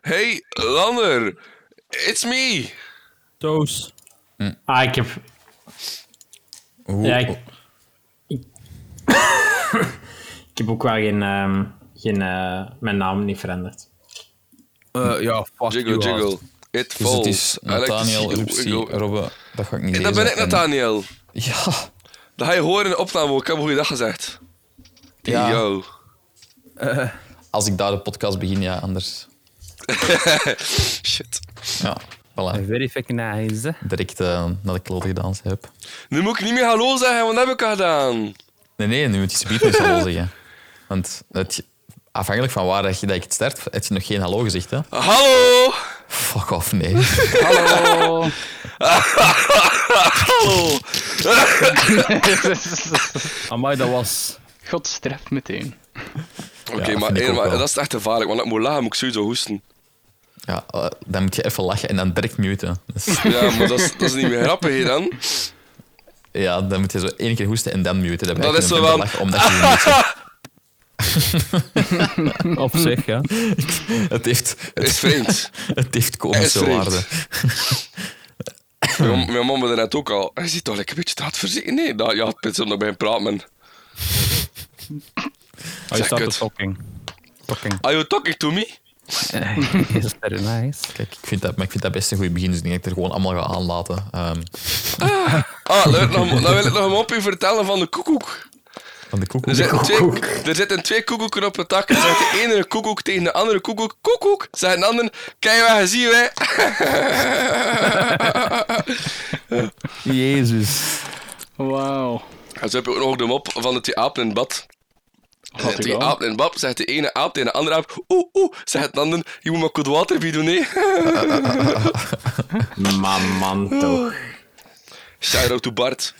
Hey, Lander. It's me. Toos. Ah, ik heb... Hoe, Ja, ik... oh. ik- ik heb ook wel geen... ehm, geen eh, mijn naam niet veranderd. Eh, ja, fuck Jiggle, you, jiggle. gast. It dus falls. het is I like to Nathaniel, see you Rupsi, go. Robbe. Dat ga ik niet En dat lezen. ben ik, En- Nathaniel. Ja. Dat ga je horen in de opname. ook. Ik heb een goede dag gezegd. Ja. Ja. Yo. Als ik daar de podcast begin, ja, anders. Shit. Ja, voilà. Very fucking nice. hè. Direct eh, naar de klote gedaan heb. Nu moet ik niet meer hallo zeggen, want dat heb ik al gedaan. Nee, nee, nu moet je subiet niet hallo zeggen. Want het, afhankelijk van waar dat je, dat ik het start, heb je nog geen hallo gezegd, hè? Ah. Hallo. Fuck off, nee. Hallo. Hallo. Amai, dat was... God straf meteen. Oké, dat maar, vind ik eh, ook maar wel. dat is echt gevaarlijk, want als ik moet lachen, moet ik sowieso hoesten. Ja, eh, dan moet je even lachen en dan direct muten. Dus, Ja, maar dat is, dat is niet meer grappig hier dan. ja, dan moet je zo één keer hoesten en dan muten. Dan Dat is zo wel- lachen, omdat je niet zo- Op zich, ja. het heeft, Is het, vreemd. het heeft Is komische vreemd. waarde. Mijn, mijn mama zei net ook al. Hij ziet toch lekker een beetje straat verzekeren. Nee, dat, ja, het is omdat bij hem praat, man. Hij staat kut. op talking. Talking. Are you talking to me? Is very nice. Kijk, ik vind dat, maar ik vind dat best een goed begin, dus ik denk dat ik er gewoon allemaal ga aanlaten. Ehm, Ah, dan wil ik nog, dan wil ik nog een mopje vertellen van de koekoek. van de koek. Er zitten, twee, er zitten twee koekoeken op het dak. Dan zegt de ene koekoek tegen de andere koekoek. Koekoek, zegt de ander. Kijk waar je ziet, wij. Jezus. Wauw. En zo heb je ook nog de mop van de twee apen in het bad. Had ik die al. aap en bab, zegt de ene aap tegen de andere aap. Oeh, oeh, zegt de ander. Je moet maar koud water bij doen, nee. Man, man, Oh. toch. Shout out to Bart.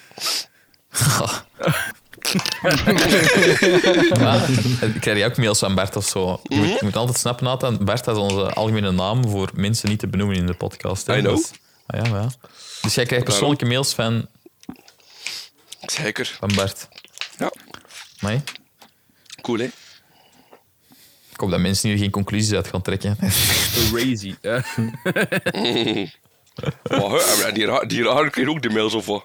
Ik krijg jij ook mails van Bert of zo. Je Mhm. moet, je moet altijd snappen, Nathan. Bert is onze algemene naam voor mensen niet te benoemen in de podcast. hè. I know. Dus, ah, ja, maar ja. dus jij krijgt persoonlijke mails van, Zeker. van Bert. Ja, Nee? cool, hè? Ik hoop dat mensen hier geen conclusies uit gaan trekken. Crazy. Eh, Maar hè, en die raar, die raar kreeg ook de mails of wat?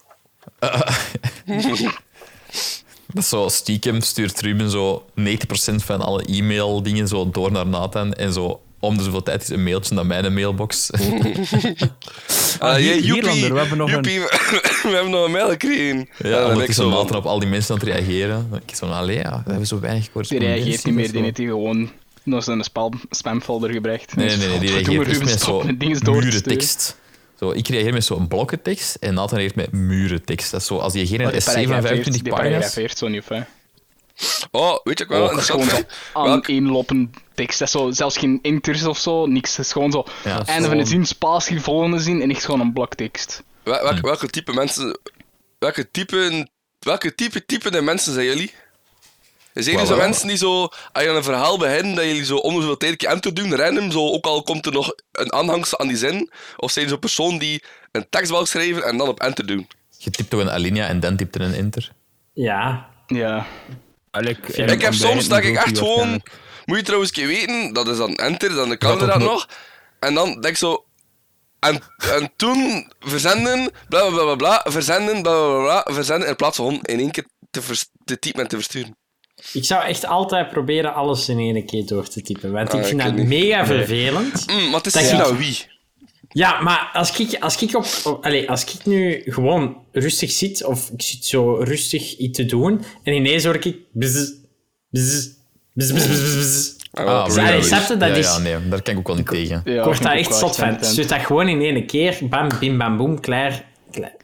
Dat is zo stiekem stuurt Ruben zo 90% van alle e-mail-dingen zo door naar Nathan. En zo om de zoveel tijd is een mailtje naar mijn mailbox. Ah, hier- jee, joepie, Hierlander, we hebben nog een- joepie, we hebben nog een mail gekregen. Ja, dan omdat ik ik zo zo van- Nathan op al die mensen aan het reageren. Ik zo, allee, ja, we hebben zo weinig Die correspondentie. reageert niet dat meer, is die zo. heeft hij gewoon naar zijn spam, spamfolder gebracht. Nee, nee, nee, die reageert echt met zo'n dingen door te muren sturen. tekst. Zo, ik reageer met zo'n blokken tekst en Nathan reageert met muren tekst. Dat is zo, als je geen Maar Oh, die essay van paragraaf 25 heeft- die paragraaf pagina's... heeft zo niet, hè. Oh, weet je ook wel? Dat is interessant. gewoon zo Welk- aaneenlopend tekst. Dat is zo, zelfs geen inters of zo, niks. Het is gewoon zo, Ja, dat is einde van gewoon- de zin, spaas, hier volgende zin, en echt gewoon een blok tekst. wel- welk- welke type mensen... Welke type... Welke type, type de mensen zijn jullie? Zijn jullie Wel, zo wel. mensen die zo... Als je aan een verhaal begint, dat jullie zo om de zoveel tijd een keer aan te doen, random, zo, ook al komt er nog een aanhangsel aan die zin? Of zijn zo'n persoon die een tekst wil schrijven en dan op enter doen? Je typt toch een alinea en dan typt er een enter. Ja. Ja. eigenlijk- Ik eigenlijk heb een soms dat ik bijna echt gewoon. waarschijnlijk. Moet je trouwens een keer weten, dat is dan enter, dan kan Dat er dat ook nog. En dan denk ik zo. En, en toen verzenden, bla bla bla bla, bla verzenden, bla bla bla, bla, verzenden, in plaats van gewoon in één keer te, vers- te typen en te versturen. Ik zou echt altijd proberen alles in één keer door te typen. Want Ah, ik vind ik dat niet. mega vervelend. Mm, maar het is Dat niet je- naar wie. Ja, maar als ik, als ik, op, op- allee, als ik nu gewoon rustig zit, of ik zit zo rustig iets te doen, en ineens hoor ik... Bzz, bzz, bzz, bzz, bzz, bzz. Oh, wel, maar sorry, ja, dat is- dat Ah, ja, is- ja, nee, daar kan ik ook wel niet tegen. ja Ik word daar vind echt ook wel zot van. irritant. Dus dat gewoon in één keer. Bam, bim, bam, boem, klaar. klaar.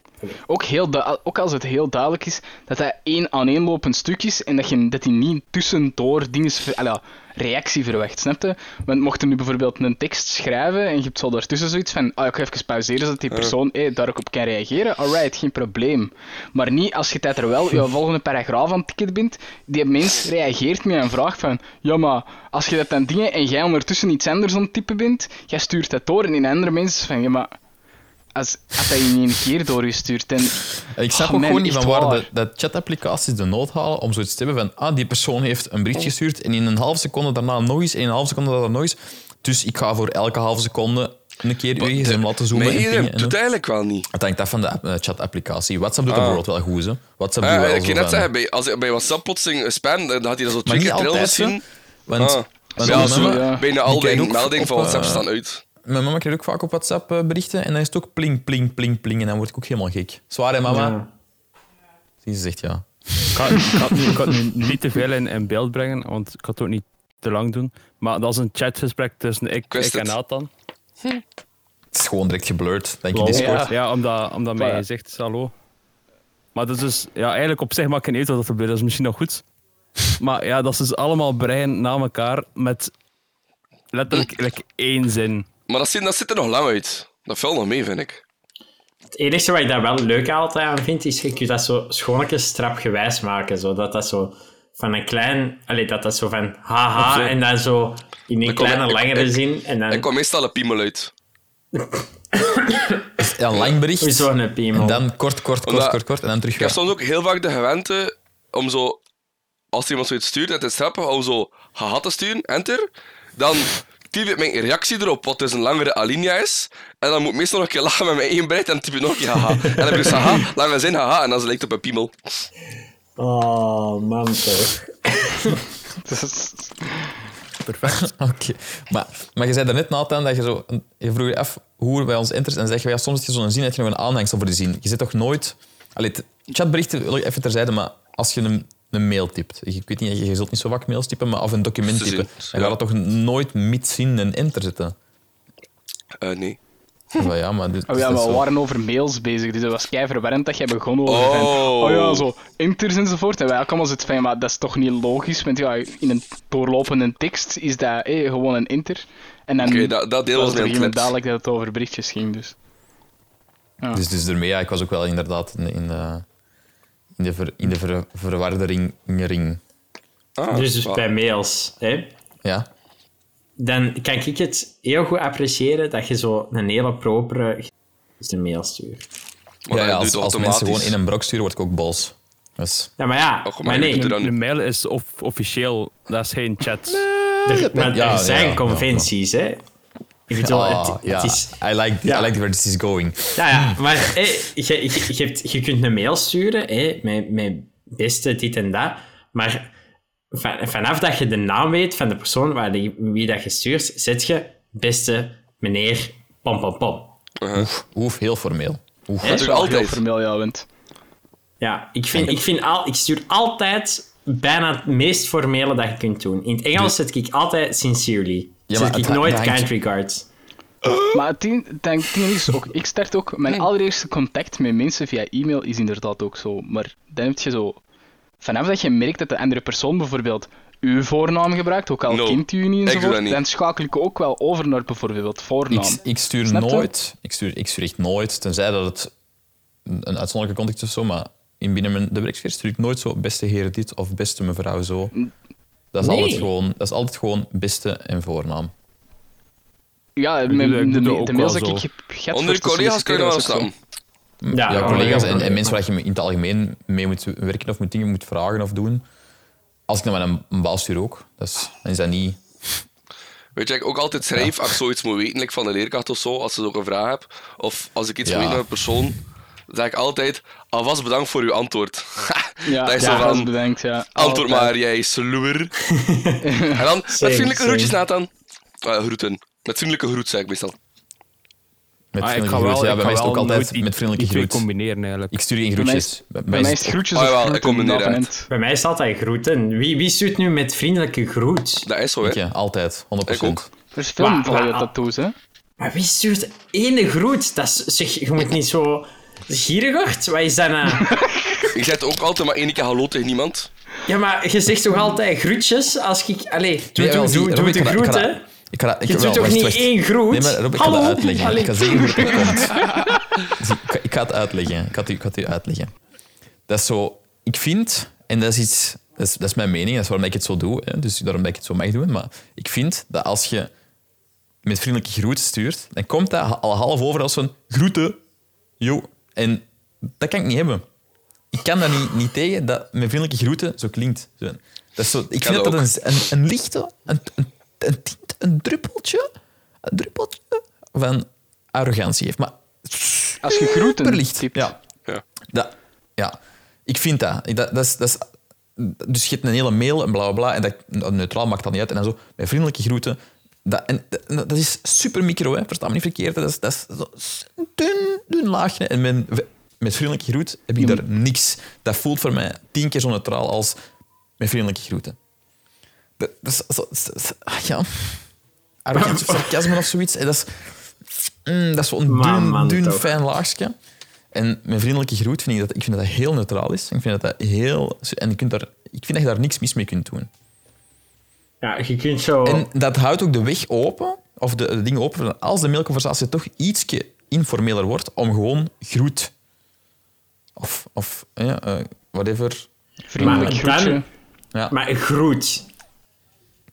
Ook, heel da- ook als het heel duidelijk is dat dat één aaneenlopend stuk is en dat, je, dat die niet tussendoor dingen ver- ah ja, reactie verwacht, snap je? Want mocht je nu bijvoorbeeld een tekst schrijven en je hebt zo daartussen zoiets van ah, ik ga even pauzeren zodat die persoon eh, daar ook op kan reageren, alright, geen probleem. Maar niet als je tijd er wel je volgende paragraaf aan het tikken bent, die mens reageert met een vraag van ja maar, als je dat dan dingen en jij ondertussen iets anders aan het typen bent, jij stuurt dat door en die andere mensen van ja maar als, als dat je in één keer doorgestuurd en En Ik snap Oh, ook man, gewoon niet echt van waar waar. dat, dat chatapplicaties de nood halen om zoiets te hebben van ah, die persoon heeft een bericht gestuurd en in een half seconde daarna nog eens en in een half seconde daarna nog eens. Dus ik ga voor elke halve seconde een keer Oh, uw gsm laten zoomen. Maar en iedereen pingen doet het en, eigenlijk wel niet. het hangt af van de app- eh, chat-applicatie. WhatsApp doet dat bijvoorbeeld wel goed. Hè. WhatsApp doet Ah, wel ik zo kan net van- zeggen, bij, als, bij WhatsApp plotseling spam, dan had hij dat zo Maar twee niet keer trill altijd, hè. zien. Want, Ah. want Ja, mijn zo, mama- ja. bijna Die al die krijgen ook meldingen van op, WhatsApp eh, staan uit. Mijn mama krijgt ook vaak op WhatsApp eh, berichten en dan is het ook pling, pling, pling, pling. En dan word ik ook helemaal gek. Zwaar, hè, mama? Zie ze zegt ja. Ik ga, ik ga het nu- ik ga het nu niet te veel in, in beeld brengen, want ik kan het ook niet te lang doen. Maar dat is een chatgesprek tussen ik, wist ik en het. Nathan. Het is gewoon direct geblurred, denk ik. Lol. Discord. Ah. Ja, omdat, omdat mij Voilà. gezegd is hallo. Maar dat is dus, ja, eigenlijk op zich maakt geen uit wat dat er gebeurt, dat is misschien nog goed. Maar ja, dat is dus allemaal brein na elkaar met letterlijk like, één zin. Maar dat zit, dat zit er nog lang uit. Dat valt nog mee, vind ik. Het enige wat ik daar wel leuk altijd aan vind, is je kunt dat zo schoonlijkjes strapgewijs maken. Zodat dat zo van een klein... Allee, dat dat zo van haha Op zich. en dan zo in een Ik kom- kleine, ik- langere ik- zin. En dan Er kwam meestal een piemel uit. Ja, een lang bericht. is zo'n piemel. En dan kort, kort, kort, Omdat- kort, kort. En dan terug Ik heb weg. soms ook heel vaak de gewente om zo, als iemand zoiets stuurt en te strappen, om zo haha te sturen, enter. Dan typ ik mijn reactie erop, wat dus een langere alinea is. En dan moet ik meestal nog een keer lachen met mijn één breid en dan typ ik nog een keer haha. En dan heb ik dus haha, lange zin, haha, en dan lijkt het op een piemel. Oh, man toch. Dus Perfect. Oké. Maar, maar je zei daarnet, Nathan, dat je zo... Je vroeg je af hoe wij ons interest... En dan zeg je, ja, soms heb je zo'n zin dat je nog een aanhangsel voor die zin. Je zit toch nooit... Allee, t- chatberichten wil ik even terzijde, maar als je een, een mail typt... Ik weet niet, je, je zult niet zo vaak mails typen, maar of een document Te zien, typen, dan ja. gaat dat toch nooit mits zin en enter zitten? Eh, nee. Van, ja, maar dit, Oh dit Dus ja, is maar we zo. waren over mails bezig, dus dat was kei verwarrend dat jij begon over van, Oh. oh ja, zo inters enzovoort. En wij ook allemaal zitten van, ja, maar dat is toch niet logisch, want ja, in een doorlopende tekst is dat eh, gewoon een inter. En dan Oké, dat, dat deel was was het op een mijn gegeven clip. moment duidelijk dat het over berichtjes ging, dus. Dus, dus daarmee, ja, ik was ook wel inderdaad in, in, eh, in de, ver, in de ver, verwarde ring. in de ring. Ah, Dus, dus wa- bij mails, hè. Ja? Dan kan ik het heel goed appreciëren dat je zo een hele propere een mail stuurt. maar ja, dat ja, doet als, als mensen gewoon automatisch. in een brok sturen, word ik ook boos. Dus... Ja, maar ja, Och, Oh, maar maar je nee, doet er dan De mail is of, officieel, dat is geen chat. er, maar ja, er zijn ja, ja. conventies, hè. Ik bedoel, Ah, het, het ja. is... I like, Ja. I like where this is going. Ja, ja, maar hé, je, je, je, hebt- je kunt een mail sturen, hé, mijn, mijn beste, dit en dat, maar van, vanaf dat je de naam weet van de persoon waar die, wie dat je stuurt, zet je beste meneer pom pom pom. Oef, oef, heel formeel. Oef. Hè? is Wel Uh-huh. altijd. heel formeel, ja, want... Ja, ik, vind, ik, vind al, ik stuur altijd bijna het meest formele dat je kunt doen. In het Engels zet ik altijd sincerely. Ja, maar zet ik het- nooit het hangt- kind regards. Maar het ding, het ding- het ding is ook, ik start ook, mijn allereerste contact met mensen via e-mail is inderdaad ook zo. Maar dan heb je zo, vanaf dat je merkt dat de andere persoon bijvoorbeeld uw voornaam gebruikt, ook al No, kent u ik niet doe dat enzovoort, niet. dan schakel ik ook wel over naar bijvoorbeeld voornaam. Ik, ik stuur Snap je? nooit, ik stuur, ik stuur echt nooit, tenzij dat het een een uitzonderlijke context is of zo, maar in binnen mijn, de werksfeer stuur ik nooit zo beste heren dit of beste mevrouw zo. Dat is, Nee. altijd, gewoon, dat is altijd gewoon beste en voornaam. Ja, doe mijn- dat- ik de, doe dat de ook mails wel dat zo. ik heb gehad Onder dus voor te collega's kun je dat wel solliciteren was snappen. ook Ja, ja, oh, collega's ja, en, en oké. mensen waar je in het algemeen mee moet werken of moet dingen moet vragen of doen. Als ik naar mijn een baas stuur ook, dat is, dan is dat niet... Weet je, wat ik ook altijd schrijf als ik zoiets moet weten, like van de leerkracht of zo, als ze ook een vraag heb. Of als ik iets Ja. moet weten van een persoon, zeg ik altijd, alvast bedankt voor uw antwoord. zo. Ja, dat is ja, zo dat is van, bedankt, ja. antwoord Altijd. maar, jij sloer. en dan, met vriendelijke same. groetjes, Nathan. Eh groeten. Met vriendelijke groet, zeg ik meestal. Met Ah, vriendelijke groet. Ja, bij mij is het ook altijd met vriendelijke groet. groet. combineren eigenlijk. Ik stuur geen Bij mij groetjes. is, bij mij is het groetjes Oh, of jawel, ik groeten, kom er niet dat uit. moment. Bij mij is het altijd groeten. Wie, wie stuurt nu met vriendelijke groet? Dat is zo, hè. Ja, altijd, 100%. Ik ook. Er is veel Wa- van je wa- tattoos, hè. Maar wie stuurt ene groet? Dat is, zeg, je moet niet zo gierig worden. Wat is dat nou? Ik zeg ook altijd maar één keer hallo tegen niemand. Ja, maar je zegt toch altijd groetjes als ik... Allee, doe, Nee, doe, wel, zie, doe, doe Rob, de ik ga dat- groet, ik ga hè. dat- Ik ga dat, ik Je wel, doet toch wacht, niet wacht. één groet? Nee, maar Rob, ik ga Hallo? dat uitleggen. Allee. Ik ga zeggen hoe dat komt. Zie, Dus ik, ga- ik ga het uitleggen. Ik ga het, u- ik ga het u uitleggen. Dat is zo... Ik vind, en dat is iets... Dat is, dat is mijn mening, dat is waarom ik het zo doe. Hè, dus daarom dat ik het zo mag doen. Maar ik vind dat als je met vriendelijke groeten stuurt, dan komt dat ha- al half over als zo'n groeten. Jo. En dat kan ik niet hebben. Ik kan daar niet, niet tegen dat met vriendelijke groeten zo klinkt. Zo. Dat is zo, ik kan vind dat dat dat een, een, een lichte, een, een, een tint echt een druppeltje, een druppeltje van arrogantie heeft. Maar Als je groeten superlicht. typt. Ja. Ja. Dat, ja, ik vind dat. Ik- dat, dat, is, dat is, dus je hebt een hele mail en bla bla bla. En dat, neutraal maakt dat niet uit. En dan zo, met vriendelijke groeten. Dat, en, dat dat is super micro, hè. versta me niet verkeerd. hè. Dat is, dat is zo een dun, dun laagje. En met, met vriendelijke groet heb ik daar niks. Dat voelt voor mij tien keer zo neutraal als met vriendelijke groeten. Dat, dat is, zo- zo- zo- ah, ja. Arrogantie of sarcasme of zoiets. En dat is, mm, dat is zo'n Maar man, dun, dun toch. fijn laagje. En mijn vriendelijke groet vind ik dat, ik vind dat dat heel neutraal is. Ik vind dat, dat heel, en je kunt daar, ik vind dat je daar niks mis mee kunt doen. Ja, je kunt zo... En dat houdt ook de weg open, of de, de dingen open, voor als de mailconversatie toch ietsje informeler wordt, om gewoon groet. Of, of ja, eh, whatever. Vriendelijk Maar dan- groetje. Ja, Maar groet.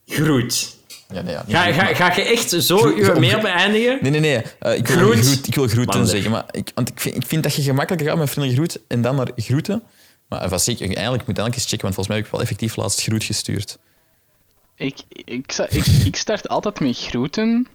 Groet. ja, nee, ja, niet Ga, groet, ga, maar- ga je echt zo Groet- je om- mail beëindigen? Nee, nee, nee. eh, ik, wil Groet. groet, ik wil groeten Man, zeg. zeggen. Maar ik, want ik, vind, ik vind dat je gemakkelijker gaat met vriendelijke groet en dan naar groeten. Maar vast, ik, eigenlijk moet ik elke eens checken, want volgens mij heb ik wel effectief laatst groet gestuurd. Ik, ik, sta- ik, ik start altijd met groeten.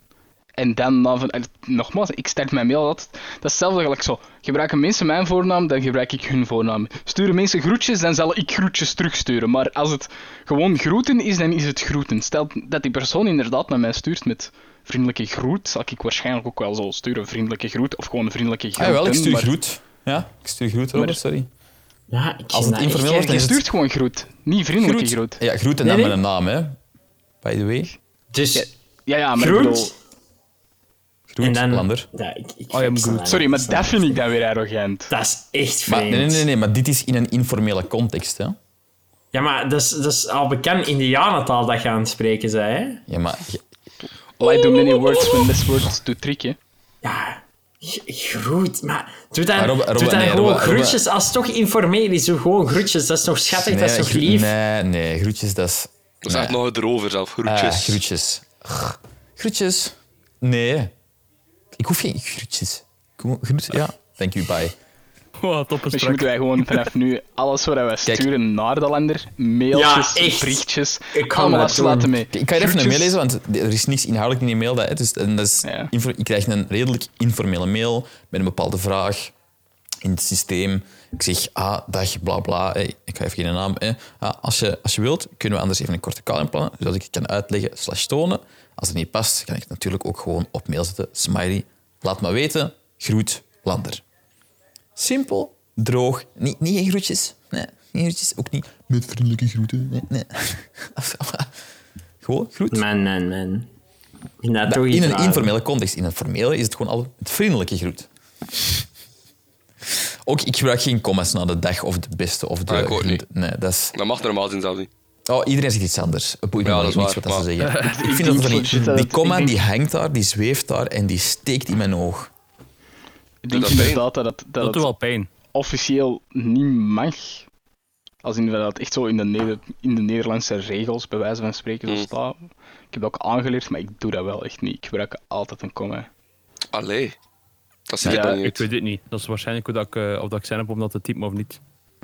En dan, dan van, en nogmaals, ik start mijn mail altijd. Dat is hetzelfde gelijk zo. Gebruiken mensen mijn voornaam, dan gebruik ik hun voornaam. Sturen mensen groetjes, dan zal ik groetjes terugsturen. Maar als het gewoon groeten is, dan is het groeten. Stel dat die persoon inderdaad naar mij stuurt met vriendelijke groet, zal ik waarschijnlijk ook wel zo sturen. Vriendelijke groet of gewoon vriendelijke groet. Ah, wel, ik stuur maar, groet. Ja, ik stuur groet, Robert, sorry. Ja, ik Als het informeel wordt, dan Je is het stuurt gewoon groet, niet vriendelijke groet. Ja, groet en dan Nee, met een naam, hè. By the way. Dus Ja, ja, maar ik bedoel- groet. Groet, En dan... Lander. Ja, ik, ik, I am ik snap Groot. dat Sorry, niet. Oh, maar dat vind ik dan weer arrogant. Dat is echt Maar, vreemd. nee, nee, nee, nee, maar dit is in een informele context, hè. Ja, maar dat is, dat is al bekend indianentaal dat je aan het spreken zei. hè? Ja, maar... je- Why do many words when less words do trick, hè? Ja, g- groet. Maar doe dan, Maar Robbe- doe Robbe, dan nee, gewoon Robbe- Robbe- groetjes als het toch informeel is. Doe gewoon groetjes, dat is nog schattig, dat is nee, nog groe- lief. Nee, nee, groetjes, dat is... Dat is echt nog erover zelf. Groetjes. Ah, groetjes. Grr. Groetjes. Nee. Ik hoef geen groetjes. Gewoon Groet, ja. Thank you, bye. Wow, toppe Misschien strak. moeten wij gewoon vanaf nu alles wat wij sturen naar de lander, mailtjes, Ja, echt. berichtjes, Ik kan allemaal dat doen. afsluiten mee. Ik ga hier even een Groetjes. mail lezen, want er is niks inhoudelijk in die mail. Dat, hè, dus, en dat is, Ja. info- ik krijg een redelijk informele mail met een bepaalde vraag in het systeem. Ik zeg, ah, dag, bla bla. Hey, ik ga even geen naam. hè. Ah, als, je, als je wilt, kunnen we anders even een korte call inplannen, zodat ik het kan uitleggen slash tonen. Als het niet past, kan ik het natuurlijk ook gewoon op mail zetten. Smiley, laat maar weten. Groet, Lander. Simpel, droog. Niet, niet geen groetjes. Nee, geen groetjes. Ook niet met vriendelijke groeten. Nee, nee. Gewoon groet. Man, man, man. Ik vind dat toch In iets een raar. informele context, in een formele, is het gewoon al het vriendelijke groet. Ook, ik gebruik geen commas na de dag of de beste of de... Ah, ik ook niet. Nee, dat is... Dat mag normaal zien zelf niet. Oh, iedereen zegt iets anders. Het boeit me Ja, wel dat is niks waar, wat dat ze zeggen. ik ik vind dat denk er legit dat niet... Die het- ik comma, denk- die hangt daar, die zweeft daar en die steekt in mijn oog. Ik denk dat inderdaad dat, het- dat, Dat doet het wel pijn. officieel niet mag. Als in dat het echt zo in de, Neder- in de Nederlandse regels, bij wijze van spreken, zo staat. Ik heb dat ook aangeleerd, maar ik doe dat wel echt niet. Ik gebruik altijd een comma. Allee. Dat zit Ja, ik dan niet Ik uit. weet het niet. Dat is waarschijnlijk hoe dat ik, eh, of dat ik zin heb om dat te typen of niet.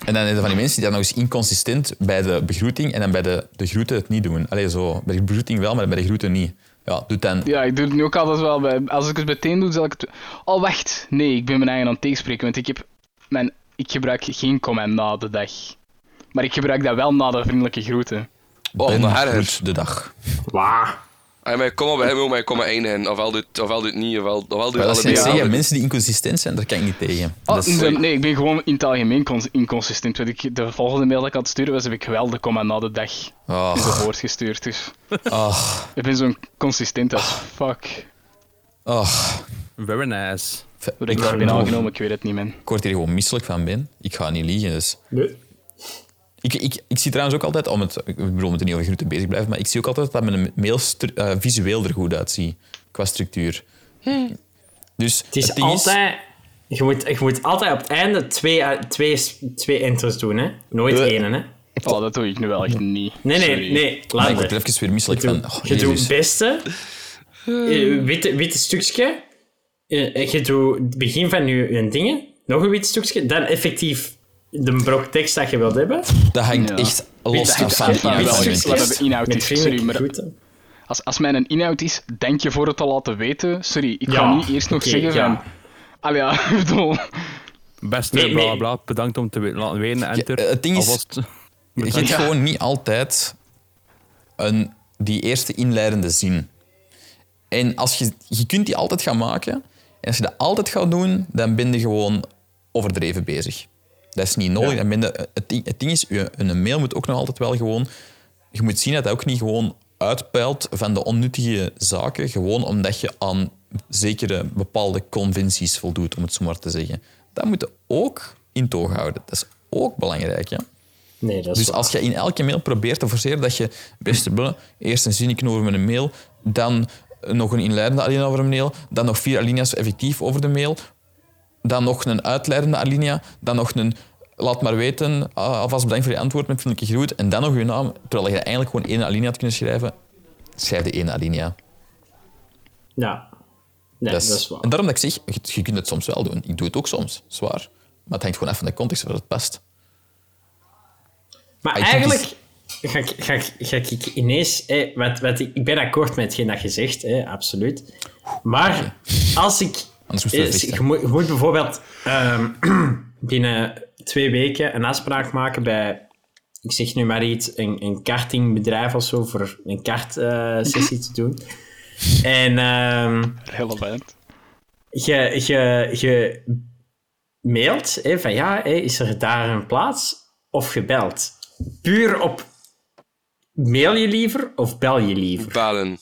En dan zijn er van die mensen die dat nog eens inconsistent bij de begroeting en dan bij de, de groeten het niet doen. Allee, zo. Bij de begroeting wel, maar bij de groeten niet. Ja, doe dan. Ja, ik doe het nu ook altijd wel bij. Als ik het meteen doe, zal ik het. Oh, wacht. Nee, ik ben mijn eigen aan het tegenspreken. Want ik heb. Mijn... Ik gebruik geen comment na de dag. Maar ik gebruik dat wel na de vriendelijke groeten. Oh, Ben maar herder. groet de dag. Wauw. Hij Ah, maar kom maar bij hem, maar ik kom maar één hen. Ofwel doet, ofwel doet niet, ofwel, ofwel doet Maar dat zijn allebei. zeggen, Ja. mensen die inconsistent zijn, daar kan ik niet tegen. Oh, Dat is- nee, nee, ik ben gewoon in het algemeen cons- inconsistent. Want ik, de volgende mail dat ik aan het sturen was, heb ik wel de comment na de dag Ah. gehoord gestuurd. Dus Ach, ik ben zo'n consistent als fuck. ach. Very nice. Hoe ik daar ben aangenomen, ik weet het niet, man. Ik word hier gewoon misselijk van ben. Ik ga niet liegen, dus... Ik, ik, ik zie trouwens ook altijd, om het, ik bedoel, we moeten niet over groeten bezig blijven, maar ik zie ook altijd dat mijn mail stru- eh, visueel er goed uitziet, qua structuur. Dus Hm. Het is ding altijd... Je moet, je moet altijd op het einde twee, eh, twee, twee intros doen, hè. Nooit Eh. één, hè. Oh, dat doe ik nu wel echt niet. Nee, nee, Sorry. nee. Maar Laat Ah, ik word het. er even weer misselijk Je van. doet- Oh, je doet Jezus. het beste. eh, witte, witte stukje. eh, en je doet het begin van je, je dingen. Nog een wit stukje. Dan effectief de brok tekst dat je wilt hebben. Dat hangt Ja. echt los dat hangt af van de echt van inhoud wel van Wel, je iets iets wat tekst. de inhoud Met is. Sorry, vriendelijke maar groeten. Als, als mijn inhoud is, denk je voor het te laten weten. Sorry, ik ga Ja, niet eerst nog oké, zeggen ja. van... Allee, ja, ik bedoel... Beste Nee, bla nee. bla, bedankt om te we- laten weten. Enter. eh, het ding is- Alvast. Je hebt Ja. gewoon niet altijd een, die eerste inleidende zin. En als je, je kunt die altijd gaan maken. En als je dat altijd gaat doen, dan ben je gewoon overdreven bezig. Dat is niet nodig. Dan ben je, het, ding, het ding is, je, een mail moet ook nog altijd wel gewoon... Je moet zien dat dat ook niet gewoon uitpeilt van de onnuttige zaken. Gewoon omdat je aan zekere bepaalde conventies voldoet, om het zo maar te zeggen. Dat moet je ook in toog houden. Dat is ook belangrijk, ja. Nee, dat is Dus als je in elke mail probeert te forceren dat je, beste bullen, eerst een zinnetje over met een mail, dan nog een inleidende alinea over een mail, dan nog vier alinea's effectief over de mail, dan nog een uitleidende alinea, dan nog een laat maar weten, ah, alvast bedankt voor je antwoord met vriendelijke groet, en dan nog je naam, terwijl je eigenlijk gewoon één alinea had kunnen schrijven. Schrijf de één alinea. Ja. Nee, dat is, En waar. daarom dat ik zeg, je, je kunt het soms wel doen. Ik doe het ook soms, zwaar. Maar het hangt gewoon af van de context waar het past. Maar I think eigenlijk ga ik, ga ik, ga ik ineens... eh, wat, wat, ik ik ben akkoord met hetgeen dat je zegt, hè, absoluut. Maar als ik... Anders moesten we eh, het richten. je, moet, je moet bijvoorbeeld ehm, binnen twee weken een afspraak maken bij... Ik zeg nu maar iets, een, een kartingbedrijf of zo, voor een kartsessie eh, te doen. En... ehm, Relevant. je, je, je mailt hè, van ja, hè, is er daar een plaats? Of gebeld. Puur op mail je liever of bel je liever? Balen.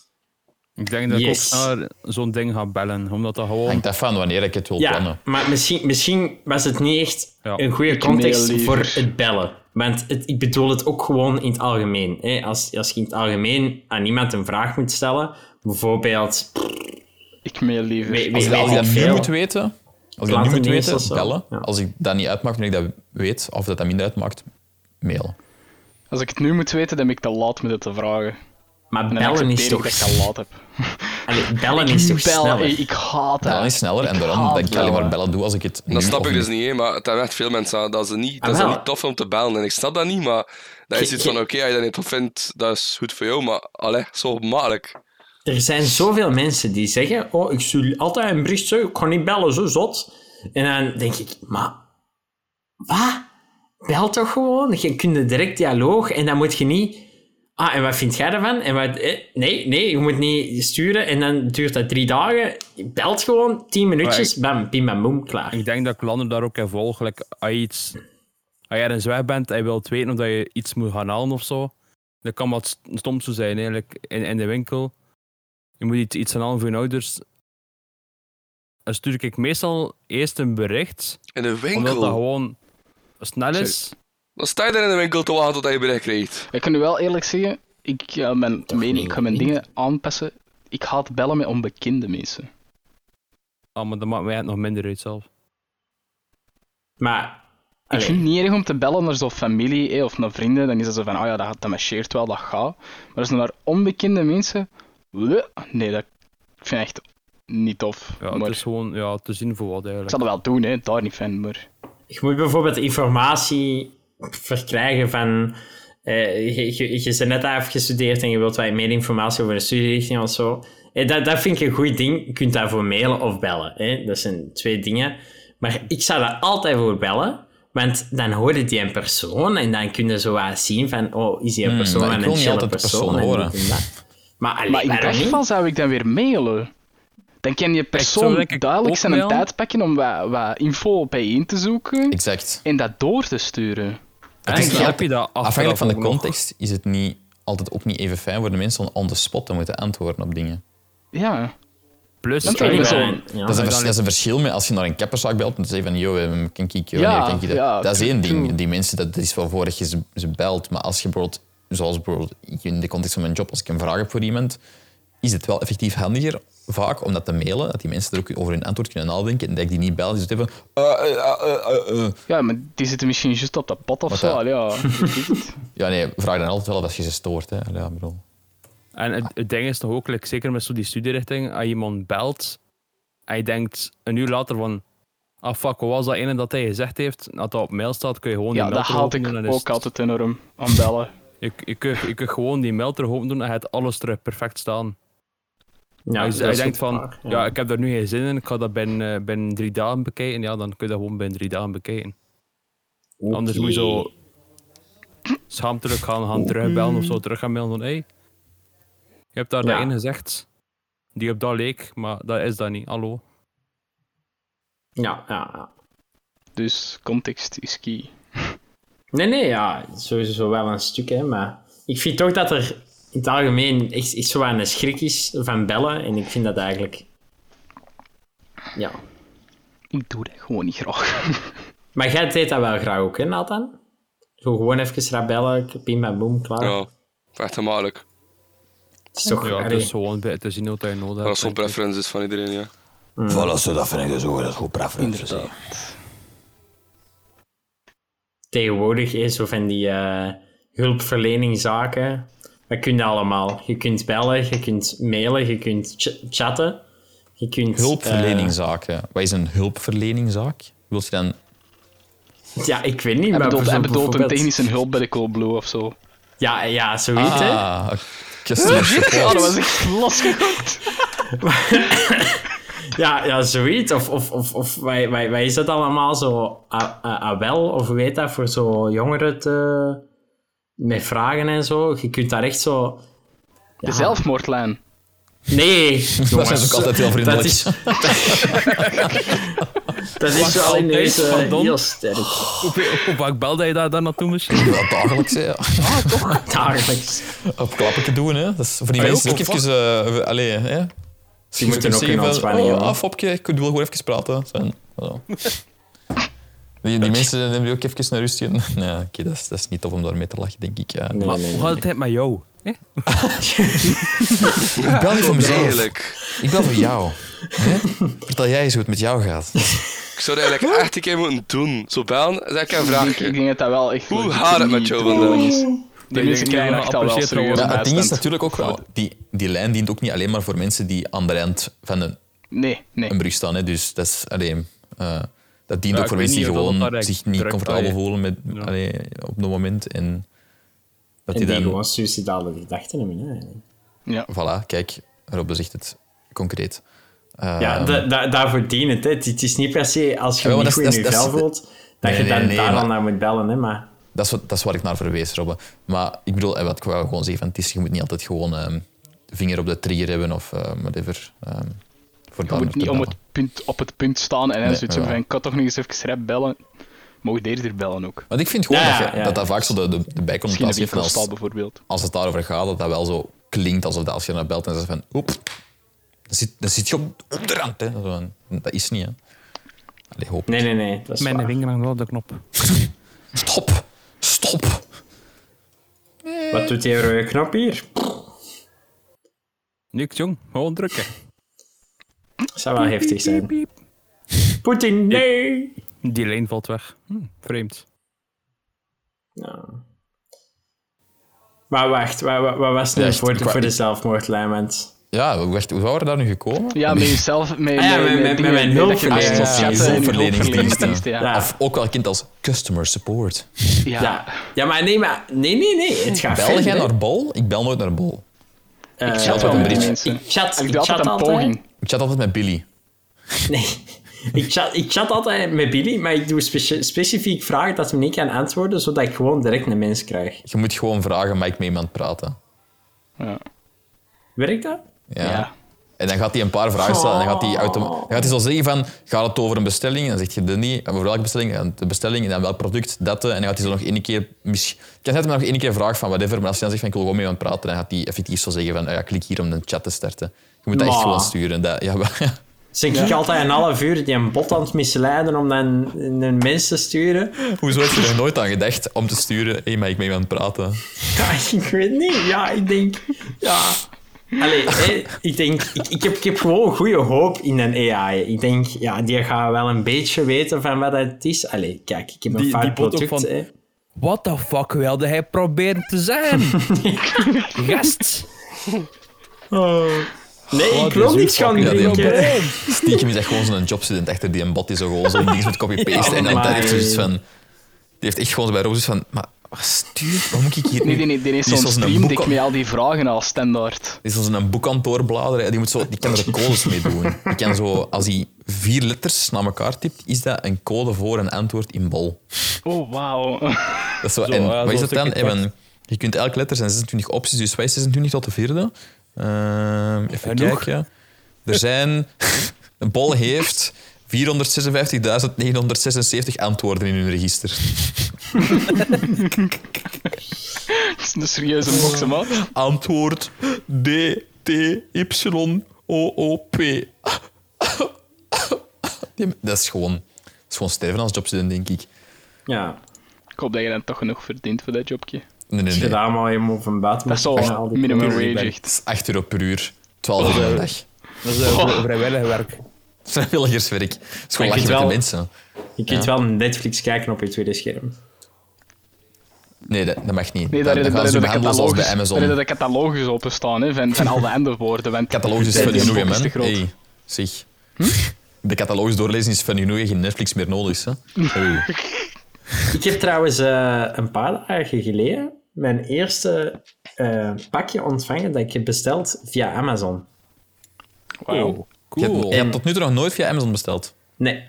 Ik denk dat Yes. ik ook naar zo'n ding ga bellen. Omdat dat gewoon... Hangt af van wanneer ik het wil Ja, plannen. maar misschien, misschien was het niet echt Ja. een goede Ik context mail voor liever. het bellen. Want het, ik bedoel het ook gewoon in het algemeen. Hè. Als, als je in het algemeen aan iemand een vraag moet stellen, bijvoorbeeld... Ik mail liever. Weet- Als weet- ik, als ik weet dat ik nu veel. moet weten, als ik dat nu Laat moet het niet weten, eens zo. bellen. Ja. Als ik dat niet uitmaak, wanneer ik dat weet, of dat dat minder uitmaakt, mail. Als ik het nu moet weten, dan ben ik te laat met het te vragen. Maar En dan bellen is accepteer toch... ik dat ik te laat heb. Allee, bellen is toch Bel, sneller? ik, ik haat dat. Bellen is sneller en daarom Ah, haat dat ik alleen maar bellen. bellen doe als ik het nu Dat snap of ik dus nu- niet, hè, maar het zijn echt veel mensen aan dat ze niet, dat Ah, is wel. niet tof om te bellen. En ik snap dat niet, maar dat is Je- iets van: je- oké, als je dat niet tof vindt, dat is goed voor jou, maar allee, zo makkelijk. Er zijn zoveel mensen die zeggen: Oh, ik stuur altijd een bericht, zo, ik kan niet bellen, zo zot. En dan denk ik: Maar wat? Bel toch gewoon? Je kunt een direct dialoog en dan moet je niet. Ah, en wat vind jij ervan? En wat, eh, nee, nee, je moet niet sturen en dan duurt dat drie dagen. Je belt gewoon tien minuutjes, bam, pim, bam, boem, klaar. Ik denk dat ik landen daar ook in volg. Like, als je iets... Als je ergens weg bent en je wilt weten of dat je iets moet gaan halen of zo, dat kan wat st- stom zo zijn, eigenlijk. In, in de winkel. Je moet iets, iets gaan halen voor je ouders. Dan stuur ik meestal eerst een bericht, In de omdat dat winkel. gewoon snel is. Dan sta je daar in de winkel te wachten tot je bericht krijgt. Ik kan nu wel eerlijk zeggen, ik, ja, mijn mening, ik ga mijn dingen aanpassen. Ik haat bellen met onbekende mensen. Ah, maar dat maakt mij het nog minder uit zelf. Maar, Ik allee, vind het niet erg om te bellen naar zo'n familie eh, of naar vrienden. Dan is dat zo van, ah ja, dat, dat marcheert wel, dat gaat. Maar als het naar onbekende mensen... bleh, Nee, dat ik vind ik echt niet tof. Ja, maar Het is gewoon ja, te zien voor wat ik eigenlijk. zal dat wel doen, hè. daar niet van. Maar... je moet bijvoorbeeld informatie verkrijgen van. eh, je, je, je bent net afgestudeerd en je wilt wat meer informatie over een studierichting of zo. Eh, dat, dat vind ik een goed ding. Je kunt daarvoor mailen of bellen. hè. Dat zijn twee dingen. Maar ik zou daar altijd voor bellen. Want dan hoor je die in persoon en dan kun je zo wat zien van, oh, is die een persoon Hmm, maar ik en wil een niet chille altijd de persoon. persoon en horen. dit en dat. Maar, allee, Maar in waarom dat niet? geval zou ik dan weer mailen. Dan kan je zou persoon ik ook duidelijk zijn een mailen. tijd pakken om wat, wat info bijeen te zoeken Exact. en dat door te sturen. En is dan wel- heb je dat achteraf Afhankelijk van de ook nog. context is het niet, altijd ook niet even fijn voor de mensen om on the spot te moeten antwoorden op dingen. Ja. Plus, Dat eh, vind ik wel- Ja. Ah, dat, is een dan- vers- dat is een verschil met als je naar een kapperszaak belt en te zeggen van, yo, eh, kan ik, yo, Ja, nee, kan ik dat. ja, dat is één true. ding. Die mensen, dat is wel voordat je ze, ze belt. Maar als je bijvoorbeeld, zoals bijvoorbeeld ik in de context van mijn job, als ik een vraag heb voor iemand, is het wel effectief handiger vaak om dat te mailen, dat die mensen er ook over hun antwoord kunnen nadenken en dat ik die niet bel, die zit even... eh, eh, eh, eh, eh, eh. ja, maar die zitten misschien juist op dat pad of Wat zo. dat? Allee, Ja, dat is het. Ja, nee, vraag dan altijd wel of als je ze stoort. Hè. Ja, ik bedoel. En het, het ding is toch ook, like, zeker met zo die studierichting, als iemand belt en je denkt een uur later van, ah fuck, wat was dat ene dat hij gezegd heeft? Dat dat op mail staat, kun je gewoon ja die dat mail haalt terug ik openen en ook is het- altijd enorm aan bellen. Je, je, kunt, je kunt gewoon die mail terug open doen en je hebt alles terug perfect staan. Ja, als je, dat als is je denkt goed van, waar, ja. ik heb daar nu geen zin in, ik ga dat binnen, eh, binnen drie dagen bekijken, ja, dan kun je dat gewoon binnen drie dagen bekijken. Anders moet je zo schaamtelijk gaan, gaan terugbellen of zo, terug gaan mailen van, hé, hey, je hebt daar Ja. dat in gezegd, die op dat leek, maar dat is dat niet, hallo. Ja, ja, ja. Dus context is key. Nee, nee, ja, sowieso wel een stuk, hè, maar ik vind toch dat er in het algemeen echt, echt zo wat een schrik is van bellen en ik vind dat eigenlijk. Ja. Ik doe dat gewoon niet graag. Maar jij deed dat wel graag ook, hè, Nathan? Zo gewoon even rap bellen, pim, bam, boom, klaar. Ja, echt gemakkelijk. Het is Ja, toch... dus het allee. is gewoon bij te zien wat je nodig Dat is zo'n hebt. preferences van iedereen, ja. Hmm. Voilà, zo, dat vind ik dus ook, dat is goed preferenties. hè. tegenwoordig is, zo van die eh hulpverleningzaken. Dat kun je allemaal. Je kunt bellen, je kunt mailen, je kunt ch- chatten. Je kunt, eh, Hulpverleningzaak, Eh. ja. Wat is een hulpverleningzaak? Wilt je dan... eh, ja, ik weet niet, Hij maar bedoelt, voor hij zo bedoelt een bijvoorbeeld- technische hulp bij de Coolblue of zo. Ja, ja, zoiets, hè. Ah, customer Oh, dat support. was echt losgekookt. Ja, ja, zoiets. Of, of, of, of wij, wij, wij is dat allemaal zo? ah, A- A- Abel, of hoe heet dat, voor zo jongeren te, met vragen en zo. Je kunt daar echt zo... De zelfmoordlijn. Nee, jongens. zijn ze ook altijd heel vriendelijk. Dat is, dat is wel in altijd deze van Don. heel sterk. Hoe- Hoe vaak belde je daar dan naartoe misschien? Ja, dagelijks, hè. Dagelijks. Op klappetje doen, hè. Dat is voor die Ah, mensen ook, ook even... eh, we- allee, hè. Die Moet moeten ik ook in zeggen van, ontspanning, oh, jongen. af, Fopje, ik wil gewoon even praten. Zo. Zo. Die, die mensen nemen die ook even naar rust. in. Nee, oké, dat, is, dat is niet tof om daarmee te lachen, denk ik. Ja. Nee, Maar nee, nee. hoe gaat het met jou? hè? Ik bel niet voor mezelf. Eigenlijk. Ik bel voor jou. Hè? Vertel jij eens hoe het met jou gaat. Ik zou dat eigenlijk echt een keer moeten doen. Zo bellen, dat is ik een Ik, ik vraagje. denk dat dat wel echt... Hoe leuk gaat het met is. jou vandaag? Die mensen krijgen dat echt al wel apprecieert serieus trouwens. Ja, het ding is bijstand. natuurlijk ook wel... Die, die lijn dient ook niet alleen maar voor mensen die aan de rand van een, Nee, nee. een brug staan. Hè. Dus dat is alleen... eh, dat dient Ja, ook voor ik weet mensen die niet of dat gewoon dat zich direct niet comfortabel bij- voelen met, Ja. allee, op dat moment. En dat En die die dan gewoon suicidale gedachten hebben. Hè. eigenlijk. Ja. voilà, kijk, Rob zegt het concreet. Eh, Ja, da- da- daarvoor dient het. Hè. Het- Het is niet per se als je Ja, je niet maar dat goed is- in je dat is- vel dat is- voelt, dat Nee, je nee, dan nee, daar maar- dan naar moet bellen. Hè. Maar dat, is wat, dat is waar ik naar verwees, Robbe. Maar ik bedoel, eh, wat ik wou gewoon zeggen, van, het is, je moet niet altijd gewoon ehm, de vinger op de trigger hebben of eh, whatever. ehm, voor Je daar moet te niet om het bellen. punt, op het punt staan en dan Nee, zoiets hebben ja. van, ik kan toch nog eens even rap bellen. Mocht eerder bellen ook. Want ik vind gewoon Ja, dat, je- ja. dat dat vaak zo de, de, de Misschien een bijconnotatie heeft. winkelstad Als, bijvoorbeeld. als het daarover gaat, dat dat wel zo klinkt alsof dat als je naar belt en zegt van oep, dan zit, dan zit je op, op de rand. Hè. Zo van, dat is niet, hè. Allee, hoop. nee, nee, nee. Dat is Mijn waar. vinger hangt wel op de knop. Stop! Stop! Wat doet die rode knop hier? Niks jong, gewoon drukken. Zou wel heftig zijn. Poetin, nee! Die lijn valt weg. Hm, vreemd. Ja. Maar wacht, wat, wat, wat was nu Ja, echt, voor, ik wou- voor de ik- zelfmoordlijn? want- Ja, wacht, hoe waren we daar nu gekomen? Ja, met jezelf, met, Ah ja, met- met- met mijn hulpverlening- hulpverleningsdienst. Ja. Ja. Of ook wel kind als customer support. Ja. Ja. ja, maar nee, maar... Nee, nee, nee. Het gaat Bel verder, jij hè. naar Bol? Ik bel nooit naar Bol. Eh, Ik chat wel met die mensen. Ik chat, Ik ik doe altijd chat een altijd. poging. Ik chat altijd met Billy. Nee. Ik chat, ik chat altijd met Billy, maar ik doe speci- specifiek vragen dat hij niet kan antwoorden, zodat ik gewoon direct een mens krijg. Je moet gewoon vragen, mag ik met iemand praten? Ja. Werkt dat? Ja. Ja. En dan gaat hij een paar vragen stellen. En dan Oh. gaat hij, autom- dan gaat hij zo zeggen van, gaat het over een bestelling? En dan zegt je dat niet. En over welke bestelling? En de bestelling en dan welk product, dat. eh. En dan gaat hij zo nog één keer... Misschien, ik kan net maar nog één keer vragen van whatever. Maar als je dan zegt van, ik wil gewoon met iemand praten, dan gaat hij effectief zo zeggen van, ah ja, klik hier om de chat te starten. Je moet dat echt Maar. gewoon sturen. Dat, ja, maar- Zeg ik altijd een half uur die een bot aan het misleiden om dan een mens te sturen? Hoezo heb je er nooit aan gedacht om te sturen? Hé, mag ik met iemand praten? Ja, ik weet niet. Ja, ik denk... Ja. Allee, hè, ik denk... Ik, ik, heb, ik heb gewoon goede hoop in een AI. Ik denk, ja, die gaat wel een beetje weten van wat het is. Allee, kijk, ik heb een Die- die fout bot ook product, van- hè. What the fuck wilde hij proberen te zijn? Gast. Nee, ik die wil zoekt niks gaan fucking- Ja, die drinken. bot. Stiekem is echt gewoon zo'n jobstudent achter die een bot die zo gewoon zo'n ding met copy-paste. Ja, en dan maar- daar heeft ze zoiets van... Die heeft echt gewoon zo bij Roos van... Maar Wat stuurt? Wat moet ik hier nu- Nee, die, die, die heeft Die is zo'n als een stream boek- dik met al die vragen al standaard. Dit is als in een boekkantoor bladeren. Die, moet zo, die kan er codes mee doen. Die kan zo, als hij vier letters naar elkaar tipt, is dat een code voor een antwoord in bol. Oh, wauw. Dat is zo, Zo, en, ja, wat zo'n is dat dan? stukje tekst. Even, je kunt elke letter zijn 26 opties, dus wij 26 tot de vierde. Ehm, even Genoeg. kijken. Er zijn... Een bol heeft 456.976 antwoorden in hun register. Dat is een serieuze box, man. Antwoord D, T, Y, O, O, P. Dat is gewoon, dat is gewoon sterven als jobstudent, denk ik. Ja. Ik hoop dat je dan toch genoeg verdient voor dat jobje. Nee, nee, Als je nee. Dat daar maar helemaal van buiten Dat is al Ja, al die minimum dingen. wage, echt. is 8 euro per uur, 12 uur per dag. Dat is eh, vri- vrijwillig werk. Vrijwilligerswerk. Het is gewoon Maar ik lachen vind met de wel- mensen. Je kunt wel Netflix kijken op je tweede scherm. Nee, dat, dat mag niet. Nee, dat, daar dat gaan ze hebben de behandelen zoals bij catalogus- daar Amazon. hebben de catalogus openstaan hè, van, van al de andere woorden. want catalogus is die fun genoeg, hè, box is man. te groot. Hey, zeg. Hm? De catalogus doorlezen is fun genoeg. hè. Geen Netflix meer nodig, is, hè. Hey. Ik heb trouwens eh, een paar dagen geleden mijn eerste eh, pakje ontvangen dat ik heb besteld via Amazon. Wauw. Je hebt- Cool. Je hebt tot nu toe nog nooit via Amazon besteld. Nee.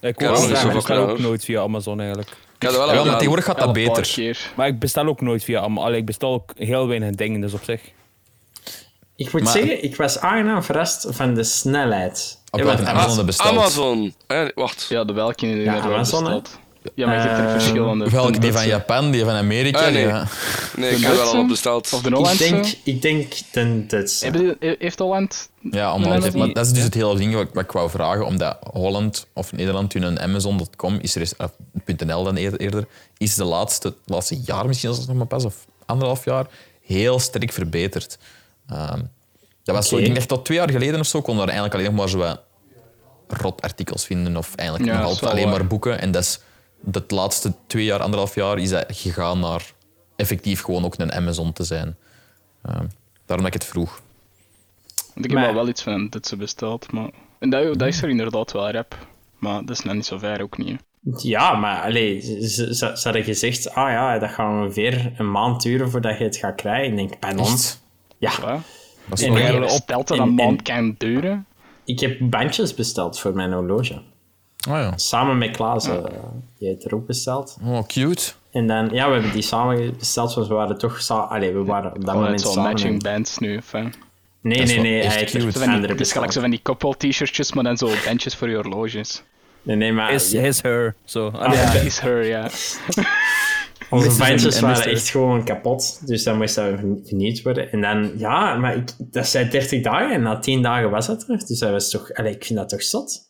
Ik Ja, dat is bestel wel bestel gedaan, ook hoor. nooit via Amazon eigenlijk. Ik had dat Ja, wel maar aan. tegenwoordig gaat dat Een paar beter. keer. Maar ik bestel ook nooit via Amazon. Allee, ik bestel ook heel weinig dingen, dus op zich. Ik moet Maar- zeggen, ik was aangenaam verrast van de snelheid. Op Eh, welke want- Amazon dat besteld. Amazon. Eh, wacht. Ja, de welke in de Amazon, hè. Ja, maar je hebt er Eh, verschillende. Welke? De Die van Duitse. Japan, die van Amerika. Ah, nee. die van- Nee, ik De heb dat Duitse? al op besteld. Of de ik Hollandse. denk, ik denk de Duitse. Hebben die- he- Heeft Holland... Ja, omdat Nee, dat is maar niet- dat is dus het hele ding wat, wat ik wou vragen. Omdat Holland of Nederland, toen een Amazon.com, is er is, of .nl dan eer- eerder, is de laatste, laatste jaar misschien als het nog maar pas, of anderhalf jaar, heel sterk verbeterd. Ehm, dat was zo, Oké. ik denk echt tot twee jaar geleden of zo, konden we er eigenlijk alleen nog maar zo wat rotartikels vinden. Of eigenlijk Ja, nog dat altijd is wel alleen waar. maar boeken. En dat is dat laatste twee jaar, anderhalf jaar, is dat gegaan naar effectief gewoon ook een Amazon te zijn. Ehm, daarom dat ik het vroeg. Want ik heb Maar- al wel iets van dat ze besteld, maar... En dat, dat is er inderdaad wel rap. Maar dat is nog niet zo ver ook niet. hè. Ja, maar allee, ze, ze, ze hadden gezegd, ah ja, dat gaat ongeveer een maand duren voordat je het gaat krijgen. Ik denk, bij ons. Ja, Ja. Dat is En wel- dan- En je op- bestelt dat in- een maand in- kan duren. ik heb bandjes besteld voor mijn horloge. Ah ja. Samen met Hm. Klaas, eh, die heeft er ook besteld. Oh, cute. En dan, ja, we hebben die samen besteld, want we waren toch samen... Allee, we waren op dat Oh, het moment is wel samen. matching bands nu. Enfin. Nee, is nee, wel nee, echt hij heeft cute. er Zo van die- andere Het is gelijk besteld. zo van die koppel-t-shirtjes, maar dan zo bandjes voor je horloges. Nee, nee, maar Is his, her. Zo. Ja. Ja, is her, ja. onze Mr. bandjes en waren Mr. echt gewoon kapot. Dus dan moest dat vernie- vernieuwd worden. En dan, ja, maar ik, dat zijn 30 dagen en na 10 dagen was dat er. Dus dat was toch... Allee, ik vind dat toch zot.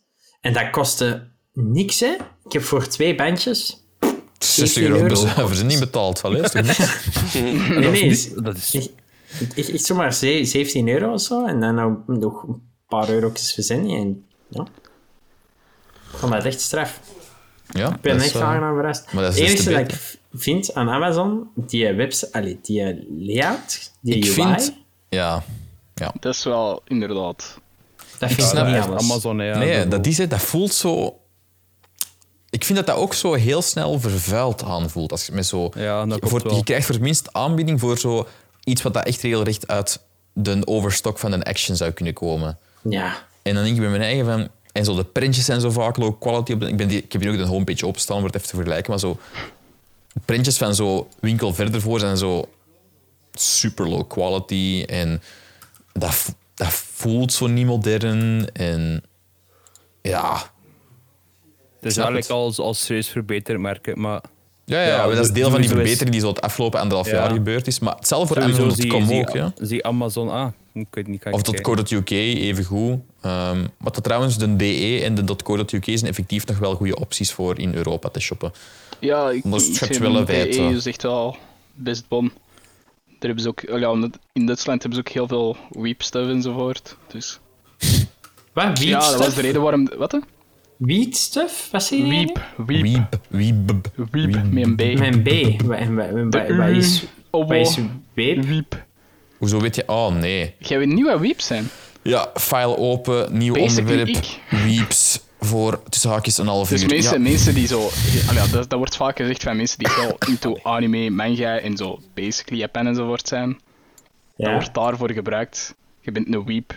En dat kostte niks, hè. Ik heb voor twee bandjes... 60 euro. euro bezuiveren, ze niet betaald. Allee, is toch niet? Nee, nee, is- Dat is Ik, ik, ik zomaar ze- 17 euro of zo. En dan nou nog een paar eurotjes verzinnen. En ja. Ik vond dat echt straf. ja, Ik ben dat is, echt eh, aangenaam verrast. maar dat Het is des te enige dat ik beter. v- vind aan Amazon, die website, allee, die eh, layout, die Ik UI, vind... Ja. ja. Dat is wel inderdaad. dat vind ik snap niet het. alles. Amazon, ja. Nee, dat- dat, is, het, dat voelt zo... Ik vind dat dat ook zo heel snel vervuild aanvoelt. Als je, met zo, Ja, dat klopt voor, wel. je krijgt voor het minst aanbieding voor zo iets wat dat echt regelrecht uit de overstok van een action zou kunnen komen. Ja. En dan denk ik bij mijn eigen van... En zo de printjes zijn zo vaak low quality. op de- ik, ben die, ik heb hier ook de homepage opstaan om het even te vergelijken. Maar zo... de Printjes van zo winkel verder voor zijn zo super low quality. En dat, v- dat voelt zo niet modern. En ja... Het is snap eigenlijk het. al als, als serieus verbeterd merken, maar Ja, ja, maar dat is deel van die sowieso is- verbetering die zo het afgelopen anderhalf Ja. jaar gebeurd is. Maar hetzelfde voor sowieso Amazon.com zie, ook. zie, Ja. zie Amazon, ah, ik weet niet, kan Of ik kijken. .co.uk evengoed. Ehm maar dat trouwens, de DE en de .co.uk zijn effectief nog wel goede opties voor in Europa te shoppen. Ja, ik Maar het ik schept vind wel een DE wijd, hè. is echt wel best bon. Daar hebben ze ook, oh ja, omdat- in Duitsland hebben ze ook heel veel weepstuff enzovoort. Dus, Wat? ja, dat was de Wietstuff? reden waarom. Wat? hè? Wietstuff? Wat zei je? Wiep, wiep, Wieb, wieb, wiep, met een B. Mijn B. Wa- en wa- en wa- De Wat is... U, Mm, obo, Wat is weep? wiep. Hoezo weet je? Oh nee. Jij weet niet wat wiep zijn. Ja, file open, nieuw Basically onderwerp. ik. Wieps. voor tussen haakjes een half Dus uur. mensen, ja, mensen die zo. Ah ja, dat, dat wordt vaak gezegd van mensen die wel into anime, manga en zo basically Japan enzovoort zijn. Dat Ja. wordt daarvoor gebruikt. Je bent een weep.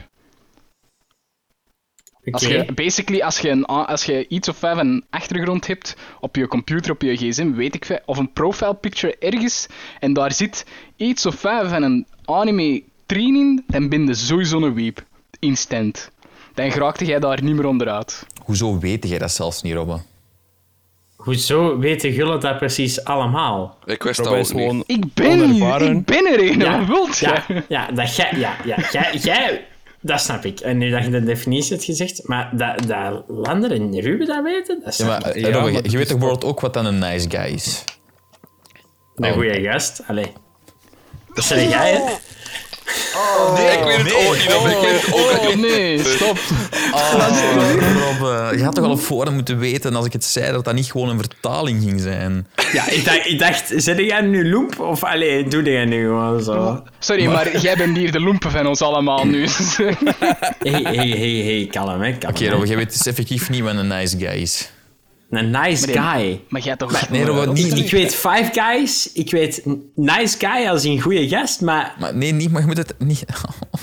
Als Oké. je, basically, als je, een, a- als je iets of vijf een achtergrond hebt op je computer, op je gsm, weet ik veel, of een profile picture ergens, en daar zit iets of vijf van een anime train in, dan ben je sowieso een weep. Instant. Dan geraakte jij daar niet meer onderuit. Hoezo weet jij dat zelfs niet, Robbe? Hoezo weten jullie dat precies allemaal? Ik wist dat Robin ook is niet. gewoon Ik ben, Onervaren. ik ben er een, wat wilt ja, jij? ja, dat jij, ja, ja, jij, jij, dat snap ik. En nu dat je de definitie hebt gezegd, maar dat, dat Lander en Ruben dat weten, dat is Ja, maar, eh, Ja, Robbe, maar je- het je is weet toch bijvoorbeeld ook wat dan een nice guy is? een goede gast. Allee. Dat zeg jij, hè? ik weet het ook niet, Robin. Ik weet het ook Oh niet. nee, stop. Robbe, Oh, je had toch al op voorhand moeten weten als ik het zei dat dat niet gewoon een vertaling ging zijn. Ja, ik dacht, ik dacht zet jij nu loop of allee, doe jij nu gewoon zo? Sorry, maar jij bent hier de loempen van ons allemaal nu. Hey, hey, hey, hey, kalm, hè, kalm. Oké, Robbe, jij weet dus effectief niet wat een nice guy is. Een nice guy. Maar jij toch... Nee, Robbe, niet, Ik niet, weet five guys, ik weet n- nice guy als een goede gast, maar... maar, nee, niet, maar je moet het niet...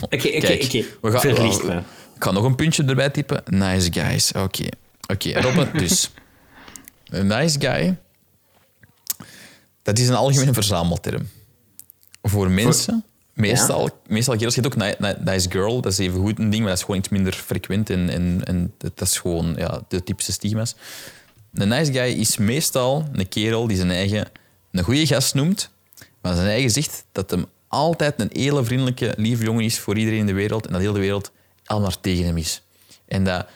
Oké, oké, Kijk, oké. we gaan- Oh. Verlicht we- me. Ik ga nog een puntje erbij typen. Nice guys. Oké. Oké, Robbe, dus. Een nice guy. Dat is een algemene verzamelterm. Voor mensen. Meestal, meestal kerels. Je hebt ook ni- ni- nice girl. Dat is even goed een ding, maar dat is gewoon iets minder frequent. En, en, en dat dat is gewoon ja, de typische stigma's. Een nice guy is meestal een kerel die zijn eigen een goede gast noemt, maar zijn eigen zegt dat hem altijd een hele vriendelijke, lieve jongen is voor iedereen in de wereld en dat heel de wereld allemaal tegen hem is. En dat,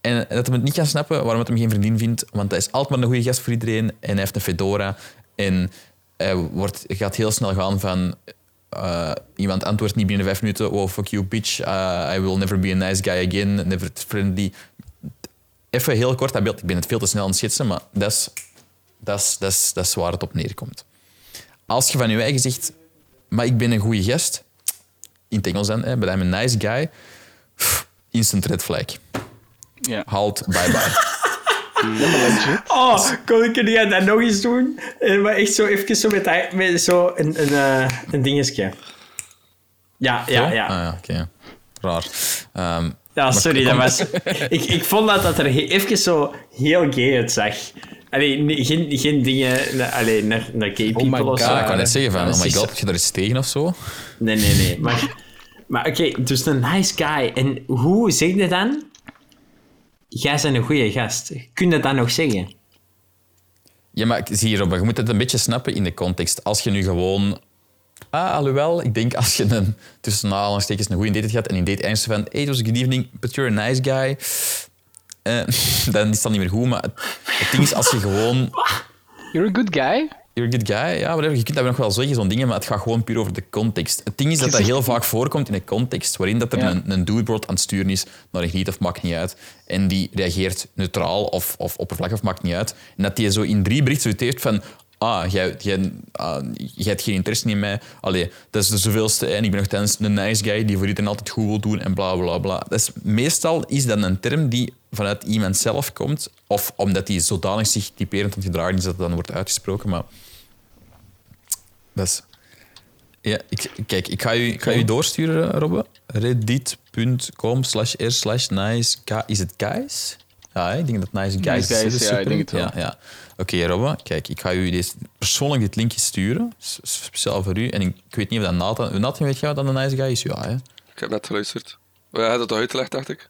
en dat hem het niet kan snappen waarom het hem geen vriendin vindt, want hij is altijd maar een goede gast voor iedereen en hij heeft een fedora en hij wordt, gaat heel snel gaan van eh, iemand antwoordt niet binnen vijf minuten, oh fuck you bitch, eh, I will never be a nice guy again, never friendly, even heel kort dat beeld. Ik ben het veel te snel aan het schetsen, maar dat is, dat is, dat is, dat is waar het op neerkomt. Als je van je eigen zegt, maar ik ben een goede gast, in het Engels dan, hè, but I'm a nice guy, pff, instant red flag. Ja. Halt, bye bye. Oh, kon, kun jij dat nog eens doen? Eh, maar echt zo even zo met, dat- met zo een, een, eh, een dingetje. Ja, ja, Ah, ja. ja, oké. Raar. Ehm, Ja, sorry, dat kom- was... ik, ik vond dat dat er he- even zo heel gay uitzag. Allee, nee, geen, geen dingen... na- Allee, naar, naar gay people my of zo. ja, God. Oh ik kan net zeggen van, Ja, oh my precies. god, heb je daar iets tegen of zo? Nee, nee, nee. Maar, maar oké, dus een nice guy. En hoe zeg je dan? Jij bent een goede gast. Kun je dat dan nog zeggen? Ja, maar ik- zie je, Robin, je moet het een beetje snappen in de context. Als je nu gewoon... Ah, alhoewel, ik denk als je een, tussen aanhalingstekens een goede date gaat en je date ernstig van... Hey, it was a good evening, but you're a nice guy. Eh, dan is dat niet meer goed, maar het, het ding is als je gewoon... You're a good guy. You're a good guy, ja, whatever, je kunt dat nog wel zeggen, zo'n dingen, maar het gaat gewoon puur over de context. Het ding is dat dat heel vaak voorkomt in een context waarin dat er Ja. een, een dude wordt aan het sturen is naar een griet of maakt niet uit. En die reageert neutraal of, of oppervlakkig of maakt niet uit. En dat die zo in drie berichten zoiets heeft van... Ah, jij, jij, ah, jij hebt geen interesse in mij. Allee, dat is de zoveelste. En ik ben nog tijdens een nice guy die voor iedereen altijd goed wil doen en bla bla bla. Dat is, meestal is dat een term die vanuit iemand zelf komt. Of omdat die zodanig zich typerend aan het gedragen is dat het dan wordt uitgesproken. Maar dat is... Ja, ik, kijk, ik ga u, ik ga u doorsturen, eh, Robbe. Reddit.com slash r slash nice guy. Is het guys? Ja, hè, ik denk dat het nice guys Nice is. hè, guys, de ja, ik super. denk het wel. Ja, ja. Oké, Robbe, kijk, ik ga u deze, persoonlijk dit linkje sturen. S- Speciaal voor u. En ik, ik weet niet of dat Nathan... Nathan, weet jij wat dat een nice guy is? Ja, hè? Ik heb net geluisterd. Oh, jij had het al uitgelegd, dacht ik.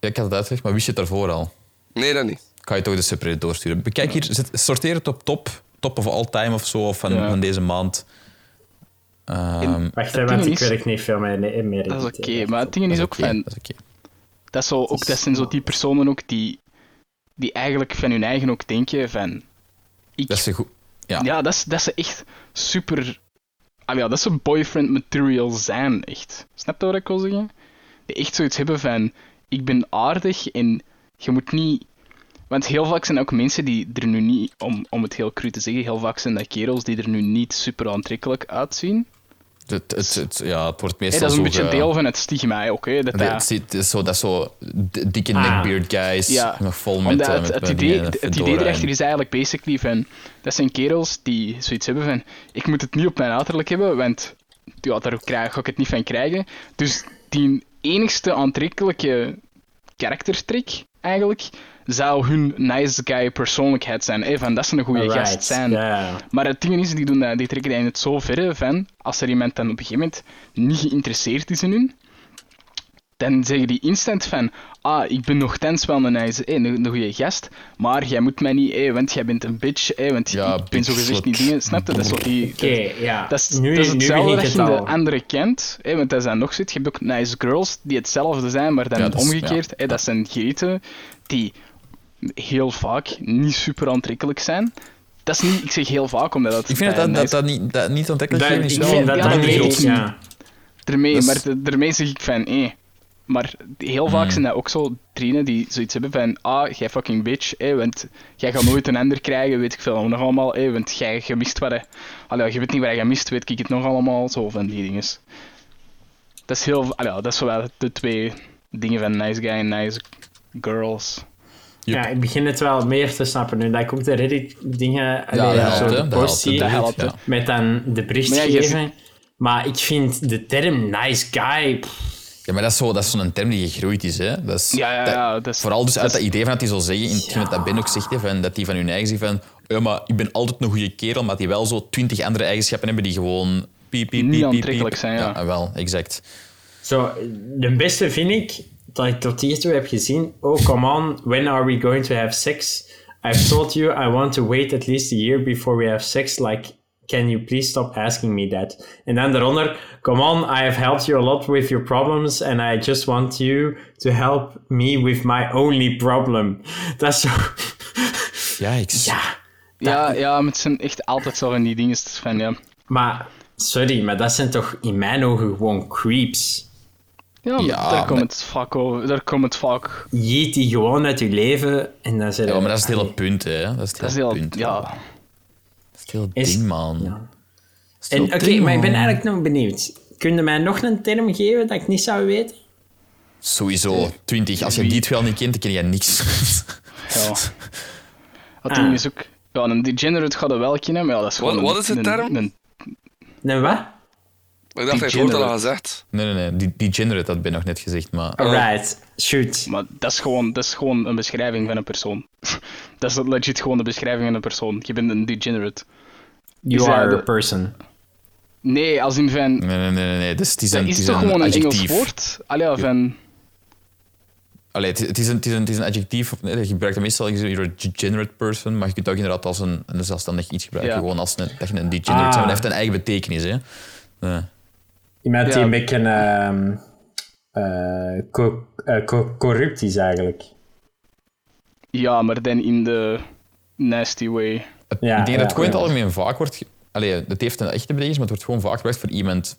Ja, ik had het uitgelegd, maar wist je het daarvoor al? Nee, dat niet. Ik ga je toch de subreddit doorsturen. Bekijk hier, zet, sorteer het op top. Top of all time of zo, of van, Ja. van deze maand. Ehm, Wacht, Dat hè, want ding ik is- werk niet veel meer, nee, meer Dat is oké, maar het ding is ook oké, van... Dat is oké. Dat, is zo, ook, dat zijn zo die personen ook die, die eigenlijk van hun eigen ook denken van... Ik, Dat is een goed... ja. ja, dat, is, dat ze echt super... Ah ja, dat ze boyfriend material zijn, echt. Snap je wat ik wil zeggen? Die echt zoiets hebben van... Ik ben aardig en je moet niet... Want heel vaak zijn ook mensen die er nu niet... Om, om het heel cru te zeggen, heel vaak zijn dat kerels die er nu niet super aantrekkelijk uitzien. Het, het, het- ja, het wordt meestal Hey, dat is een zo beetje ge- deel van het stigma, hè, ook. hè, dat Ja, dat- Het zit- het is zo, dat zo di- dikke Ah. neckbeard guys, Ja, nog vol met... Omdat eh, het, met- het met idee, dingen, het fedora idee en- erachter is eigenlijk basically van... Dat zijn kerels die zoiets hebben van... Ik moet het niet op mijn uiterlijk hebben, want... Ja, daar krijg, ga ik het niet van krijgen. Dus die enigste aantrekkelijke karaktertrek, eigenlijk... Zou hun nice guy persoonlijkheid zijn. Hey, van dat ze een goede Alright, gast zijn. ja. Maar het ding is, die, doen dat, die trekken dat in het zo verre van, als er iemand dan op een gegeven moment niet geïnteresseerd is in hun, dan zeggen die instant van, ah, ik ben nogthans wel een, nice, eh, een, een goede gast, maar jij moet mij niet, eh, want jij bent een bitch, eh, want Ja, ik ben bitch, zogezegd slut. niet dingen, snap je? Dat is wat die... Oké, ja. Dat is, nu, dat is nu hetzelfde begint dat het je in de al. andere kent. Hè, want dat is dan nog zoiets. Je hebt ook nice girls die hetzelfde zijn, maar dan Ja, dat is- omgekeerd. ja. Hè, dat zijn geten die heel vaak niet super aantrekkelijk zijn. Dat is niet, ik zeg heel vaak, omdat dat... Ik vind dat eh, dat, dat, nice- dat niet, dat niet Dat, aantrekkelijk ik is. vind wel- vind dat ja, dat nee, niet ik- goed, ja. Daarmee, dat is- maar de- daarmee zeg ik van, eh. Maar heel Mm. vaak zijn dat ook zo trainen die zoiets hebben van, ah, jij fucking bitch, eh, want jij gaat nooit een ander krijgen, weet ik veel, nog allemaal, eh, want jij je mist wat, hè. Allee, je weet niet waar je mist, weet ik het nog allemaal, zo van die dingen. Dat is heel, allee, dat is wel de twee dingen van nice guy en nice girls. Ja, ik begin het wel meer te snappen nu. Dat ik ook de Reddit-dingen, Ja, allee, dat helpt, zo hè. de Dat post helpt, hè. zie, Dat helpt, hè. Ja. met dan de bericht Maar ja, je geven. Maar ik vind de term nice guy... pff, Ja, maar dat is zo- dat is zo'n term die gegroeid is. Hè. Dat is Ja, ja, dat- ja, dat is- vooral dus uit dat dat is- idee van dat die zo zeggen, in hetgeen wat dat Ben ook zegt, hè, van, dat die van hun eigen zegt van ja, maar ik ben altijd een goede kerel, maar die wel zo twintig andere eigenschappen hebben die gewoon piep, piep, piep, piep, piep. aantrekkelijk zijn, ja. wel, exact. Zo, de beste vind ik, dat ik tot hiertoe heb gezien... Oh, come on, when are we going to have sex? I've told you I want to wait at least a year before we have sex, like... Can you please stop asking me that? En dan daaronder, come on, I have helped you a lot with your problems and I just want you to help me with my only problem. Dat is zo... Ja, ik... Ja, Ja, ja, maar het zijn echt altijd zo van die dingen, van, ja. maar sorry, maar dat zijn toch in mijn ogen gewoon creeps. Ja, maar Ja, daar komt maar- het vaak over, daar komt het vaak, Jeet die gewoon uit je leven en dan zijn Ja, maar dat is het hele punt, hè. Dat is het dat is hele heel, punt. ja. Dat is het hele Is- ding, man. Ja. Dat is het En hele oké, ding, maar ik ben man. eigenlijk nog benieuwd. Kun je mij nog een term geven dat ik niet zou weten? Sowieso, 20. Als je Wie- die twee al niet kent, dan ken je niks. Ja. Het Ah. ding is ook... Ja, een degenerate gaat dat wel kennen, maar ja, dat is Wat- gewoon... wat is de een- term? een- Nee, wat? Ik dacht, hij hoort dat al gezegd. Nee, nee, nee. Die, die generate, dat ben ik nog net gezegd, maar... Oh. Alright, shoot. maar dat is, gewoon, dat is gewoon een beschrijving van een persoon. dat is legit gewoon de beschrijving van een persoon. Je bent een degenerate. You zei are a de- person. Nee, als in van... Nee, nee, nee, nee. nee. Dus het is dat een, het is is toch gewoon een adjectief. Engels woord? Allee, ja, van... Allee, het, het is een, het, is een, het is een adjectief. of- nee, je gebruikt dat meestal als you're a degenerate person, maar je kunt ook inderdaad als een, een zelfstandig iets gebruiken. Ja. Gewoon als een, dat je een degenerate bent. Ah. Dat heeft een eigen betekenis, hè. Ja. Iemand die Ja. een beetje ehm, eh, co- eh, co- corrupt is eigenlijk. Ja, maar dan in de nasty way. Het- Ja, ik denk dat het ja, gewoon in het ja. algemeen vaak wordt... ge- Allee, het heeft een echte betekenis, maar het wordt gewoon vaak gebruikt voor iemand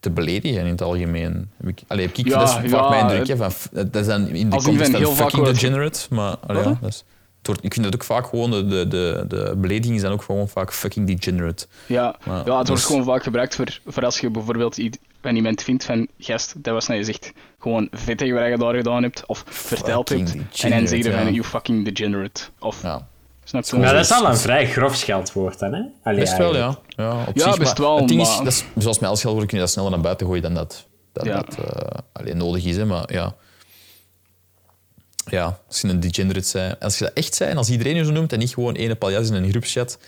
te beledigen in het algemeen. Heb ik, allee, heb ik, Ja, dat is vaak ja, mijn indruk. hè, van het- f- dat is dan in de Als die context van van heel vaak fucking wordt- degenerate, maar allee, ja, dat is, het wordt, ik vind dat ook vaak gewoon... De, de, de, de beledigingen zijn ook gewoon vaak fucking degenerate. Ja, Maar dus ja dat het dus- wordt is- gewoon vaak gebruikt voor, voor als je bijvoorbeeld i- van iemand vindt van... Gast, dat was naar je zegt. Gewoon vettig wat je daar gedaan hebt. Of verteld hebt. En dan degenerate, zeg je van... ja. You fucking degenerate. Of... Ja. Snap je? Maar dat is al een vrij grof scheldwoord dan, hè? Allee, Best wel, eigenlijk. ja. Ja, op Ja, zich, best maar wel, Het ding is, maar- dat is, zoals met elk kun je dat sneller naar buiten gooien dan dat, dat, Ja. dat eh, alleen nodig is. Hè, maar ja. Ja, als je een degenerate zijn. Als je dat echt zijn, als iedereen je zo noemt en niet gewoon ene paljas in een groepschat.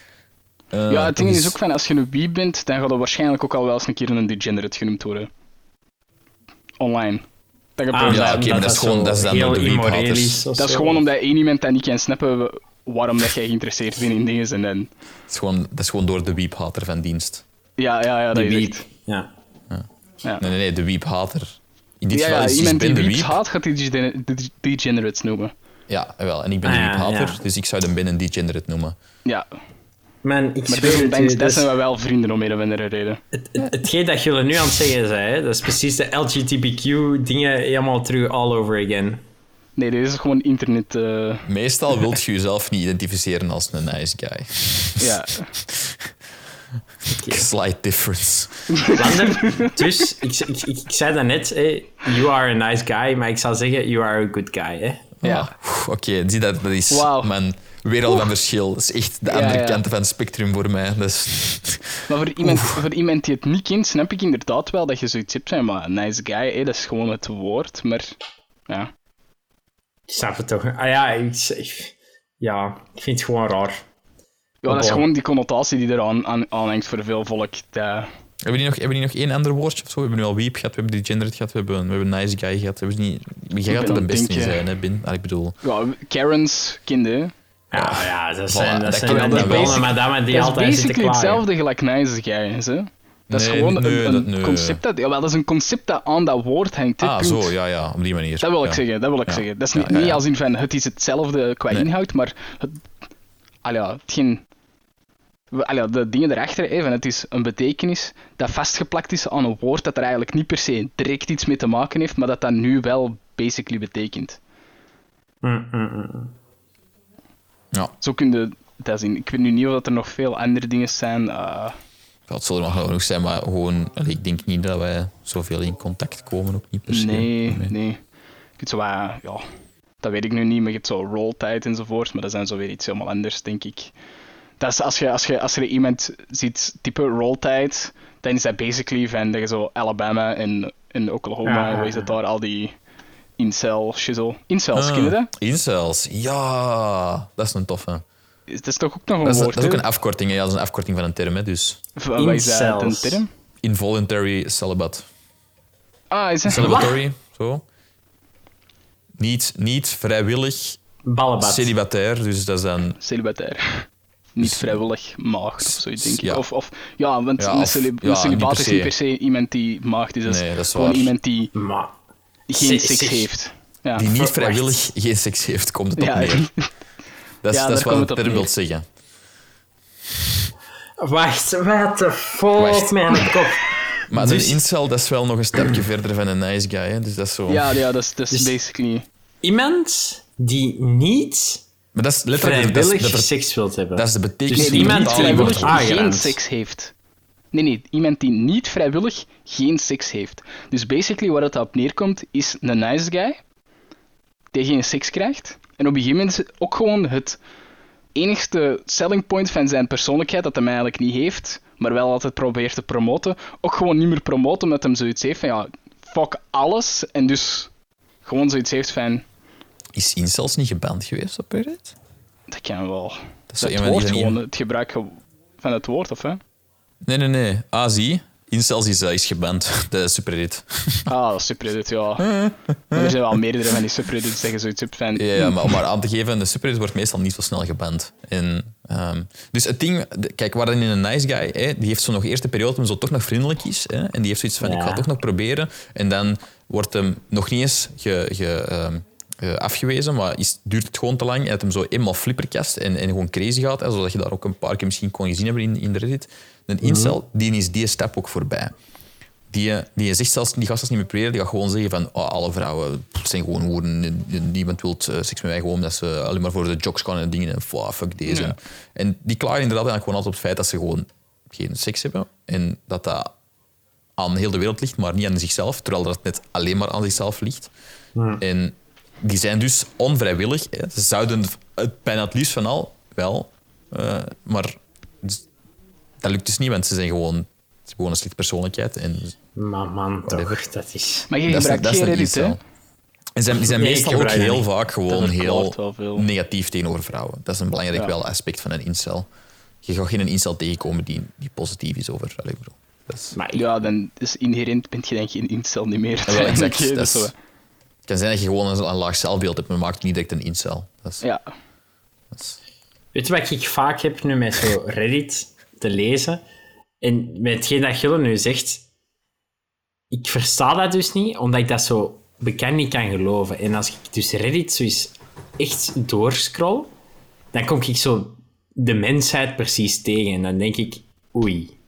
eh, Ja, het ding dat is ook van als je een wie bent, dan gaat dat waarschijnlijk ook al wel eens een keer een degenerate genoemd worden. Online. Dat, gebeurt. Ah, Ja, oké, maar dat is gewoon- zo dat is dan heel door de immoreel wiephaters. is of dat is zo. gewoon omdat één iemand dat niet kan snappen waarom dat jij geïnteresseerd bent in dingen. En dan... is gewoon, dat is gewoon door de wiephater van dienst. Ja, ja, ja, dat Die is wiep. echt. Ja. Ja. Nee, nee, nee, de wiephater. In dit Ja, geval ja, is dus iemand die Ben de wieps wiep. haat, gaat die degen- de- degenerates noemen. Ja, wel. En ik ben Ah, de ja, wiephater, ja. dus ik zou hem Ben een degenerate noemen. Ja, Man, ik maar zweer het desondanks, u, dat dus zijn we wel vrienden om een of andere reden. het, het, hetgeen dat jullie nu aan het zeggen zijn, hè, dat is precies de LGBTQ-dingen helemaal terug all over again. Nee, dit is gewoon internet. eh, Ah. Meestal wilt je jezelf niet identificeren als een nice guy. ja. Slight difference. Lander, dus, ik, ik, ik, ik zei dat net, hè, you are a nice guy, maar ik zou zeggen, you are a good guy. Hè. Ja. Oké, zie dat, dat is Wauw. mijn wereld van verschil. Dat is echt de Ja, andere ja. kant van het spectrum voor mij. Dat is... Maar voor iemand, voor iemand die het niet kent, snap ik inderdaad wel dat je zoiets hebt zijn. Maar nice guy, hè, dat is gewoon het woord. Maar ja, Ik snap het toch? Ah ja, ik, ik- ja, ik vind het gewoon raar. ja dat is Oh. gewoon die connotatie die eraan aan, aanhangt voor veel volk. Dat... Hebben die, nog, hebben die nog één ander woordje of zo? We hebben nu al weep gehad, we hebben degenerate gehad, we hebben, we hebben nice guy gehad. We hebben niet, jij gaat ben er de aan het beste in denken. zijn, hè, Bin? Ah, ik bedoel... Ja, Karens, kinderen. Ja, ja dat zijn, dat dat zijn kan dan wel die wel. bolle madammen die Dat is altijd zitten basically klagen. hetzelfde gelijk nice guys, hè. Dat is Nee, gewoon nee, een, een dat- nee. concept dat... Jawel, dat is een concept dat aan dat woord hangt, hè, Ah, punt. zo, ja, ja, op die manier. Dat wil ik Ja. zeggen, dat wil ik Ja. zeggen. Dat is Ja, niet, ja, niet ja. als in van het is hetzelfde qua Nee. inhoud, maar het, ah ja, hetgeen, we- ah ja, de dingen erachter, even, het is een betekenis dat vastgeplakt is aan een woord dat er eigenlijk niet per se direct iets mee te maken heeft, maar dat dat nu wel basically betekent. Mm, mm, mm. Ja, Zo kun je dat zien. Ik weet nu niet of dat er nog veel andere dingen zijn. eh, dat zal er nog wel genoeg zijn, maar gewoon, allee, ik denk niet dat wij zoveel in contact komen, ook niet per se. Nee, nee. Je hebt zo wat, ja, dat weet ik nu niet, maar je hebt zo rolltijd enzovoort, maar dat zijn zo weer iets helemaal anders, denk ik. Dat is als je, als je, als je iemand ziet typen rolltijd, dan is dat basically van dat je zo Alabama en, en Oklahoma, Ja. hoe is dat daar, al die incel, shizzle. Incels, Ah, ken je dat? Incels, ja, dat is een toffe. Is- Dat is toch ook nog een Dat is, woord, dat is ook hè? een afkorting, hè. ja, dat is een afkorting van een term, hè, dus Of, eh, wat is dat, een Incels. term? involuntary celibate. Ah, is dat... Celebratory, zo. Niet, niet vrijwillig, mm. Ballenbad. celibatair, dus dat is dan... Celibatair. Niet vrijwillig maagd of zoiets, denk ik. Dus- Ja. Of, of, ja, want Ja, een, of- celib ja, een niet celibaat per is niet se. per se iemand die maagd is. Dat is Nee, dat is gewoon waar. iemand die Maar, geen Zeg, seks zeg. heeft. Ja, Die niet Wacht. vrijwillig geen seks heeft, komt het op ja, neer. Dat is, Ja, dat daar is wat komt het de op term neer. wil zeggen. wacht, what the fuck, Wacht. mijn kop. Maar Dus- een incel, dat is wel nog een stapje verder van een nice guy, hè, dus dat is zo... ja, ja, dat is, dat is Dus- basically. Iemand die niet Maar dat is letterlijk... dat is- vrijwillig dat ver- seks wilt hebben. Dat is de betekenis Dus die iemand het die Ah. die taal vrijwillig wordt. wordt geen aangerand. seks heeft. Nee, nee, iemand die niet vrijwillig geen seks heeft. Dus basically waar het op neerkomt is een nice guy die geen seks krijgt. En op een gegeven moment is het ook gewoon het enigste selling point van zijn persoonlijkheid dat hem eigenlijk niet heeft, maar wel altijd probeert te promoten, ook gewoon niet meer promoten omdat hem zoiets heeft van ja, fuck alles. En dus gewoon zoiets heeft van, Is incels niet geband geweest op Reddit? dat kan wel. Dat is zo Dat een van die woord dingen. gewoon, het gebruik ge- van het woord, of hè? Nee, nee, nee. Ah, zie. Incels is, eh, is geband. De superreddit. Ah, dat is subreddit, ja. Maar er zijn wel meerdere van die subreddits dat je zoiets hebt van... Ja, ja, maar om maar aan te geven, de subreddit wordt meestal niet zo snel geband. En, ehm, dus het ding, de- kijk, waarin een nice guy, hè, die heeft zo nog eerst de periode om zo toch nog vriendelijk is. Hè, en die heeft zoiets van, ik ga het toch nog proberen. En dan wordt hem nog niet eens ge, ge, ehm, eh, afgewezen, maar is, duurt het gewoon te lang. En dat hem zo eenmaal flipperkast en, en gewoon crazy gaat. Hè, zodat je daar ook een paar keer misschien kon gezien hebben in, in de Reddit. Een incel, die is die stap ook voorbij. Die, die, zegt zelfs, die gaat zelfs niet meer proberen. Die gaat gewoon zeggen van "Ah, alle vrouwen zijn gewoon hoeren. Niemand wil eh, seks met mij gewoon omdat ze alleen maar voor de jocks gaan en dingen. En "Fuck, fuck deze. En die klagen inderdaad eigenlijk gewoon altijd op het feit dat ze gewoon geen seks hebben. En dat dat aan heel de wereld ligt, maar niet aan zichzelf. Terwijl dat net alleen maar aan zichzelf ligt. En die zijn dus onvrijwillig. Hè. Ze zouden het bijna het liefst van al wel. eh, maar dus, dat lukt dus niet, want ze zijn gewoon, ze hebben gewoon een slechte persoonlijkheid. En Maar man, toch, dat is... Maar je dat is, gebruikt dat is geen een reddit, hè? incel. En zijn, die zijn Nee, ik meestal ook gebruik dat heel niet. vaak gewoon heel verklaart wel veel. negatief tegenover vrouwen. Dat is een belangrijk wel aspect van een incel. Je gaat geen incel tegenkomen die, die positief is over. Allee, ik bedoel, dat is, Maar Ja, dan is inherent ben je denk je in incel niet meer. wel, exact, Oké, dat dat is is- dus wel- het kan zijn dat je gewoon een, een laag zelfbeeld hebt, maar maakt niet direct een incel. Dat is, Ja. dat is- Weet je wat ik vaak heb nu met zo Reddit te lezen? En met hetgeen dat Gille nu zegt, ik versta dat dus niet, omdat ik dat zo bekend niet kan geloven. En als ik dus Reddit zo eens echt doorscroll, dan kom ik zo de mensheid precies tegen. En dan denk ik, oei.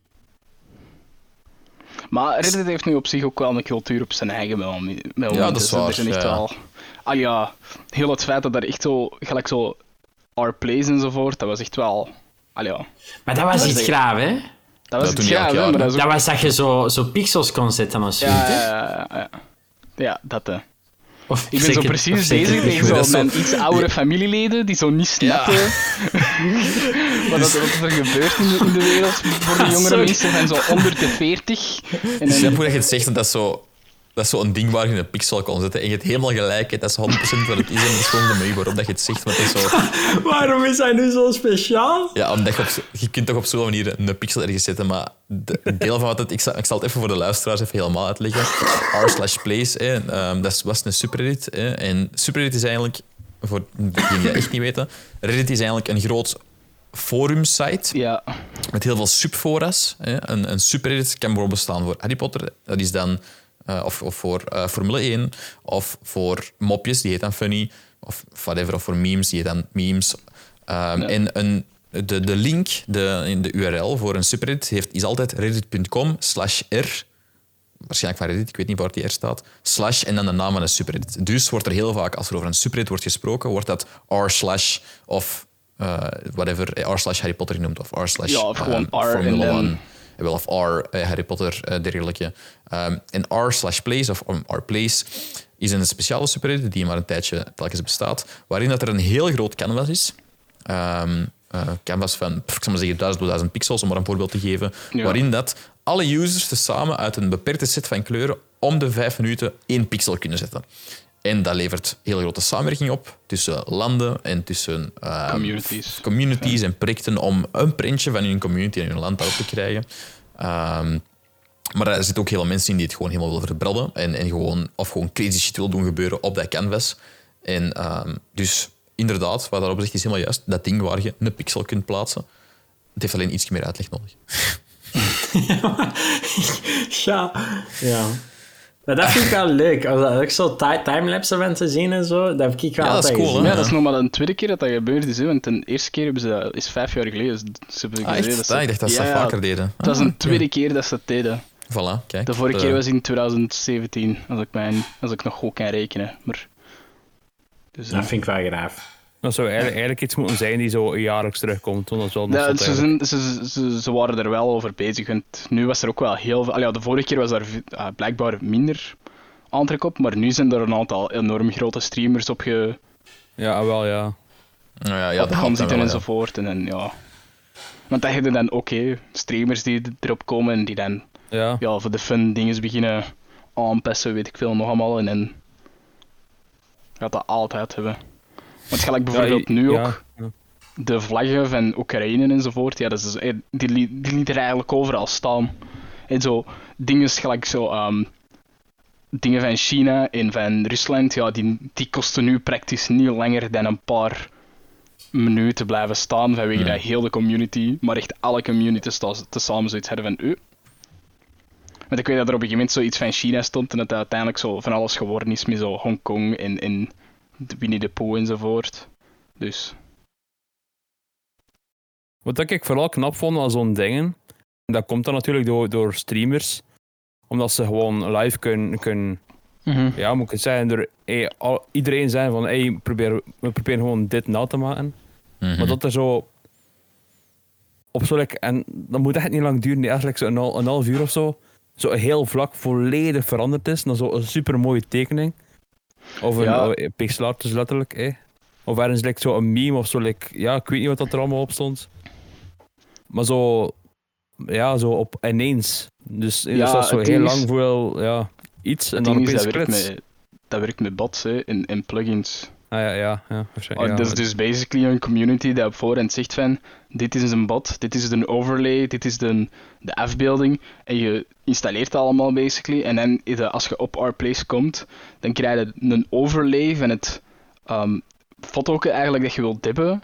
Maar Reddit heeft nu op zich ook wel een cultuur op zijn eigen wel. met momenten, dat is hè. waar, Er zijn echt ja. wel... Ah ja, heel het feit dat er echt zo... Gelijk zo... Our Plays enzovoort, dat was echt wel... Ah ja. Maar dat was Dat is iets echt- graaf, hè? Dat was doen iets die elk raars, hè, jaar, maar dat is ook- Dat was dat je zo, zo pixels kon zetten als je... Ja, ja, ja, ja. Eh, Ja, dat. eh. Of Ik ben zeker- zo of precies zeker- bezig tegen weet zo dat mijn zo. iets oudere familieleden die zo niet snappen wat, dat- wat er gebeurt in de, in de wereld voor de jongere Sorry. mensen van zo onder de 40. En Ik snap dan, hoe dat je het zegt, dat is zo... Dat is zo'n ding waar je een pixel kon zetten. En je hebt helemaal gelijk, hè. dat is 100% wat het is. En dat is gewoon de manier waarop dat je het zegt. Want dat is zo, Waarom is hij nu zo speciaal? ja, omdat je, op zo- je kunt toch op zo'n manier een pixel ergens zetten. Maar de, een deel van wat het... Ik zal, ik zal het even voor de luisteraars even helemaal uitleggen. R slash plays, hè, ehm, dat is- was een subreddit. Hè, en subreddit is eigenlijk, voor degenen die dat echt niet weten... Reddit is eigenlijk een groot forumsite ja, met heel veel subfora's. Hè. Een, een subreddit kan bijvoorbeeld bestaan voor Harry Potter, dat is dan, eh, of, of voor eh, Formule 1, of voor mopjes, die heet dan Funny, of whatever, of voor memes, die heet dan Memes. Ehm, En een, de, de link, de, in de URL voor een subreddit heeft, is altijd reddit.com slash r, waarschijnlijk van Reddit, ik weet niet waar die r staat, slash en dan de naam van een subreddit. Dus wordt er heel vaak, als er over een subreddit wordt gesproken, wordt dat r slash of... eh, whatever, eh, r slash Harry Potter genoemd of r slash Ja, of gewoon eh, R Formula en dan- One. Eh, Wel, of R, eh, Harry Potter, eh, dergelijke. Ehm, en R slash Place, of um, R Place, is een speciale subreddit die maar een tijdje telkens bestaat, waarin dat er een heel groot canvas is. Ehm, eh, canvas van, pff, ik zal maar zeggen, 1000 door 1000 pixels, om maar een voorbeeld te geven, Ja. waarin dat alle users tezamen uit een beperkte set van kleuren om de vijf minuten één pixel kunnen zetten. En dat levert heel grote samenwerking op tussen landen en tussen ehm, Communities. communities en projecten om een printje van hun community en hun land daarop te krijgen. Ehm, maar er zitten ook heel veel mensen in die het gewoon helemaal willen verbrellen en, en gewoon, of gewoon crazy shit wil doen gebeuren op dat canvas. En ehm, dus inderdaad, wat daarop zegt is helemaal juist. Dat ding waar je een pixel kunt plaatsen, het heeft alleen iets meer uitleg nodig. Ja. ja. Maar dat vind ik wel leuk. Als dat ook zo ti- timelapse van te zien en zo, dat heb ik wel Ja, dat is altijd cool, hè? gezien. ja, dat is nog maar de tweede keer dat dat gebeurd is. Hè, want de eerste keer hebben ze dat, is vijf jaar geleden. dus ze hebben Ah, gezegd echt? dat ze- Ah, ik dacht dat ze Ja, dat ja. vaker deden. Het was Ah, een tweede keer dat ze dat deden. Voilà, kijk. De vorige Eh, keer was in 2017, als ik, mijn, als ik nog goed kan rekenen. Maar, dus, eh, Dat vind ik wel graaf. Dat zou eigenlijk, eigenlijk iets moeten zijn die zo jaarlijks terugkomt. want Dat is wel Ja, nostalgisch. ze, zijn, ze, ze, ze waren er wel over bezig. Want nu was er ook wel heel veel. allee, Ja, de vorige keer was er v- ah, blijkbaar minder aantrek op. Maar nu zijn er een aantal enorm grote streamers op ge, ja, wel ja. nou ja, ja, dat gaan helpt dan zitten wel, ja. enzovoort. En dan, ja. Want dan heb je dan ook hè, streamers die d- erop komen en die dan Ja. ja, voor de fun dingen beginnen aanpassen, weet ik veel, nog allemaal. En dan gaat dat altijd hebben. Want gelijk bijvoorbeeld Ja, nu ja. ook. de vlaggen van Oekraïne enzovoort, ja, dat is, eh, die, li- die liet er eigenlijk overal staan. En zo, dingen gelijk zo, ehm, dingen van China en van Rusland, ja, die, die kosten nu praktisch niet langer dan een paar minuten blijven staan vanwege dat heel de community, maar echt alle communities sta- tezamen zoiets hadden van, eh. Want ik weet dat er op een gegeven moment zoiets van China stond en dat dat uiteindelijk zo van alles geworden is met zo Hongkong en, en Winnie de Pooh enzovoort. Dus... Wat dat ik vooral knap vond aan zo'n dingen, dat komt dan natuurlijk door, door streamers, omdat ze gewoon live kunnen, kunnen ja, moet ik het zeggen, door hey, al- iedereen zijn van, hey, probeer, we proberen gewoon dit na te maken. Mhm. Maar dat er zo op zo'n, like, en dat moet echt niet lang duren, die eigenlijk zo'n hal- een half uur of zo, zo heel vlak volledig veranderd is, dan zo'n super mooie tekening. Of een Ja. eh, pixel art dus letterlijk, eh. Of ergens like, zo'n meme of zo, like, ja, ik weet niet wat dat er allemaal op stond. Maar zo, ja, zo op ineens. Dus eh, Ja, dat is zo het heel ding is- lang voor wel, ja, iets en Het dan ding is, opeens dat werkt, klits. met, dat werkt met bots hè, en, en plugins. Ah, ja, ja, ja, Oh, waarschijnlijk. ja, dat is dus basically een community die op voorhand zegt van dit is een bot, dit is een overlay, dit is de, de afbeelding. En je installeert dat allemaal basically. En dan is dat- als je op our place komt, dan krijg je een overlay van het ehm fotoken eigenlijk dat je wilt dibben.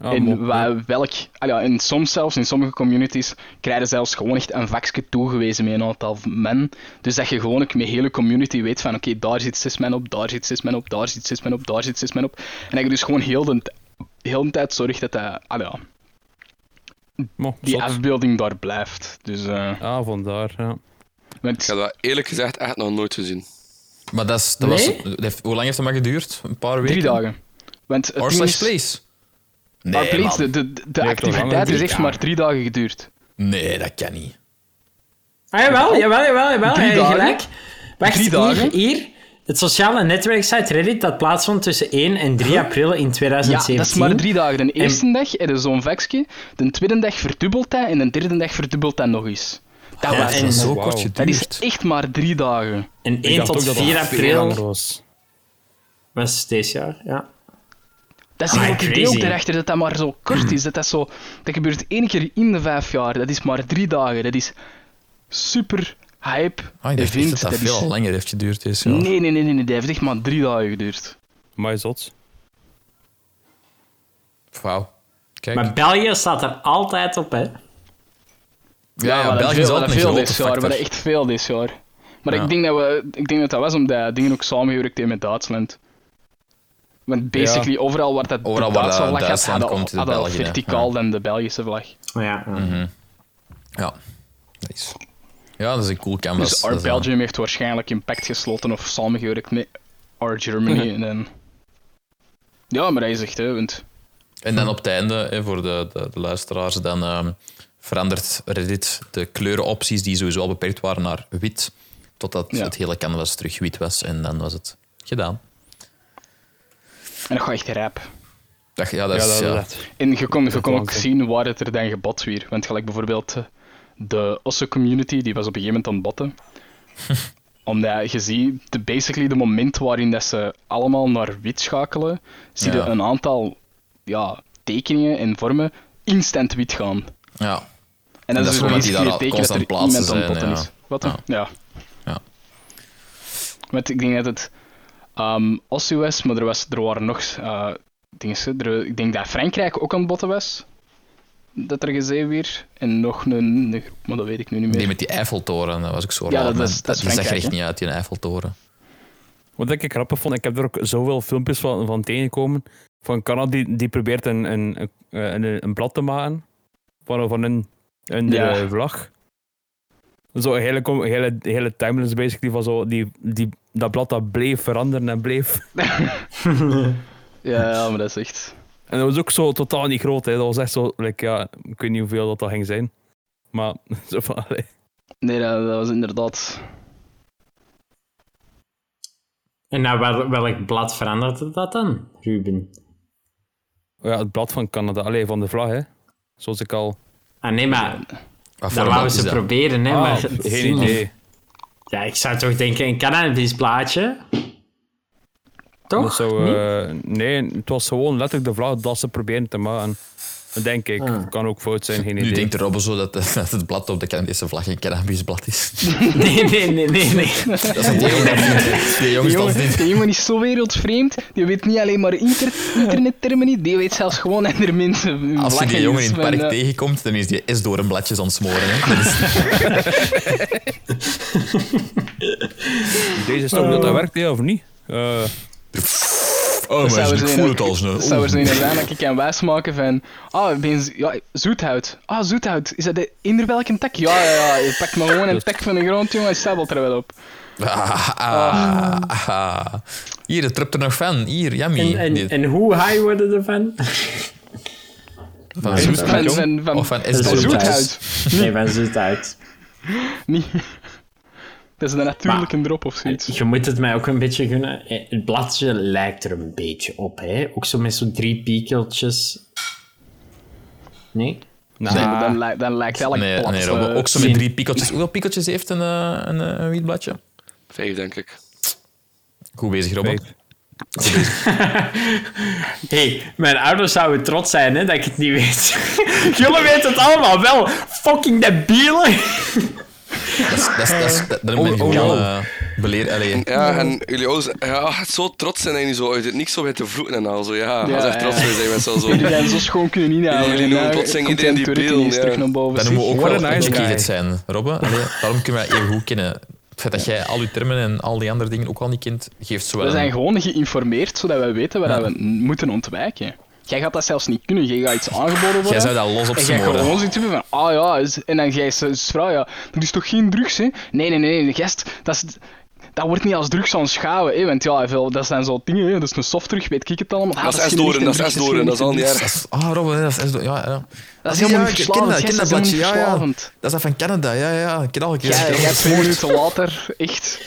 Ah, En, mop, ja. wa- welk, ah ja, en soms zelfs, in sommige communities, krijgen zelfs gewoon echt een vakje toegewezen met een aantal men. Dus dat je gewoon ook met hele community weet van, oké, daar zit zes men op, daar zit zes men op, daar zit zes men op, daar zit zes men op. En dat je dus gewoon heel de, heel de tijd zorgt dat dat, ah ja, Mop, die zot. afbeelding daar blijft. Dus, eh, Ah, vandaar, ja. want- Ik heb dat eerlijk gezegd echt nog nooit gezien. Maar dat is, dat Nee? was, dat heeft- hoe lang heeft dat maar geduurd? Een paar weken? drie dagen. Want het R ding slash is- place? Our Place, man. de, de, de Nee, toch langer, activiteit drie is echt maar drie dagen geduurd. Nee, dat kan niet. Ah, jawel, jawel, jawel, jawel. Drie Hij heeft dagen. gelijk. Wacht, Drie hier, dagen. hier. Het sociale netwerksite Reddit dat plaatsvond tussen 1 en 3 april in Ja, 2017. dat is maar drie dagen. De eerste dag heb je zo'n vakje, de tweede dag verdubbelt dat en de derde dag verdubbelt dat nog eens. Dat, Ja, was, en- zo wauw. kort dat is geduurd. echt maar drie dagen. En Ik 1 dacht tot ook dat dat 4 veel langer april was. was dit jaar, ja. Dat is Ah, Amai, eigenlijk het idee crazy. ook daarachter dat dat maar zo kort is. Dat, dat, zo, dat gebeurt één keer in de vijf jaar. Dat is maar drie dagen. Dat is super hype. Ah, ik dacht echt dat event. dat is- veel langer heeft geduurd. Is, ja. Nee, nee, nee, nee, nee. Dat heeft echt maar drie dagen geduurd. Maar zot. Wauw. Kijk. Maar België staat er altijd op, hè. ja, ja, maar België is altijd een veel grote dit jaar. factor. Maar echt veel dit jaar. Maar Ja. ik, denk dat we, ik denk dat dat was omdat dingen ook samengewerkt hebben met Duitsland. Want basically overal waar dat Overal de waar Duitse dat vlag had, Duitsland hadden- komt, is hadden België, hè. verticaal Ja. dan de Belgische vlag. Oh, ja. ja. Ja, dat is... Ja, dat is een cool canvas. Dus Dat Art is, eh, Belgium heeft waarschijnlijk een pact gesloten of samengewerkt met Art Germany. en dan... Ja, maar hij is echt, hè, want... En dan op het einde, hè, voor de, de, de luisteraars, dan ehm, verandert Reddit de kleurenopties die sowieso al beperkt waren naar wit, totdat Ja. het hele canvas terug wit was en dan was het gedaan. En dat gaat echt rap. Dat, ja, dat Ja, is... dat, ja. dat. En je kon, je kon ook waanzin. zien waar het er dan gebot weer. Want gelijk bijvoorbeeld eh, de Osse community, die was op een gegeven moment aan het botten. Omdat je ziet, de, basically de moment waarin dat ze allemaal naar wit schakelen, zie je Ja. een aantal ja, tekeningen en vormen instant wit gaan. ja. En dat dat, is is dus omdat die basically daar het teken dat constant er plaatsen iemand aan zijn, het botten ja. is. Wat dan? Ja. Ja. Ja. Want ik denk dat het ehm Ossie was, maar er, was, er waren nog eh dingen. Er, ik denk dat Frankrijk ook aan het botten was. Dat er gezien weer. En nog een, een groep, maar dat weet ik nu niet meer. Die met die Eiffeltoren, dat was ook zo Ja, raar, dat maar is- dat is zag er Frankrijk, echt hè? niet uit, die Eiffeltoren. Wat ik grappig vond, ik heb er ook zoveel filmpjes van, van tegengekomen. Van Canada die, die probeert een, een, een, een, een blad te maken. Van, van een, een Ja. eh, vlag. Zo, een hele, com- hele, hele timeless basically van zo. Die, die, dat blad dat bleef veranderen en bleef. Ja, ja, maar dat is echt. En dat was ook zo totaal niet groot. Hè. Dat was echt zo, like, ja, ik weet niet hoeveel dat, dat ging zijn. Maar zo van, allee. Nee, dat, dat was inderdaad. En naar wel- welk blad veranderde dat dan, Ruben? ja, het blad van Canada. Allee, van de vlag, hè. Zoals ik al... Ah, nee, maar Wat dat voor wouden is ze dat? proberen, hè. Ah, maar geen idee. Ja, ik zou toch denken, een Canadees blaadje. Toch? Dat zou, eh, nee, het was gewoon letterlijk de vlag dat ze proberen te maken. Dat Denk ik. Ah. Kan ook fout zijn, geen Nu idee. denkt de Robbo zo dat, dat het blad op de Canadese vlag een cannabisblad is. Nee, nee, nee, nee. nee. dat is een ding dat niet- Die jongens, dat Jongen, is niet... die jongen is zo wereldvreemd. Die weet niet alleen maar inter internettermen niet. Die weet zelfs gewoon en er mensen. Als je die lachen jongen in is het van, park eh, tegenkomt, dan is die is door een bladjes aan het smoren. Hè. Dat is- Deze is toch dat dat werkt, hè, of niet? Eh, Oh, Dus zou maar er ik zijn voel ook- het als een... Dat dus zou er Oeh. zo in zijn dat ik kan wijsmaken van... Ah, ik ben z- ja, zoethout. Ah, zoethout. Is dat de eender welke tak? Ja, ja, ja. Je pakt maar gewoon een tak van de grond, jongen, en stabbelt er wel op. Ah, ah, ah. Hier, het tript er nog van. Hier, yummy. En, en, Dit- en hoe high worden ervan? van Zoet van... Zoethout, jong. van, van, Of van S. Zoethout. zoethout. Nee, van zoet uit. Niet... Dat is een natuurlijke Maar- drop of zoiets. Je moet het mij ook een beetje gunnen. Eh, Het bladje lijkt er een beetje op, hè? Ook zo met zo'n drie piekeltjes. Nee? nah. Nee, maar dan, lijkt- dan lijkt elk Nee, plat... nee eh, Robbe, ook zo met zien. drie pikkeltjes. Hoeveel pikkeltjes heeft een, eh, een, eh, een wietbladje? Vijf, denk ik. Goed bezig, Robbe. Vijf. Hé, hey, mijn ouders zouden trots zijn, hè, dat ik het niet weet. Jullie weten het allemaal wel. Fucking debielen. Dat is- dat is- dat is- dat- Dan ben ik oh, gewoon oh. eh, beleer... Allee, Ja, en jullie ouders ja, zo trots zijn dat jullie zo uit het niks zo bij te vloeken en al. Zo, ja, Ja, als echt trots ja. zijn, zijn we zo. zo. Jullie zijn zo schoon kunnen inhalen. Jullie en noemen nou plotseling komt iedereen die Tourette Bill, ineens ja. terug naar boven. dan noemen we zeg. ook What wel a nice educated guy. zijn, Robbe. Allee, daarom kunnen wij even goed kennen. Het feit dat jij al die termen en al die andere dingen ook al niet kent, geeft zo wel We een- zijn gewoon geïnformeerd, zodat wij weten waar Ja. we n- moeten ontwijken. Jij gaat dat zelfs niet kunnen. Jij gaat iets aangeboden worden. Jij zou dat los op En jij smoren. gewoon zoiets hebben van, ah ja, is- en dan jij is vrouw, ja, er is toch geen drugs, hè? Nee, nee, nee, de gast, dat is... dat wordt niet als drugs aanschouwen. hè, Want ja, hij wil- dat zijn zo dingen, hè, dat is een softdrug, weet ik het allemaal. Ah, Dat is geen S-doren, echte dat is drugs, S-doren, geen dat is al echte niet drugs. erg. Dat is, ah, Robbe, dat is, dat is- ja, ja. Dat is helemaal niet ik ken dat, ik verslavend. ken gast, dat Dat is helemaal bladje, ja, ja. niet Dat verslavend. is dat van Canada, ja, ja. Ik ken al een keer. Ja, ik ken al ja, eens twee gehoord. minuten later, echt.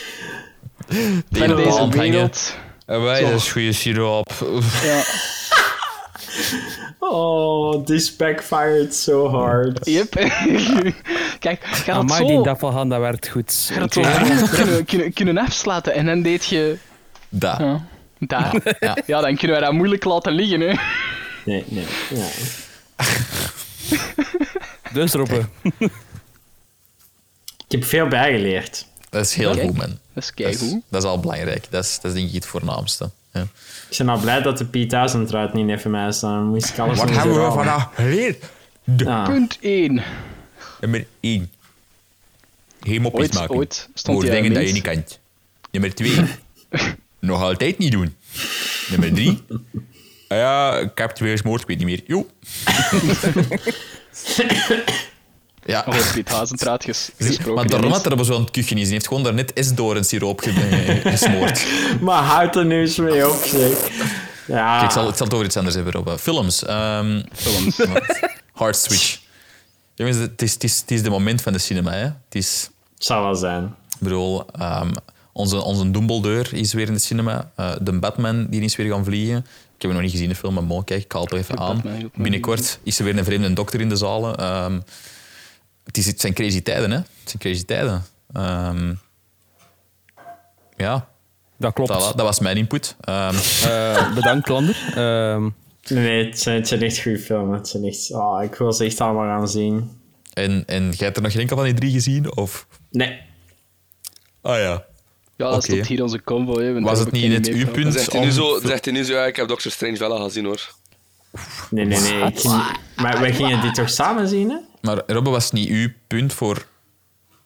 Tegen Van de deze paal hangen. wereld. En wij, dat is goede siroop. Ja. Oh, this backfired so hard. Yep. Kijk, gaat het Amai, die zo... dag van gaan, dat werkt goed. Gaat het zo rond kunnen, kunnen, kunnen afsluiten. En dan deed je... Dat. Ja, daar. Ja. Ja, dan kunnen wij dat moeilijk laten liggen, hè. Nee, nee. Ja. Dus Robbe, Ik heb veel bijgeleerd. Dat is heel Kijk. goed, man. Dat is Dat is, keigoed. dat is al belangrijk. Dat is, dat is denk ik het voornaamste. Ja. Ik ben al blij dat de P1000 eruit niet even mij staan. Dan moest ik alles Wat doen hebben we herhalen. vandaag geleerd? Ah, Punt Oh, 1. Nummer 1. Hemopjes Ooit- maken. ooit stond Voor hij aan dingen dat je links. niet kent. Nummer 2. Nog altijd niet doen. Nummer 3. ja, ik heb twee gesmoord, ik weet niet meer. Jo. ja. Oh, Piethazen draadjes gesproken. maar daarom Dennis. had er zo aan het kuchen is. Die heeft gewoon daarnet is door een siroop ge- eh, gesmoord. maar houd er nu eens mee op, zeg. Ah. Ja. Ik zal, ik zal het over iets anders hebben, Rob. Films. ehm, Hard switch. Jongens, het is, het, is, het is de moment van de cinema. Hè? Het is, Het zal wel zijn. ik bedoel, ehm, onze, onze Dumbledore is weer in de cinema. Eh, de Batman die is weer gaan vliegen. Ik heb hem nog niet gezien, de film, maar mooi, kijk, ik haal het toch even aan. Batman heb ik ook nog Binnenkort is er weer een vreemde dokter in de zalen. Ehm, het, is, het zijn crazy tijden, hè? Het zijn crazy tijden. Ehm, ja, dat klopt. voilà, dat was mijn input. Ehm, Eh, bedankt, Lander. Ehm, Nee, nee, het zijn, het zijn echt goede filmen. Het zijn echt... Oh, ik wil ze echt allemaal gaan zien. en, en jij hebt er nog geen enkel van die drie gezien? Of? Nee. Ah ja. Ja, dat Oké. stopt hier onze combo, hè. want Was het daar heb ik niet in het mee gehad. Dan U-punt? zegt hij nu zo, zegt hij nu zo ja, ik heb Doctor Strange wel al gezien hoor. Nee, nee, nee. ik- Maar wij gingen dit toch samen zien, hè? Maar Robbe, was het niet uw punt voor,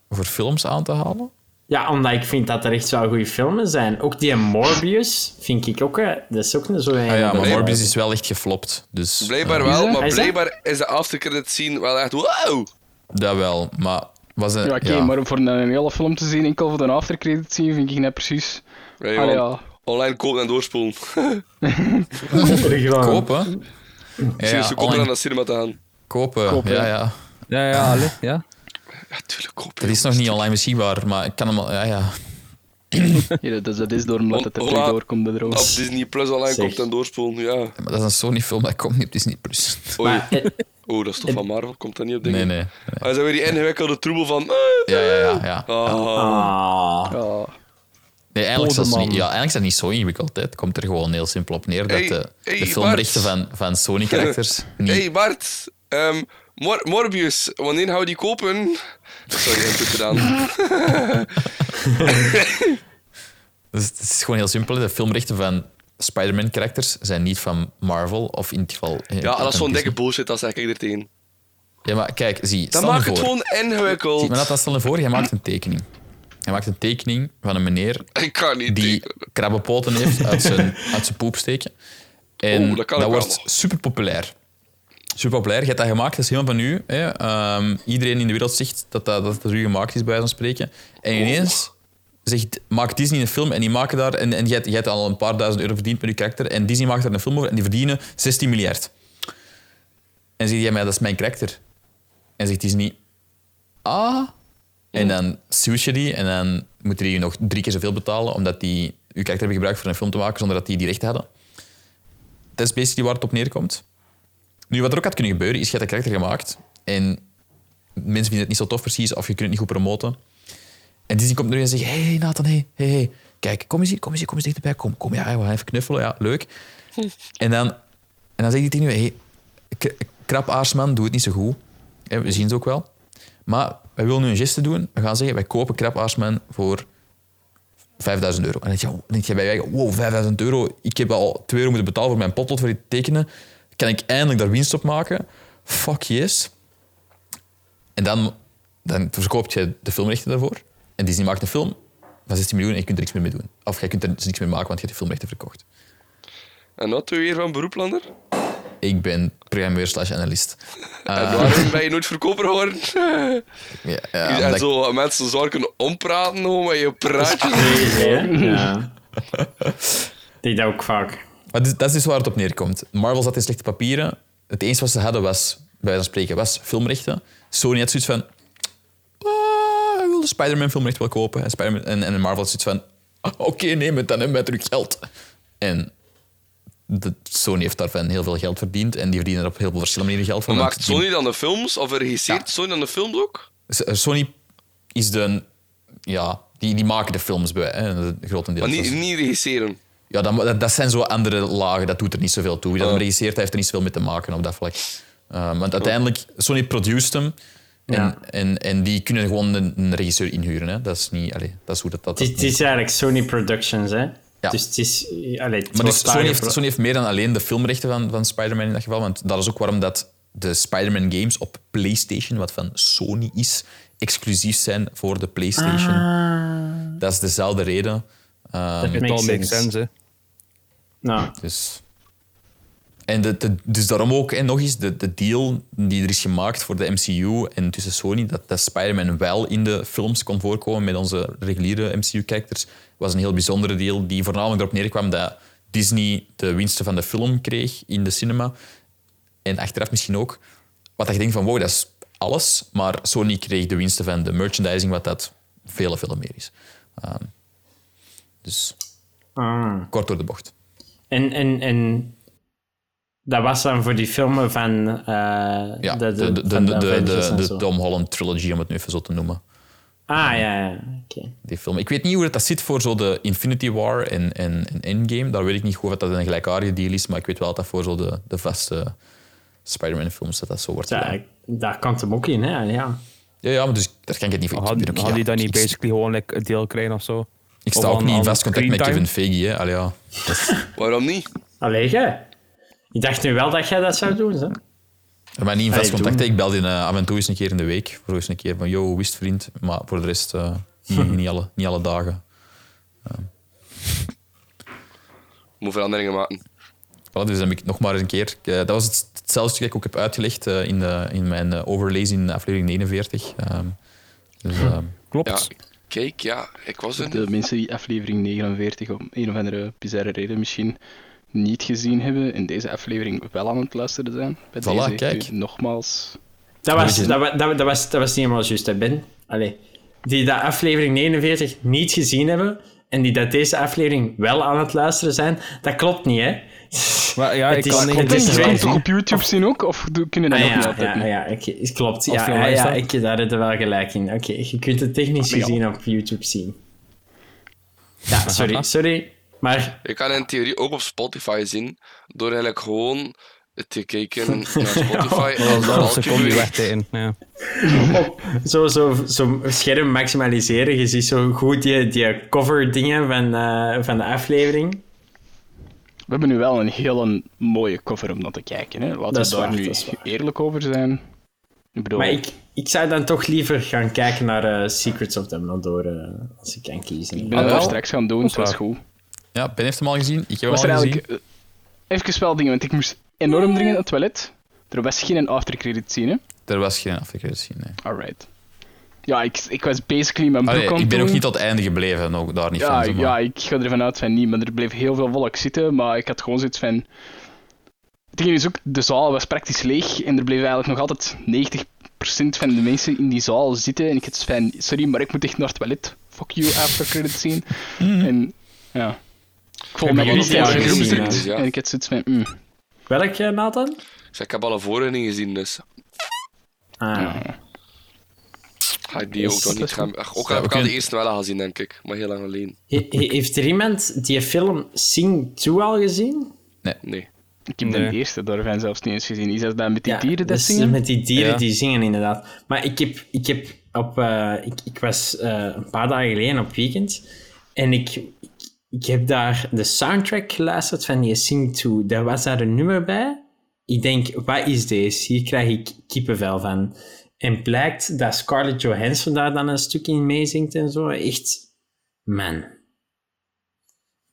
voor films aan te halen? Ja, omdat ik vind dat er echt wel goede filmen zijn. Ook die Morbius vind ik ook... eh, Dat is ook een zo een... Ah ja, maar blijkbaar. Morbius is wel echt geflopt. Dus Blijkbaar wel, maar Hij is dat? blijkbaar is de aftercredit scene wel echt wow. dat wel. Maar was het... Ja, oké, maar om voor een, een hele film te zien, enkel voor de aftercredit te zien, vind ik net precies... Allee, Allee, man. ja. Online kopen en doorspoelen. Gewoon- Kopen? Ja, Ja, ja, ze komen online dan naar de cinema te gaan. kopen. ja, ja. ja, ja, allee, ja. Ja, tuurlijk kopen. Dat is nog niet online beschikbaar, maar ik kan hem al... Ja, ja. Ja, dus dat is door omdat het er Hola. terug doorkomt, de Op drones. Disney Plus online Zeg. kopen en doorspoelen, ja. Maar dat is een Sony-film, dat komt niet op Disney+. Plus. Oei. Maar, eh, Oh, dat is toch van Marvel? Komt dat niet op dingen? Ah, Nee, nee. Hij is weer die ingewikkelde troebel van... eh, Ja, ja, ja. ja. ah. ah. Oh. Ja. Nee, eigenlijk, zelfs Polderman. niet, ja, eigenlijk is dat niet zo ingewikkeld. Hè. Het komt er gewoon heel simpel op neer dat Hey, de, hey, de filmrechten van, van Sony-karakters niet... Hey Bart, ehm, Mor- Morbius, wanneer gaan we die kopen? Sorry, input gedaan. Dus het is gewoon heel simpel. hè. De filmrechten van Spider-Man-karakters zijn niet van Marvel, of in dit geval... eh, Ja, dat is van zo'n dikke Disney. bullshit, dat zeg ik er tegen. Ja, maar kijk, zie, Dat stel je maakt het voor. gewoon Zie, maar ingewikkeld. dat, dat stel je voor, jij maakt een tekening. Jij maakt een tekening van een meneer Ik kan niet. die tegen. krabbepoten heeft uit zijn, uit zijn poep steken. En Oeh, dat dat, kan ik wel wordt nog. super populair. Super populair. Je hebt dat gemaakt, dat is helemaal van u. Hè. Ehm, iedereen in de wereld zegt dat dat, dat het door u gemaakt is, bij zo'n spreken. En ineens zegt, maakt Disney een film en die maken daar... En, en jij, hebt- jij hebt al een paar duizend euro verdiend met je karakter. En Disney maakt daar een film over en die verdienen 16 miljard. En zeg jij, maar dat is mijn karakter. En zegt Disney, ah... En dan switch je die en dan moeten die je nog drie keer zoveel betalen omdat die je karakter hebben gebruikt voor een film te maken zonder dat die die rechten hadden. Dat is basically waar het op neerkomt. Nu, wat er ook had kunnen gebeuren, is je hebt dat karakter gemaakt en mensen vinden het niet zo tof precies of je kunt het niet goed promoten. En Disney komt nu en zegt, hey Nathan, hey, hey, hey. Kijk, kom eens hier, kom eens hier, kom eens dichterbij. Kom, kom, ja, we gaan even knuffelen, ja, leuk. En dan, en dan zegt hij tegen je, hey, k- krap aarsman, doe het niet zo goed. Hè, we zien het ook wel. Maar wij willen nu een geste doen. We gaan zeggen, wij kopen krap aarsman voor 5000 euro. En dan denk je, dan denk je bij je eigen, wow, 5000 euro. Ik heb al 2 euro moeten betalen voor mijn potlood voor dit tekenen. Kan ik eindelijk daar winst op maken? Fuck yes. En dan, dan verkoop je de filmrechten daarvoor. En Disney maakt een film van 16 miljoen en je kunt er niks meer mee doen. Of je kunt er dus niks mee maken, want je hebt de filmrechten verkocht. En wat doe je hier van beroeplander? Ik ben programmeur slash analist. En Eh, waarom ben je nooit verkoper geworden? ja, en ja, omdat ik- zo mensen zwaar kunnen ompraten gewoon met je praatje. Crazy, hè? Ja. Ik denk dat ook vaak. Maar dit- dat is dus waar het op neerkomt. Marvel zat in slechte papieren. Het enige wat ze hadden was, bij wijze van spreken, was filmrechten. Sony had zoiets van... Ah, hij wil de Spider-Man filmrecht wel kopen. En, Spider-Man- en, en Marvel had zoiets van... "Ah, Oké, neem het, dan hebben wij terug geld. En de, Sony heeft daarvan heel veel geld verdiend. En die verdienen er op heel veel verschillende manieren geld van. Want Maakt die- Sony dan de films? Of regisseert Ja. Sony dan de films ook? S- eh, Sony is de... Ja, die, die maken de films bij, hè, grotendeels. Maar Dat niet, is- niet regisseren. Ja, dan- dat, dat zijn zo andere lagen. Dat doet er niet zoveel toe. Wie Oh. dat hem regisseert, heeft er niet zoveel mee te maken op dat vlak. Ehm, want uiteindelijk, Sony produced hem. En, Ja. en, en die kunnen gewoon een, een regisseur inhuren. Hè. Dat, is niet, allee, dat is hoe dat... dat, Het is, dat- het is eigenlijk Sony Productions, hè? Ja. Dus het is. Allee, het maar was dus daar Sony, heeft, gepro- Sony heeft meer dan alleen de filmrechten van, van Spider-Man in dat geval. Want dat is ook waarom dat de Spider-Man games op PlayStation, wat van Sony is, exclusief zijn voor de PlayStation. Ah. Dat is dezelfde reden. Ehm, Het al Makes makes sense. sense, hè. Nou, Dus, en de, de- dus daarom ook, en nog eens, de, de deal die er is gemaakt voor de MCU en tussen Sony, dat, dat Spider-Man wel in de films kon voorkomen met onze reguliere MCU-characters, was een heel bijzondere deal die voornamelijk erop neerkwam dat Disney de winsten van de film kreeg in de cinema. En achteraf misschien ook, wat dat je denkt van wow, dat is alles, maar Sony kreeg de winsten van de merchandising, wat dat vele, vele meer is. Ehm, dus ah. kort door de bocht. En, en, en dat was dan voor die filmen van. eh Ja, de, de, de, de, van de, de, Avengers en de zo. Tom Holland trilogy, om het nu even zo te noemen. Ah ja, ja. Oké. Die film. Ik weet niet hoe dat, dat zit voor zo de Infinity War en, en, en Endgame. Daar weet ik niet goed of dat een gelijkaardige deal is, maar ik weet wel dat dat voor zo de, de vaste Spider-Man films dat dat zo wordt. gedaan. Ja, daar kan het hem ook in, hè? Ja. Ja, ja, maar dus daar kan ik het niet voor. ik- Had, ik- had ja, die dan niet ik- basically gewoon like, een deel krijgen of zo? Ik Of sta ook aan- niet in aan vast contact met screentime? Kevin Feige, hè. Allee, ja. Waarom niet? Allee, jij? Ik dacht nu wel dat jij dat zou doen, hè? Maar Ah, niet in vast Allee, contact. doen. hè. Ik bel die eh, af en toe eens een keer in de week. Voor eens een keer van, yo, wist vriend. Maar voor de rest, eh, niet, niet, alle, niet alle dagen. Moet veranderingen maken. Voilà, dus dan heb ik nog maar eens een keer. eh, dat was het, hetzelfde stuk dat ik ook heb uitgelegd eh, in, de, in mijn eh, overlays in aflevering 49. Ehm, dus, Hm. ehm, Ja. Klopt. Kijk, ja, ik was er niet. De mensen die aflevering 49 om een of andere bizarre reden misschien niet gezien hebben, in deze aflevering wel aan het luisteren zijn. Bij Voilà, deze kijk. u nogmaals. Dat was, dat, wa- dat, wa- dat was, dat was niet helemaal juist, hè, Ben? Allee. Die dat aflevering 49 niet gezien hebben en die dat deze aflevering wel aan het luisteren zijn, dat klopt niet, hè? Maar ja, Het ik is- kan het niet... is- Je wel kan het zien. toch op YouTube zien ook? Of do- kunnen dat Ah, ook niet ja, altijd? ja, doen? ja, ik, ik- klopt. Of Ja, film ja, is ja, dat? ik, daar heb je wel gelijk in. Oké, je kunt het technisch gezien op YouTube zien. Ja, sorry, sorry. Maar Je kan in theorie ook op Spotify zien, door eigenlijk gewoon te kijken naar Spotify. en Dat is als je een seconde weer- wegtijden. Ja. zo, zo, zo scherm maximaliseren, je ziet zo goed die, die cover dingen van, eh, van de aflevering. We hebben nu wel een heel mooie cover om naar te kijken. Hè? Laten Dat is we daar waar, nu dat is waar. eerlijk over zijn. Ik bedoel, Maar ik, ik zou dan toch liever gaan kijken naar eh, Secrets of the Mandor, eh, als ik kan kiezen. ik ben het Ah, daar wel. straks gaan doen, dat is goed. ja, Ben heeft hem al gezien. Ik heb hem was er al gezien. eigenlijk eh, even wel dingen, want ik moest enorm dringen aan het toilet. Er was geen aftercredit zien, hè? Er was geen afgekeerd zien. Nee. Alright. Ja, ik, ik was basically mijn broek Allee, aan ik het ben doen. ook niet tot het einde gebleven, ook daar niet ja, van. zo, ja, maar- ik ga ervan uit van niet, maar er bleef heel veel volk zitten, maar ik had gewoon zoiets van... Het ding is ook, de zaal was praktisch leeg en er bleef eigenlijk nog altijd 90% van de mensen in die zaal zitten. En ik had zoiets van, sorry, maar ik moet echt naar het toilet. Fuck you, after credit scene. Mm, Hm. En ja, ik voelde Hebben me wel jullie op die de al groep gezien, gedrukt. dus ja. En ik had zoiets van, mm, Welke, eh, Nathan? Ik zeg, ik heb alle vorige niet gezien, dus Ah, ga ik die ook Is- nog niet gaan... Ach, Ook heb we ik al de kunnen- eerste wel al gezien, denk ik. Maar heel lang geleden. He- he- heeft er iemand die film Sing 2 al gezien? Nee. ik heb Nee. de eerste daarvan zelfs niet eens gezien. Is dat dan met die dieren dat dus zingen? Met die dieren Ja. die zingen, inderdaad. Maar ik heb, ik heb op... eh, ik, ik was eh, een paar dagen geleden op weekend en ik, ik, ik heb daar de soundtrack geluisterd van die Sing 2. Daar was daar een nummer bij. Ik denk, wat is deze? Hier krijg ik kippenvel van. En blijkt dat Scarlett Johansson daar dan een stuk in meezingt en zo. Echt, man.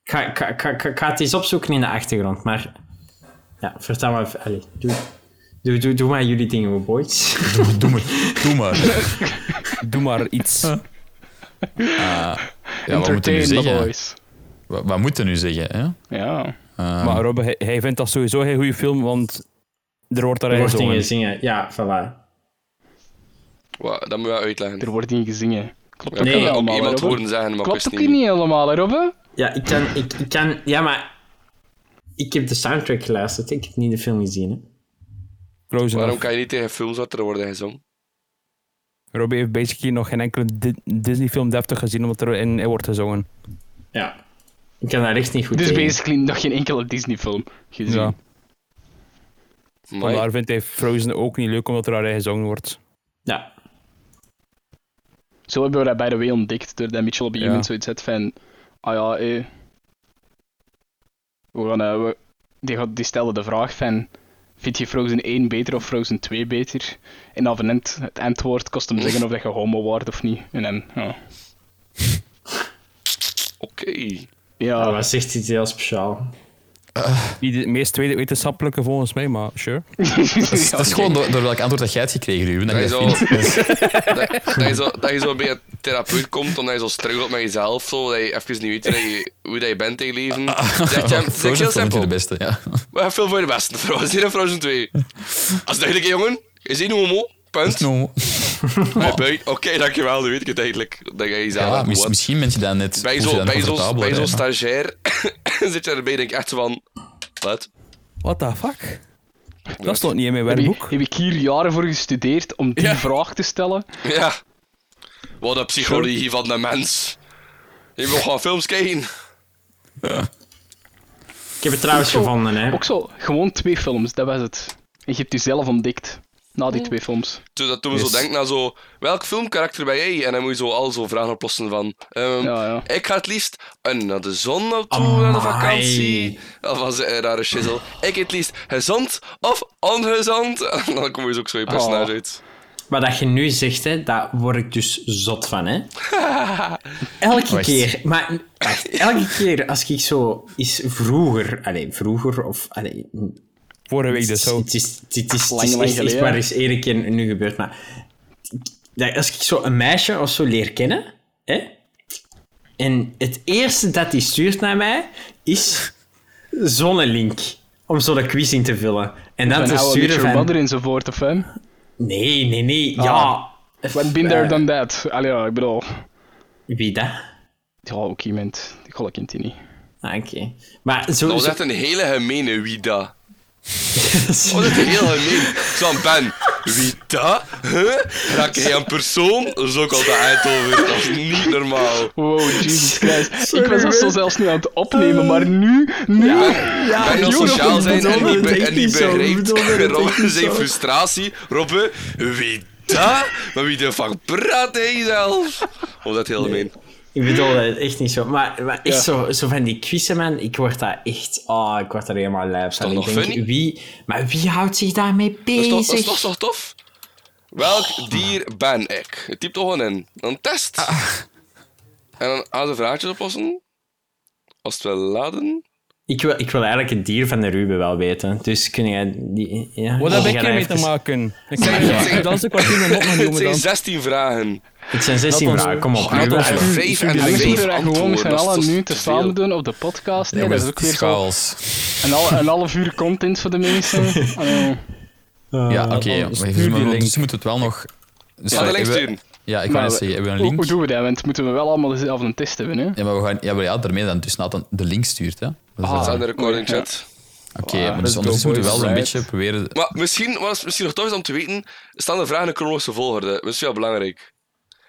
Ik ga, ik ga, ik ga, ik ga het eens opzoeken in de achtergrond, maar... Ja, vertel maar... even- Allee, doe Doe, doe, doe maar jullie dingen, hoor, boys. Doe, doe maar. Doe maar. Doe maar iets. Ah, Ja, wat moeten we nu Entertain the zeggen? boys. Wat, wat moeten we nu zeggen? Hè? Ehm, Ja. Maar Rob, hij, hij vindt dat sowieso geen goede film, want er wordt daar Er wordt dingen gezongen. zingen. Ja, voilà. Wa- dat moet je uitleggen. Er wordt niet gezingen. Klopt Ja, ook ik Nee, kan niet dat om allemaal, hè, iemand Robbe? horen zeggen, maar Klopt ik ook wist niet. niet helemaal, hè, Robbe? Ja, ik kan... Ik, ik kan ja, maar... Ik heb de soundtrack geluisterd. Ik heb niet de film gezien, hè. Close Waarom enough. kan je niet tegen films dat er worden gezongen? Robbie heeft basically nog geen enkele Di- Disney-film deftig gezien, omdat er in, in wordt gezongen. Ja. Ik kan daar echt niet goed Dus tegen. basically nog geen enkele Disney-film gezien. Ja. Amai. Vandaar vindt hij Frozen ook niet leuk, omdat er daar gezongen wordt. Ja. Zo hebben we dat bij de way ontdekt, doordat Mitchell op een Ja. gegeven moment zoiets had van... Ah ja, eh... We gaan... eh, we- die, gaat- die stelde de vraag van... Vind je Frozen 1 beter of Frozen 2 beter? En dan van het, het antwoord kost hem zeggen of dat je homo wordt of niet. En dan... Ja. Oké. ja. Dat was echt iets heel speciaal. Niet het meest tweede wetenschappelijke volgens mij, maar sure. Dat is, dat is Ja, gewoon door, door welk antwoord dat jij hebt gekregen, Ruben. Dat Dat je je, dat zo, vindt. dat, dat je zo, dat je zo bij een therapeut komt, omdat je zo struggelt met jezelf, zo, dat je even niet weet hoe dat je, hoe dat je bent tegen het leven. Zeg je, het is Ah, Frozen heel vond ik simpel. de beste. Ja. We hebben veel voor de beste, Frozen 1 en Frozen 2. Als duidelijk, hè, jongen. Is één homo. Punt. No. Hij buigt. Oké, dankjewel. Nu weet ik het eigenlijk. Dat jij jezelf Ja, mis- wat- misschien ben je dan net Bij voel je zo'n dan bij zo, comfortabeler, bij hè, zo maar- stagiair zit je erbij denk ik echt zo van... Wat? What the fuck? Dat stond niet in mijn heb, ik, werkboek. heb ik hier jaren voor gestudeerd om die Ja. vraag te stellen? Ja. Wat een psychologie van de mens. Je wil gewoon films kijken. Ik heb het trouwens gevonden, hè. Ook zo, gewoon twee films, dat was het. En je hebt jezelf ontdekt. Na die twee films. Toen, dat toen we zo denken naar zo... Welk filmkarakter ben jij? En dan moet je zo al zo vragen oplossen van... ehm, Ja, ja. Ik ga het liefst een naar de zon naartoe, naar de Amai. vakantie. Dat was een rare shizzle. Ik het liefst gezond of ongezond. En dan kom je ook zo je personage Oh. uit. Wat dat je nu zegt, hè, daar word ik dus zot van, hè. Elke Wacht. keer, maar wacht, elke keer als ik zo is vroeger, alleen vroeger of allee, Vorige week het dus is, zo. het is, het is, het is, Lang, echt lang iets geleden. waar is één keer nu gebeurd, maar dat als ik zo een meisje of zo leer kennen, hè, en het eerste dat die stuurt naar mij is zonnelink om zo'n quiz in te vullen en dan Van te How I Met sturen Your Mother van enzovoort, of hem. nee, nee, nee, ja. Ah. What been there Eh, done that? Allee, ja, ik bedoel... Wie dat? Ja, ook iemand. Ik ga dat kind hier niet. Ah, oké. Maar zo... Dat was zo- echt een hele gemene wie dat. Dat was echt een heel gemeen. Ik zei aan Ben, wie dat? Huh? Raak jij een persoon? Dat is ook altijd eind over. Dat is niet normaal. Wow, Jesus Christ. Sorry, ik was dat zo man. zelfs niet aan het opnemen, maar nu, nu... ben je joh, wil sociaal dat zijn en bedoelde niet, be- ik en niet niet zo, begrijpt. bedoelde ik Robbe niet zijn zo. frustratie. Robbe, wie dat? Maar wie de fuck praat hij zelf? Oh, dat is heel gemeen. Ik bedoel dat echt niet zo. Maar, maar echt zo, zo van die quizzen, man. Ik word daar echt... Oh, ik word daar helemaal lijp van. toch nog Ik denk, funny? wie... Maar wie houdt zich daarmee Dat is toch- dat bezig? is toch toch tof? Welk dier ben ik? Je typt toch gewoon in. Dan test. En dan aan de vraagjes oplossen. Als het wel laden. ik, wil, ik wil eigenlijk het dier van de Ruben wel weten. Dus kun jij... Die, ja, Wat heb die ik gaan ermee even- te maken? Ik zeg, Ja. Dat is ook wat ik mijn mond mag Het noemen zijn dan. 16 vragen. Het zijn 16 ons- vragen. Kom op, Ah, Oh, Ruben. dat is- Vijf en We vijf moeten er gewoon antwoorden, met z'n dat is allen toch nu te te veel? samen doen op de podcast. Ja, Nee, maar dat het is ook is weer zo chaos. een, hal- een half uur content voor de mensen. Allee, Eh, Ja, oké. dan ja, maar stuur even- die maar link. Dus moeten we het wel nog... Dus Ja, de link hebben we- sturen. Ja, ik Maar wou net we- zeggen, hebben we een Hoe, hoe link? doen we dat? Want moeten we wel allemaal dezelfde een test hebben, hè? Ja, maar we gaan... Ja, maar ja, daarmee dan dus Nathan de link stuurt, hè. Dus, Ah, Dat ah, eh, is Ah, aan de recording chat. Oké, maar let's dus go, ondertussen moeten we wel boys. een Right. beetje proberen... Maar misschien, wat is misschien nog tof is om te weten, staan de vragen in chronologische volgorde. Dat is wel belangrijk.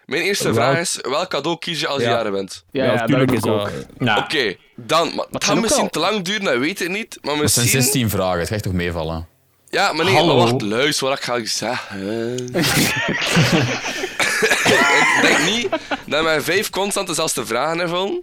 Mijn eerste vraag is, welk cadeau kies je als je Ja. jaren bent? Ja, Ah. ja, dat tuurlijk heb ik ook. dat- Ja. Oké, dan. Maar het zijn gaat ook misschien wel- te lang duren, dat weet ik niet. Maar Het zijn misschien... 16 vragen, het gaat toch meevallen? Ja, maar nee, Hallo. maar wacht, luister wat ik ga zeggen. ik denk niet dat mijn vijf constant dezelfde vragen invullen.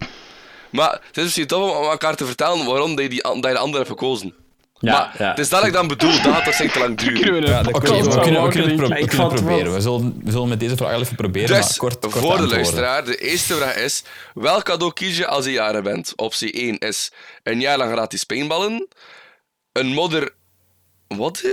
Maar het is misschien tof om aan elkaar te vertellen waarom dat je, die, dat je de andere hebt gekozen. Ja, maar ja. het is dat ik dan bedoel, dat gaat waarschijnlijk te lang duren. Kunnen we een Oké, podcast we, van kunnen, we maken, kunnen het denk pro- ik? we ik kunnen het vond wel- proberen. We zullen, we zullen met deze vraag even proberen, maar Dus, kort, kort voor de antwoorden. luisteraar, de eerste vraag is... Welk cadeau kies je als je jaren bent? Optie 1 is een jaar lang gratis paintballen. Een modder... Wat? hè?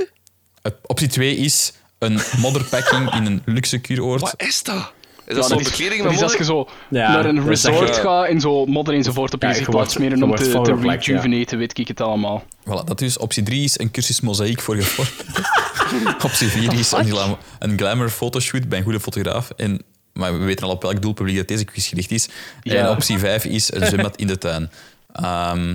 Eh, Optie 2 is een modderpacking in een luxe Wat kuuroord. is dat? Is Ja, dat zo'n is- bekleding dat met is als je modder? zo Ja, naar een dat is dat resort je- gaat en zo modder enzovoort op je Ja, gezicht je laat wordt- smeren je om wordt te, te volgeplakt, ja. rejuvenaten, weet ik het allemaal. Voilà, dat is. Optie 3 is een cursus mozaïek voor gevormd. Optie 4 is een, glam- een glamour fotoshoot bij een goede fotograaf. En, maar we weten al op welk doelpubliek dat deze quiz gericht is. En optie 5 is een zwembad in de tuin. Ehm,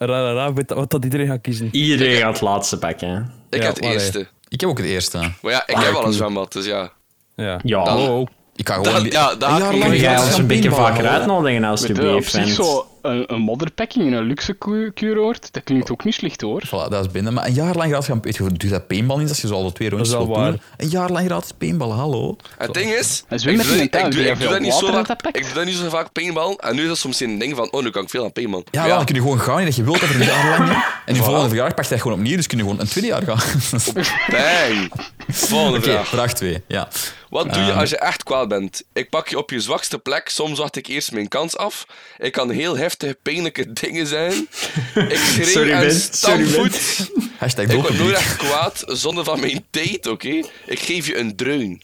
Ra, ra, ra, weet wat dat iedereen gaat kiezen. Iedereen gaat het laatste pakken. hè. Ik Ja, heb het allee. eerste. ik heb ook het eerste. Maar ja, ik heb al een zwembad, dus ja. Ja. Ja. Oh, oh. Ik ga gewoon... Dat- li- ja, daar- een jaar lang Moet Kun jij gratis ons een gaan beetje paintballen, vaker hoor. uitnodigen, Weet je, op alsjeblieft, zich vent? zo een, een modderpacking in een luxe ku- kuuroord, dat klinkt ook niet slecht hoor. Voilà, dat is binnen. Maar een jaar lang gratis gaan... Weet je hoe duur dat paintball is? Als je zo al de twee rondjes Dat is wilt wel doen. waar. Een jaar lang gratis paintballen, hallo. Het ding is, Dat is ik weer met doe, die ik, mentale doe, die ik doe veel dat niet zo water vaak, dat pakt. ik doe dat niet zo vaak paintballen. En nu is dat soms een ding van, oh, nu kan ik veel aan paintballen. Ja, wel, dan kun je gewoon gaan, dat je wilt over een jaar lang. hè. En je volgende verjaardag pak je dat gewoon opnieuw, dus kun je gewoon een tweede jaar gaan. Bang! Volgende Oké, vraag. vraag 2. Ja. Wat doe je als je echt kwaad bent? Ik pak je op je zwakste plek, soms wacht ik eerst mijn kans af. Ik kan heel heftige, pijnlijke dingen zijn. Ik schreeuw Sorry, en Ben. Sorry, Ben. stampvoet. Hashtag Ik word nooit doelpubliek. echt kwaad zonder van mijn tijd, oké? Ik geef je een dreun.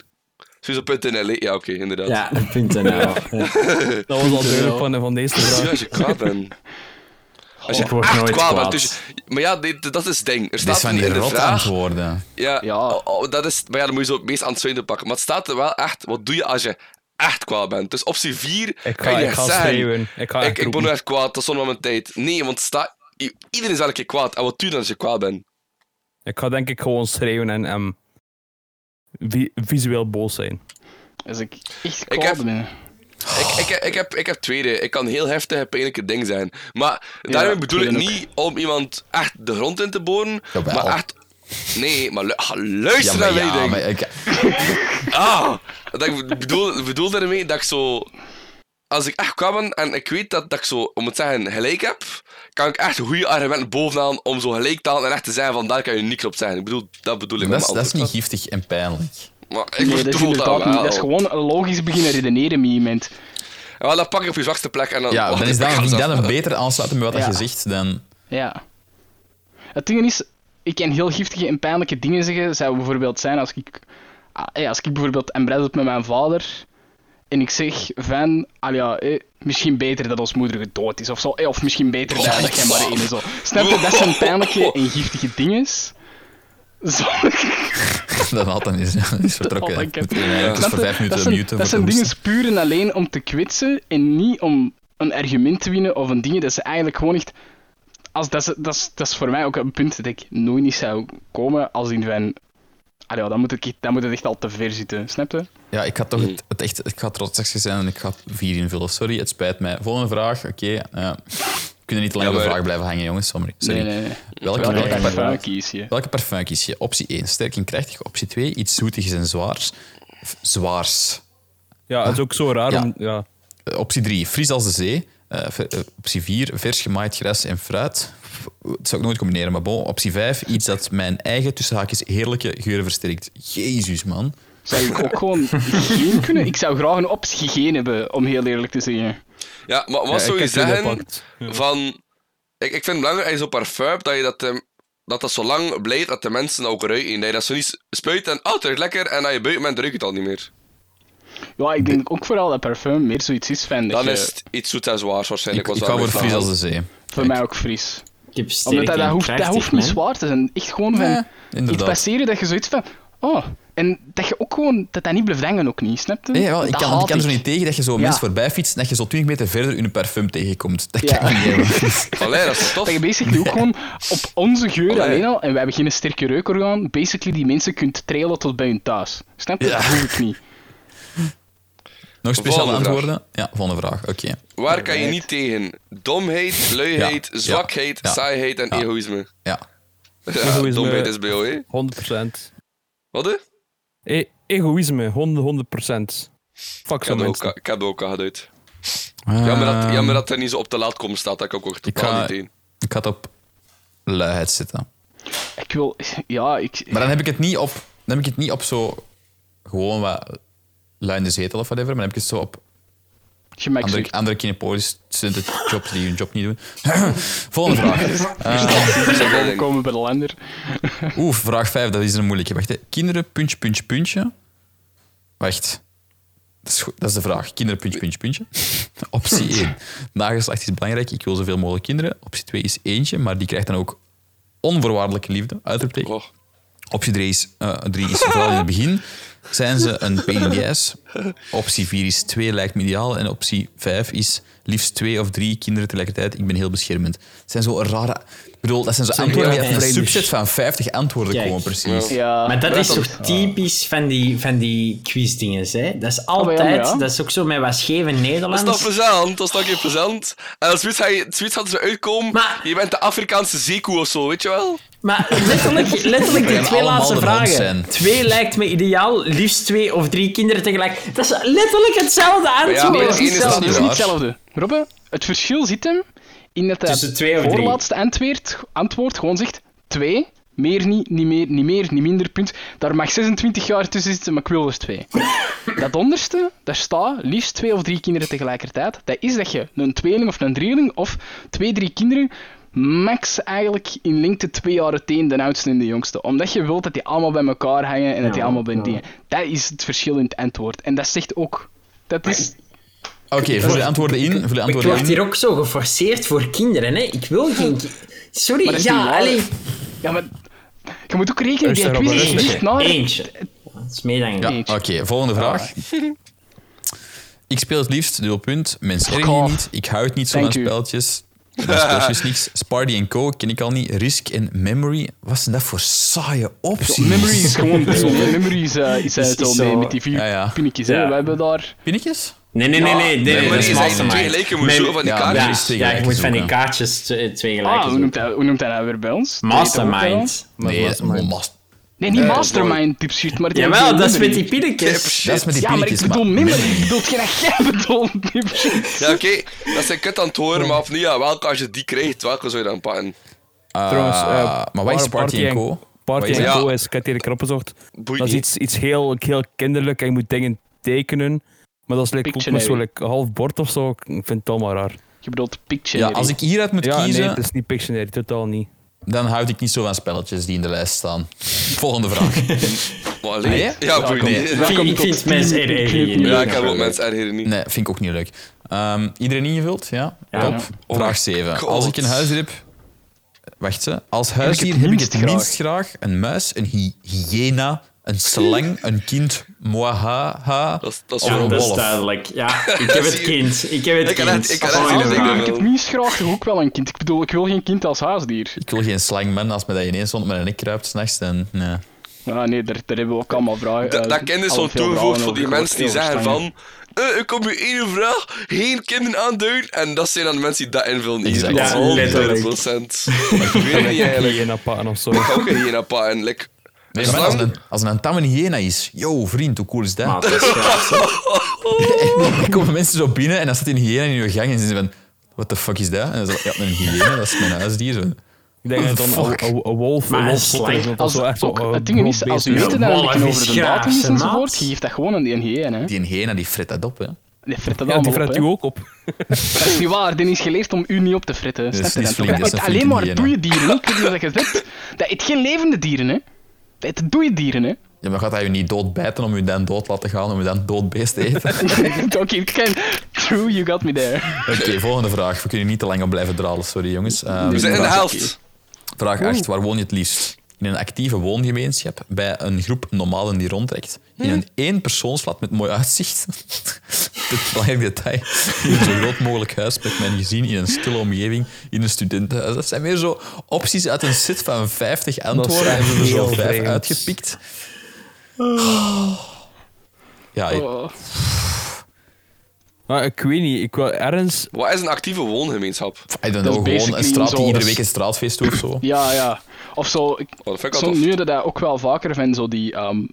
Zoals op .nl, hè? ja, oké, inderdaad. Ja, punt en nou. Ja. Dat was al duidelijk van, van deze Ja, vraag. als je kwaad bent. Als je Ik word echt nooit kwaad bent. kwaad. Dus, maar ja, dit- dat is het ding. Er Dit staat zijn niet die in de rot vraag. antwoorden. Ja, Ja. oh, oh, dat is, maar ja, dan moet je zo het meest aan het zuiden pakken. Maar het staat er wel echt, wat doe je als je echt kwaad bent? Dus optie 4, Ik ga- kan je ik ga zeggen, schreeuwen. Ik ga ik, echt ik ben roepen. nu echt kwaad, dat is zonder mijn tijd. Nee, want sta, i- iedereen is elke keer kwaad. En wat doe je dan als je kwaad bent? Ik ga denk ik gewoon schreeuwen en ehm, vi- visueel boos zijn. Als ik echt Ik kwaad heb- ben. Oh. Ik, ik, ik, heb, ik heb tweede, ik kan heel heftig pijnlijke ding zijn. Maar daarmee bedoel ik ik ben ook. niet om iemand echt de grond in te boren, Jawel. maar echt... Nee, maar lu- ah, Ja, luister naar maar mij, ja, ding. maar ik, Ah! Dat ik bedoel, bedoel daarmee dat ik zo. Als ik echt kwam en ik weet dat, dat ik zo, om het te zeggen, gelijk heb, kan ik echt goede argumenten bovenaan om zo gelijk te halen en echt te zijn van daar kan je niks op zeggen. Ik bedoel, dat Oh, bedoel ik dat, met is, mijn dat is niet antwoord. giftig en pijnlijk. Maar ik Nee, dat is bedoel dat, inderdaad wel. niet. Dat is gewoon logisch beginnen redeneren met iemand. Ja, wel, dat pak ik op je zwakste plek en dan. Ja, wacht, dan is ik pak dat, vind ik alles dat af. een beter aansluiten met wat Ja. je zegt dan... Ja. Het ding is, ik kan heel giftige en pijnlijke dingen zeggen. Zou bijvoorbeeld zijn als ik, ah, hey, als ik bijvoorbeeld embrace heb met mijn vader. En ik zeg van, ah ja, eh, misschien beter dat ons moeder gedood is of zo. eh, of misschien beter dat dat jij maar één is. zo. Snap je, dat zijn pijnlijke en giftige dingen. Zonder- Dat altijd is, is vertrokken. Oh, hè. ik heb- Moet je eigenlijk eens Snap voor je? vijf minuten dat zijn, muten. Dat voor zijn te dingen hoesten. puur en alleen om te kwetsen en niet om een argument te winnen of een ding. Dat is eigenlijk gewoon echt... Als, dat, is, dat, is, dat is voor mij ook een punt dat ik nooit niet zou komen als in van... Ah ja, dan moet, ik, dan moet het echt al te ver zitten, snap je? Ja, ik ga toch Mm. het, het echt... Ik ga trots zijn en ik ga vier invullen. Sorry, het spijt mij. Volgende vraag. Oké. eh, we kunnen niet langer Ja, op de maar- vraag blijven hangen, jongens. Sorry. Sorry. Nee, nee, nee. Welke, Welke welke, parfum welke, kies je? Welke parfum kies je? Optie 1, sterk en krachtig. Optie 2, iets zoetigs en zwaars. F- zwaars. Ja, het is ook zo raar Ja. om... Ja. Eh, optie 3, fris als de zee. Eh, v- eh, optie 4, vers gemaaid gras en fruit. F- Dat zou ik nooit combineren, maar bon. Optie 5, iets dat mijn eigen tussen haakjes heerlijke geuren versterkt. Jezus, man. Zou ik ook gewoon geen kunnen? Ik zou graag een optie geen hebben, om heel eerlijk te zeggen. Ja, maar wat Ja, zou ik je heb die zeggen gepakt. van. Ik, ik vind het belangrijk als je zo'n parfum dat je dat. ehm, dat dat zo lang blijft dat de mensen dat ook ruiken. Dat je dat zo niet spuit en oh, het ruikt lekker en dat je buiten bent, ruikt het al niet meer. Ja, ik denk ook vooral dat parfum meer zoiets is van dat Dan je- is het iets zoet en zwaars Ik, waarschijnlijk. was ik dat ga voor mijn fris verhaal. als de zee. voor mij ook fris. Ik heb sterk Omdat dat, dat, en hoeft, dat krachtig, hoeft niet man. zwaar te zijn. Echt gewoon van... Eh, iets inderdaad. passeren dat je zoiets van... Oh, en dat je ook gewoon... Dat dat niet blijft hangen ook niet, snap je? Nee, wel, ik Dat kan, haat ik kan er zo niet tegen dat je zo Ja. mensen voorbij fietst en dat je zo 20 meter verder een parfum tegenkomt. Dat Ja. kan ik niet hebben. Allee, dat is toch Dat je tof? basically ook gewoon op onze geur Oh, Allee. alleen al... En wij hebben geen sterke reukorgaan. Basically die mensen kunt trailen tot bij hun thuis. Snap je? Ja. Dat hoef ik niet. Nog speciale Volgende vraag. antwoorden? Ja, volgende vraag. Oké. Waar kan je niet tegen? Domheid, luiheid, Ja, ja, zwakheid, ja, saaiheid en ja. egoïsme. Ja. Ja, Egoïsme. domheid is bij jou, hè? 100%. Wat, hè? E- egoïsme, 100%. Fuck Ik zo'n heb dat ook, mensen. ik heb dat ook al geduid. Jammer dat, jammer dat er niet zo op de laat komen staat, dat ik ook, ook Ik totaal ga, niet tegen. ik ga het op luiheid zitten. Ik wil... Ja, ik... Maar dan heb ik het niet op, dan heb ik het niet op zo gewoon wat lui in de zetel of whatever, maar dan heb ik het zo op Gemakkelijk. Andere, andere kinepolis studenten jobs die hun job niet doen. Volgende vraag. ah. We komen bij de lander. Oeh, vraag 5, dat is een moeilijke. Wacht, hè. kinderen, puntje, puntje, puntje. Wacht. Dat is, goed, dat is de vraag. Kinderen, puntje, puntje, puntje. Optie 1. Nageslacht is belangrijk. Ik wil zoveel mogelijk kinderen. Optie 2 is eentje, maar die krijgt dan ook onvoorwaardelijke liefde. Uitroepteken. Oh. Optie 3 is, eh, drie is vooral in het begin. Zijn ze een pain in the ass? Optie 4 is 2 lijkt me ideaal. En optie 5 is liefst twee of drie kinderen tegelijkertijd. Ik ben heel beschermend. Het zijn zo rare... Ik bedoel, dat zijn zo antwoorden die heel uit een vreemd. subset van 50 antwoorden Kijk. komen, precies. Ja, Maar dat is dat- toch typisch van die, van die quizdinges, hè? Dat is Ah, maar altijd... ja, maar ja. Dat is ook zo met wat scheve Dat is toch Nederlands. plezant? Dat is toch geen plezant? En als zoiets, ga je- zoiets hadden ze uitkomen, Maar- je bent de Afrikaanse zeekoe of zo, weet je wel? Maar letterlijk, letterlijk die gaan twee allemaal laatste de hond vragen. zijn. Twee lijkt me ideaal, liefst twee of drie kinderen tegelijk. Dat is letterlijk hetzelfde maar antwoord. ja, dat is één niet is dat hetzelfde. niet Dat is niet waar. hetzelfde. Robbe, het verschil zit hem in dat Tussen het twee of drie. voorlaatste antwoord, antwoord gewoon zegt 2. Meer niet, niet meer, niet meer, niet minder, punt. Daar mag 26 jaar tussen zitten, maar ik wil er twee. dat onderste, daar staat liefst twee of drie kinderen tegelijkertijd. Dat is dat je een tweeling of een drieling of twee, drie kinderen max eigenlijk in lengte twee jaar uiteen, de oudste en de jongste. Omdat je wilt dat die allemaal bij elkaar hangen en dat die allemaal bij dingen. Dat is het verschil in het antwoord. En dat zegt ook... Dat is Oké, vul je antwoorden in. Vul je Ik antwoorden word in. hier ook zo geforceerd voor kinderen, hè? Ik wil geen... ki- Sorry, Maar dat is niet ja, waar. allee. Ja, maar je moet ook rekenen, die Rustig, quiz is Robert, niet naar... Eentje. Dat is meer dan Ja, genoeg. oké, volgende vraag. Ik speel het liefst, dubbelpunt. Mensen Fuck ergen je off. niet. Ik hou het niet zo Thank van you. spelletjes. Dat speelt dus niks. Sparty Co. ken ik al niet. Risk en Memory. Wat zijn dat voor saaie opties? Memory is gewoon... Nee, Memory is, eh, is, eh, het is al zo- mee met die vier Ja, ja. pinnetjes. hè. Ja. We hebben daar... Pinnetjes? Nee, nee, nee, nee. nee, maar dat die is zijn twee mastermind. gelijke, moet je Nee, zo van die ja, kaart. ja. Ja. twee Ja, ik gelijke moet van die zoeken. kaartjes twee, twee gelijk Ah, hoe noemt, hij, hoe noemt hij nou weer bij ons? Weet je dat ook bij ons? Mastermind. Maar Nee, was maar- oh, mas- Nee, Eh, niet Mastermind type shit, maar... die Jawel, hebben dat is Memory. met die pinnetjes. dat is met die Ja, maar ik pinnetjes. bedoel Memory. Ik bedoel hetgeen dat jij bedoelt. type shit. Ja, oké, dat zijn kut aan het horen, maar of niet, ja, welke als je die krijgt, welke zou je dan pakken? Ah, Trouwens, eh, maar wat Party is Sparty en- Co? Party Wat en is dat? Co is, ik heb hier een knop gezocht. Boeit Dat is niet. iets, iets heel, heel kinderlijk en je moet dingen tekenen. Maar dat is like, ook met Pictionary. zo'n like, half bord of zo. Ik vind het allemaal raar. Je bedoelt Ja, Pictionary. als ik hieruit moet Ja, nee, kiezen, het is niet Pictionary, totaal niet. dan houd ik niet zo van spelletjes die in de lijst staan. Volgende vraag. Maar alleen, Nee? ja, Ja, boeit kom. niet. Welkom Ik vind- ik tot vind mensen Team er erg in. Knip. Ja, ik heb ook mensen ergeren niet. Nee, vind ik ook niet leuk. Ehm, iedereen ingevuld? Ja? Top. Vraag 7. God. Als ik een huisdier heb... Wacht ze. Als huisdier het heb ik minst het minst graag een muis, een hy- hyena, een slang, een kind, moahaha Dat is- dat is of wel- Ja, een dat is wolf. duidelijk. Ja, ik heb het kind. Ik heb het Ik kan echt- kind. Oh ik kan echt Volgende niet Ik denken. vraag. heb het minst graag toch ook wel een kind. Ik bedoel, ik wil geen kind als huisdier. Ik wil geen slangman als me dat ineens onder mijn nek kruipt s'nachts. Dan, eh. nee. Ah, nee, daar, daar hebben we ook allemaal vragen. Da- eh, dat kennen al zo'n veel toevoegt vragen voor die over mensen die gehoord, zeggen heel van... eh, ik kom je één vraag, geen kinderen aanduiden. En dat zijn dan de mensen die dat invullen. Hier. Exact. Dat is Ja, 100 letterlijk. procent. Ik weet niet eigenlijk. Hyena pakken of zo. Ik ga ook een hyena pakken. Like, Nee, een maar als slang? een, als een antamme hyena is... Yo, vriend, hoe cool is dat? Maar dat is graag, hè. Dan komen mensen zo binnen en dan staat een hyena in je gang en ze zijn van... What the fuck is dat? En dan zo, ja, een hyena, dat is mijn huisdier. Zo. Ik denk dat dan Fuck. een- een een wolf Maar een een wolf slang, is, want dat Als, is wel echt zo, ook, eh, het ding is, groot als beest, u hè. weet het dan Wolf eigenlijk is over de graaf, datum is hè, enzovoort, maat. je geeft dat gewoon aan die hyena. Hè. Die hyena, die frit dat op, hè. Die frit dat Ja, die allemaal vreet op, u hè. ook op. Dat is niet waar, die is geleerd om u niet op te fritten. Dus is Snap je niet dat? flink, Dat dat is eet een alleen flinke maar hyena. dode dieren. Ik weet niet wat je zegt. Dat eet geen levende dieren, hè. Dat eet dode dieren, hè. Ja, maar gaat hij je niet doodbijten om je dan dood te laten gaan, om je dan dood beest te eten? Oké, Oké, ik ken- True, you got me there. volgende vraag. We kunnen niet te lang op blijven dralen, sorry jongens. Dus, Ehm, we eh, zijn in de vraag- helft. Vraag 8. Waar woon je het liefst? In een actieve woongemeenschap, bij een groep normalen die rondtrekt. In een Hm? éénpersoonsflat met mooi uitzicht. Dit is een belangrijk detail. In een zo groot mogelijk huis met mijn gezin, in een stille omgeving, in een studentenhuis. Dat zijn weer zo opties uit een set van 50 antwoorden. En we hebben er zo heel vijf vreemd. uitgepikt. Oh. Ja, ik- Oh. Maar ik weet niet, ik wil ergens... Wat is een actieve woongemeenschap? I don't Dat is know, gewoon basically een straat die zo- iedere week een straatfeest doet of zo. Ja, ja. Of zo. Ik, Oh, dat vind ik wel zo tof. nu dat ook wel vaker van zo die ehm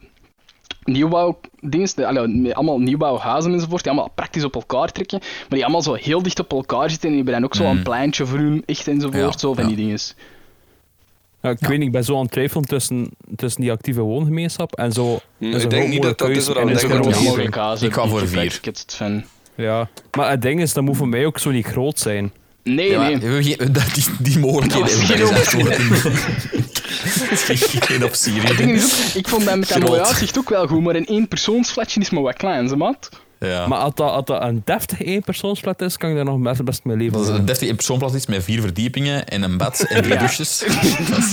nieuwbouwdiensten, allee, met allemaal nieuwbouwhuizen enzovoort, die allemaal praktisch op elkaar trekken, maar die allemaal zo heel dicht op elkaar zitten en die hebben dan ook zo een pleintje voor hun, echt enzovoort, Mm. Ja, zo van ja. die Dus dinges. Ja, ik weet niet, ik ben zo aan het twijfelen tussen, tussen die actieve woongemeenschap en zo... ik denk niet dat dat is wat we wat denken. Ja, Ja, mogelijk ik ga voor vier. Ik het van. Ja. Maar het ding is, dat moet voor mij ook zo niet groot zijn. Nee, Ja, maar nee. we hebben geen- dat- die, die mogelijkheden Dat was hebben we geen daar niet echt voor. Geen optie. Het ding is ook, ik vond dat met dat Groot. mooie uitzicht ook wel goed, maar een éénpersoonsflatje is maar wat klein, ze maat. Ja. Maar als dat, als dat een deftig eenpersoonsplat is, kan ik daar nog best, best mee leven. Dat is een deftig persoonplaats is met vier verdiepingen en een bad en drie douches.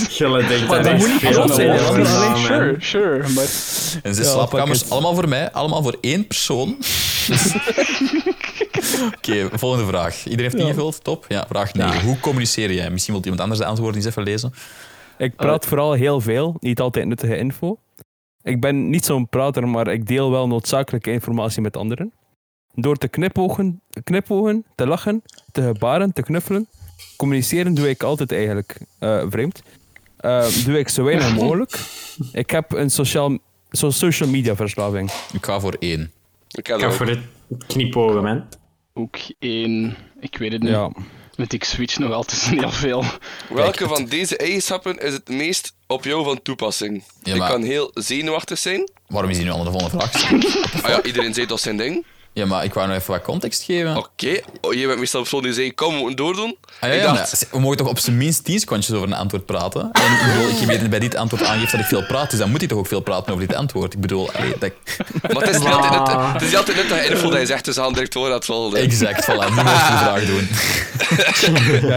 Gille denkt dat dat echt moet niet veel groot zijn, aan hè. de Dat is overnaam, hè. Sure, sure. Maar En zes Ja, slaapkamers. pakket. Allemaal voor mij, allemaal voor één persoon. Oké, volgende vraag. Iedereen heeft ingevuld, top. Ja, vraag 9. Hoe communiceer jij? Misschien wil iemand anders de antwoorden eens even lezen. Ik praat vooral heel veel, niet altijd nuttige info. Ik ben niet zo'n prater, maar ik deel wel noodzakelijke informatie met anderen. Door te knipogen, knipogen te lachen, te gebaren, te knuffelen, communiceren doe ik altijd eigenlijk eh, vreemd. Eh, doe ik zo weinig mogelijk. Ik heb een sociaal, zo'n social media verslaving. Ik ga voor één. Ik heb Ik ga dat voor ook. het knipogen, man. ook één, ik weet het niet. Ja. Want ik switch nog altijd heel veel. Welke van deze eigenschappen is het meest op jou van toepassing? Ja, Ik maar- kan heel zenuwachtig zijn. Waarom is die nu al de volgende vraag? Ah ja, iedereen zei dat zijn ding. Ja, maar ik wou nog even wat context geven. Oké, oh, jij bent meestal de persoon die zei, kom, we moeten doordoen. Ah, ja, ik ja, dacht, maar We mogen toch op zijn minst tien secondjes over een antwoord praten. En ik bedoel, ik weet dat bij dit antwoord aangeeft dat ik veel praat, dus dan moet ik toch ook veel praten over dit antwoord. Ik bedoel, allee, dat... maar het is niet altijd net, het is niet altijd net dat info dat je zegt, dus aan direct hoor dat wel. eh. exact, voilà, nu moet ik de vraag doen. Dus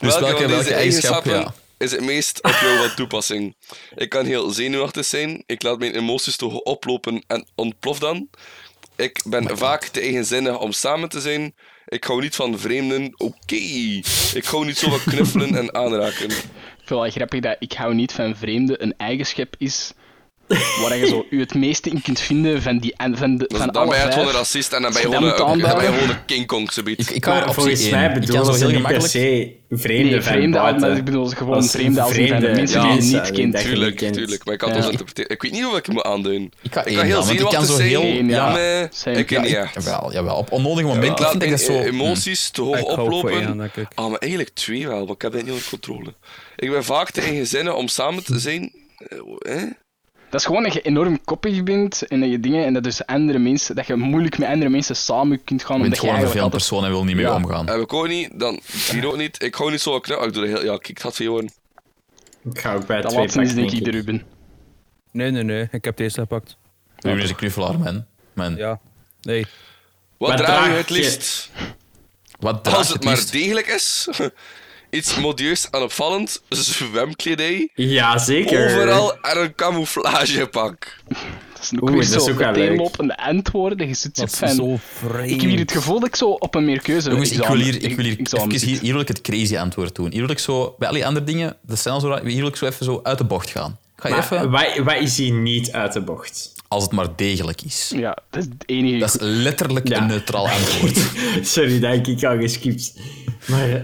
welke, welke, van deze eigenschap? eigenschappen Ja. is het meest op jou van toepassing? Ik kan heel zenuwachtig zijn, ik laat mijn emoties toch oplopen en ontplof dan. Ik Oh ben vaak te eigenzinnig om samen te zijn. Ik hou niet van vreemden, oké. Ik hou niet zo van knuffelen en aanraken. Ik vind het wel grappig dat ik hou niet van vreemden een eigenschap is waar je zo u het meeste in kunt vinden van, die, en van, de, Dus van dan alle ben je vijf. gewoon een racist en dan ben je Als je gewoon dat een, moet dan ben je aanduiden. gewoon een King Kong, ze Ik, ik kan Maar er optie volgens één. mij ik kan bedoelen zo ze heel niet per gemakkelijk. se vreemde Nee, van vreemde, maar buiten. ik bedoel ze gewoon vreemde als in vreemde van de mensen die je mensen, niet kent. dat je niet Tuurlijk, kent. tuurlijk. Maar ik kan Ja. het zo interpreteren. Ik weet niet hoe ik hem moet aanduiden. Ik kan Ik één kan heel gaan, want ik kan zenuwachtig zo zijn. heel... Eén, ja. maar Same. ik weet niet ja, echt. ik- jawel, jawel, op onnodige momenten Ik laat vind ik mijn dat zo... Hmm. eh, emoties te hoog Ik ga ook voor oplopen. één, denk ik. Ah, maar eigenlijk twee wel, want ik heb dat niet onder controle. Ik ben vaak te eigenzinnig om samen te zijn. Eh, hè? Dat is gewoon dat je enorm koppig bent en dat je dingen en dat dus andere mensen, dat je moeilijk met andere mensen samen kunt gaan. Je bent Omdat je gewoon een vervelend eigenlijk altijd... persoon en wil niet mee Ja. omgaan. Heb ik ook niet, dan Giro ook niet. Ik hou niet zo van knap. Ik doe dat heel... Ja, kijk, ik had van horen. Ik ga ook bij het Dat twee laatste pakken, is denk ik de ik. Ruben. Nee, nee, nee. Ik heb deze gepakt. Ruben is een knuffelaar, man. man. Ja. Nee. Wat Maar draag je draag het je- liefst? Wat draag Als je het het maar liefst? degelijk is. Iets modieus en opvallend. Zwemkledij. Ja, zeker. Overal en een camouflagepak. Dat is ook Oeh, weer dat is zo ook wel uiteenlopende antwoorden. Je zit zo Dat is fan. zo Ik heb hier het vreemd. gevoel dat ik zo op een meer keuze Jongens, ik wil hier, ik examen- wil hier, examen even zit. hier, hier wil ik het crazy antwoord doen. Hier wil ik zo, bij al die andere dingen, dat zijn al zo, raar, hier wil ik zo even zo uit de bocht gaan. Ik ga je Maar even, wat, wat is hier niet uit de bocht? als het maar degelijk is. Ja, dat is het enige. Dat is letterlijk Ja. een neutraal antwoord. Sorry, dat heb ik al geskipt. Maar eh,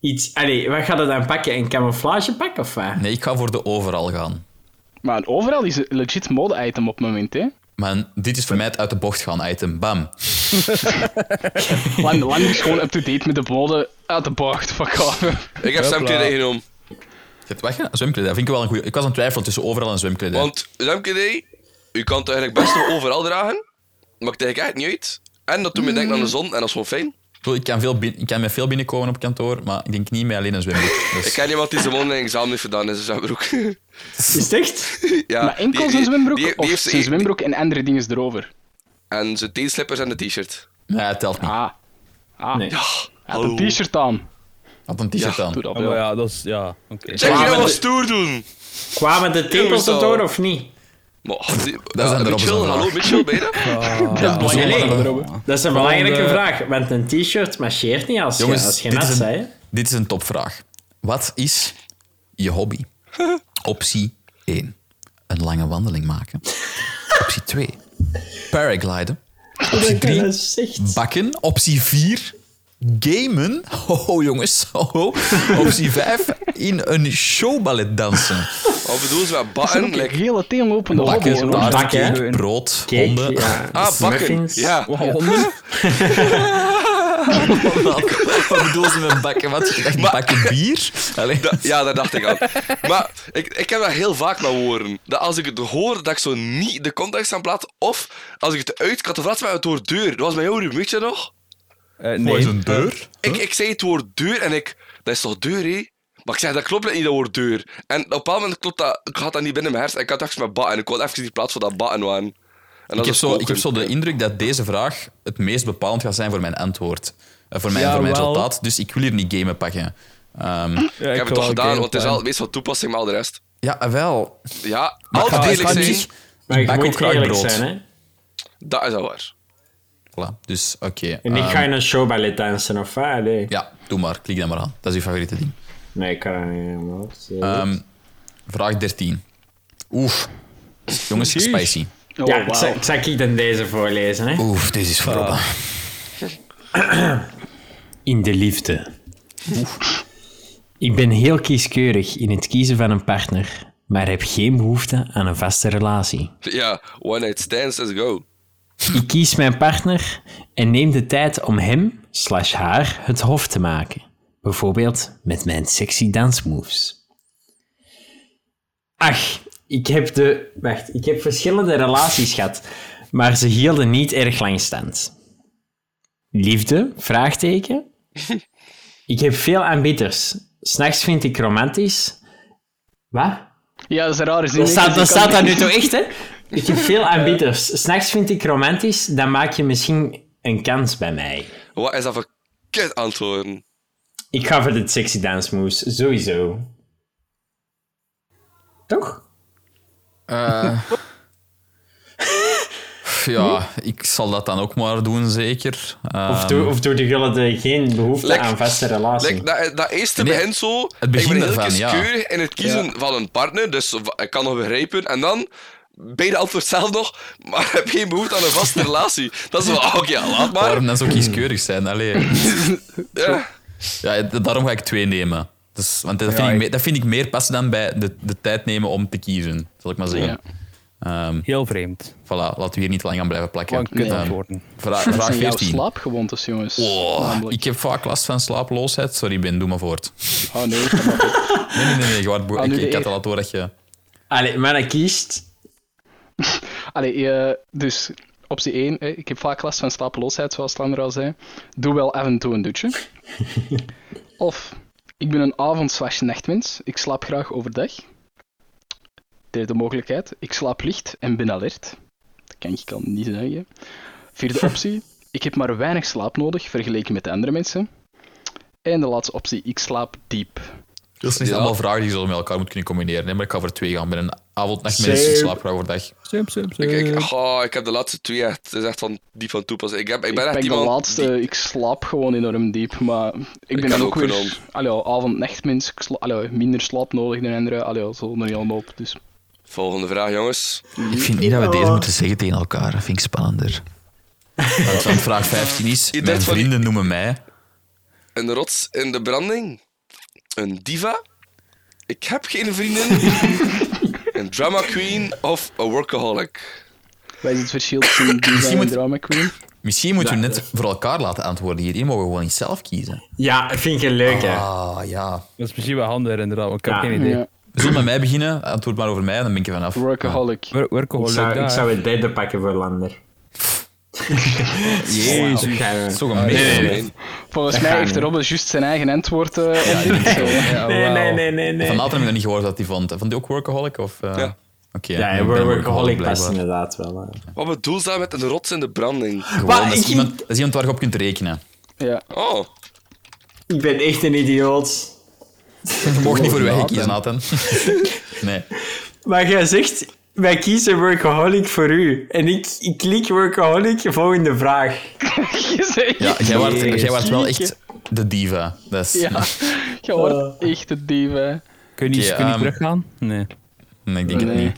iets... Allee, wat gaat het dan pakken? Een camouflagepak of wat? Nee, ik ga voor de overal gaan. Maar overal is een legit mode-item op het moment, hè. Man, dit is voor mij het uit de bocht gaan item. Bam. Lang, lang is gewoon up-to-date met de mode uit de bocht. Fuck off. Ik heb zwemkledij genomen. Het weg, hè? zwemkledij. Dat vind ik wel een goede. Ik was aan het twijfelen tussen overal en zwemkledij. Want zwemkledij, u kan het eigenlijk best nog overal dragen. Maakt eigenlijk echt niet uit. En dat doet me denken aan de zon en dat is gewoon fijn. Ik bedoel, Ik kan, veel bin- ik kan met veel binnenkomen op kantoor, maar ik denk niet met alleen een zwembroek. Dus- Ik ken iemand die zijn een examen heeft gedaan in zijn zwembroek. Is het echt? ja, Maar enkel die- zijn zwembroek die- die of heeft zijn zwembroek en andere dingen erover? En zijn teenslippers en een t-shirt. Nee, het telt niet. Ah. Ah. Nee. Hij had een Oh. t-shirt aan. Had een t-shirt Ja, aan. Doe dat Ja, Ah, maar wel. ja, dat is... Ja, oké. Check je maar dat wel de- stoer doen? Kwamen de tepels Jongens, erdoor al. of niet? Maar, oh, die- de ja, Robinson Mitchell, vraag. hallo Mitchell, ben je dat? Dat is nee, belangrijk. nee. Robin. Dat is een belangrijke Volgende- vraag, want een t-shirt marcheert niet als, Jongens, je, als je dit, nat is zei. een, dit is een topvraag. Wat is je hobby? Optie 1. Een lange wandeling maken. Optie 2. Paragliden. Optie 3. Bakken. Optie 4. Gamen. Ho, ho, jongens. Ho, ho. Optie 5. In een showballet Oh, dansen. Wat bedoel ze met Dat is bakken? ook een Like, hele teenlopende hobby. Bakken, hoor. taart, Bakken, hè? cake, brood, Cake, honden. ja. ah, bakken. Muffins. Ja. Honden? Wat bedoel ze met bakken? Wat? Echt bakken bier? Allee, Da- ja, daar dacht ik aan. Maar ik, ik heb dat heel vaak met woorden. Dat als ik het hoor, dat ik zo niet de context aan plaats. Of als ik het uit kan verplaatsen met het woord deur. Dat was mijn oude weet je nog? Eh, Wat nee. is een deur? Ik, ik zei het woord deur en ik... Dat is toch deur, hé? Maar ik zeg, dat klopt net niet, dat woord deur. En op een bepaald moment klopt dat... Ik had dat niet binnen mijn hersen. en Ik had echt met batten. Ik wilde even die plaats voor dat batten waren. En dat Ik heb, was zo, ik heb koken. zo de indruk dat deze vraag het meest bepalend gaat zijn voor mijn antwoord. Eh, voor mijn, Ja, voor mijn wel. resultaat. Dus ik wil hier niet gamen pakken. Ehm, Ja, Ik heb het toch wou gedaan, game want het is plan. al het meest van toepassing, maar al de rest. ja, eh, wel. Ja, altijd Ah, eerlijk het gaat zijn. niet. Maar je Bak op moet eerlijk kraakbrood. zijn, hè. Dat is al waar. Voilà, dus oké. En ik ehm, ga in een showballet dansen, of wat? Allee. Ja, doe maar. Klik dat maar aan. Dat is uw favoriete ding. Nee, ik kan dat niet. helemaal. Ehm, vraag 13. Oef. Jongens, spicy. Oh, ja, wauw. ik zal- ik zal ik dan deze voorlezen, hè. Oef, deze is voor Robben. In de liefde. Ik ben heel kieskeurig in het kiezen van een partner, maar heb geen behoefte aan een vaste relatie. Ja, one night stands, let's go. Ik kies mijn partner en neem de tijd om hem slash haar het hof te maken. Bijvoorbeeld met mijn sexy dansmoves. Ach, ik heb de... Wacht, ik heb verschillende relaties gehad, maar ze hielden niet erg lang stand. Liefde? Vraagteken. Ik heb veel aanbieders. S'nachts vind ik romantisch. Wat? Ja, dat is een rare zin. Dat hè. staat, Dus dat ik kan- staat daar nu toch echt, hè? Ik heb veel aanbieders. S'nachts vind ik romantisch, dan maak je misschien een kans bij mij. Wat is dat voor kut antwoorden? Ik ga voor dit sexy dance moves, sowieso. Toch? Ja, ik zal dat dan ook maar doen, zeker. Ehm, Of, doe, of doe de gullen er geen behoefte Lek- aan vaste relatie? Like, dat, dat eerste Nee, begint zo. begin ik ben heel ervan, ja. kieskeurig in het kiezen van een partner, dus v- ik kan nog begrijpen. En dan, beide antwoord zelf nog, maar ik heb geen behoefte aan een vaste relatie. Dat is wel, oké, ja, laat maar. Waarom dan zo kieskeurig zijn? Allee. Ja. Ja, d- daarom ga ik twee nemen. Dus, want dat vind, ik, me- dat vind ik meer passen dan bij de, de tijd nemen om te kiezen, zal ik maar zeggen. Ehm, Heel vreemd. voilà, laten we hier niet lang aan blijven plakken. Wat een kut Ehm, antwoorden. vra- Dat vraag zijn jouw 14. slaapgewoontes, jongens. Oh, Namelijk. ik heb vaak last van slaaploosheid. Sorry, Ben, doe maar voort. Oh nee, dat mag niet. Nee, nee, nee, nee, je wordt boe- Ah, nu ik, de ik had eer. al door dat je... Allee, maar dat kiest. Allee, eh, dus optie 1, eh, ik heb vaak last van slapeloosheid, zoals Sander al zei. Doe wel af en toe een dutje. of, ik ben een avond slash nachtmens, ik slaap graag overdag. Derde mogelijkheid, ik slaap licht en ben alert. Dat kan ik al niet zeggen. Vierde optie, ik heb maar weinig slaap nodig vergeleken met de andere mensen. En de laatste optie, ik slaap diep. Dat zijn Ja. allemaal vragen die je zo met elkaar moet kunnen combineren. hè, Maar ik ga voor twee gaan. Met een avondnacht met een Same. slaap overdag. Sim, sim, sim. Eh. Ik, oh. ik, goh, ik heb de laatste twee echt, het is echt van, die van toepassing. Ik, heb, ik ben ik echt pak de iemand laatste, die- ik slaap gewoon enorm diep, maar ik ben heb dan ook ook gedaan. weer allo, avond nachtmens, ik sla, allo, minder slaap nodig dan anderen, allo, zo nog niet allemaal op. Dus. Volgende vraag, jongens. Ik vind niet dat we deze moeten zeggen tegen elkaar. Dat vind ik spannender. Want want vraag 15 is... Je Mijn dacht van- vrienden noemen mij... Een rots in de branding. Een diva. Ik heb geen vrienden. een drama queen of een workaholic. Wat is het verschil tussen diva en moet- drama queen? Misschien moeten we net voor elkaar laten antwoorden hier. Hier mogen we gewoon niet zelf kiezen. Ja, vind ik een leuke. Ah, ja. Dat is misschien wel handig, inderdaad, want ik heb Ja. geen idee. Ja, Zullen met mij beginnen? Antwoord maar over mij en dan ben ik er vanaf. workaholic. Wer- Werken ik, wel leuk zou, ik daar. zou het derde pakken voor Lander. Jezus. Gaan we- Toch een beetje. nee, Mijn- Volgens Dat mij gaat heeft niet. Robbe juist zijn eigen antwoord eh, op dit. Ja, Nee, wauw. nee, nee, nee. nee. Van Nathan heb ik nog niet gehoord dat hij vond. Vond die ook workaholic? Of, eh, Ja. Oké. Ja, ik ja, ben workaholic past blijkbaar. inderdaad wel. hè. Wat bedoel je daar met een rots in de branding? Gewoon, Maar dat, is ik- iemand, dat is iemand waar je op kunt rekenen. Ja. Oh, Ik ben echt een idioot. Je mocht niet voor wij kiezen, Nathan. nee. Maar jij zegt, wij kiezen workaholic voor u. En ik, ik klik workaholic, volgende vraag. Je zei- Ja, jij wordt, jij wordt wel echt de diva. Dat is, Ja, je wordt echt de diva. Kun je niet, Oké, kun je niet ehm, teruggaan? Nee. Nee, ik denk het Nee. niet.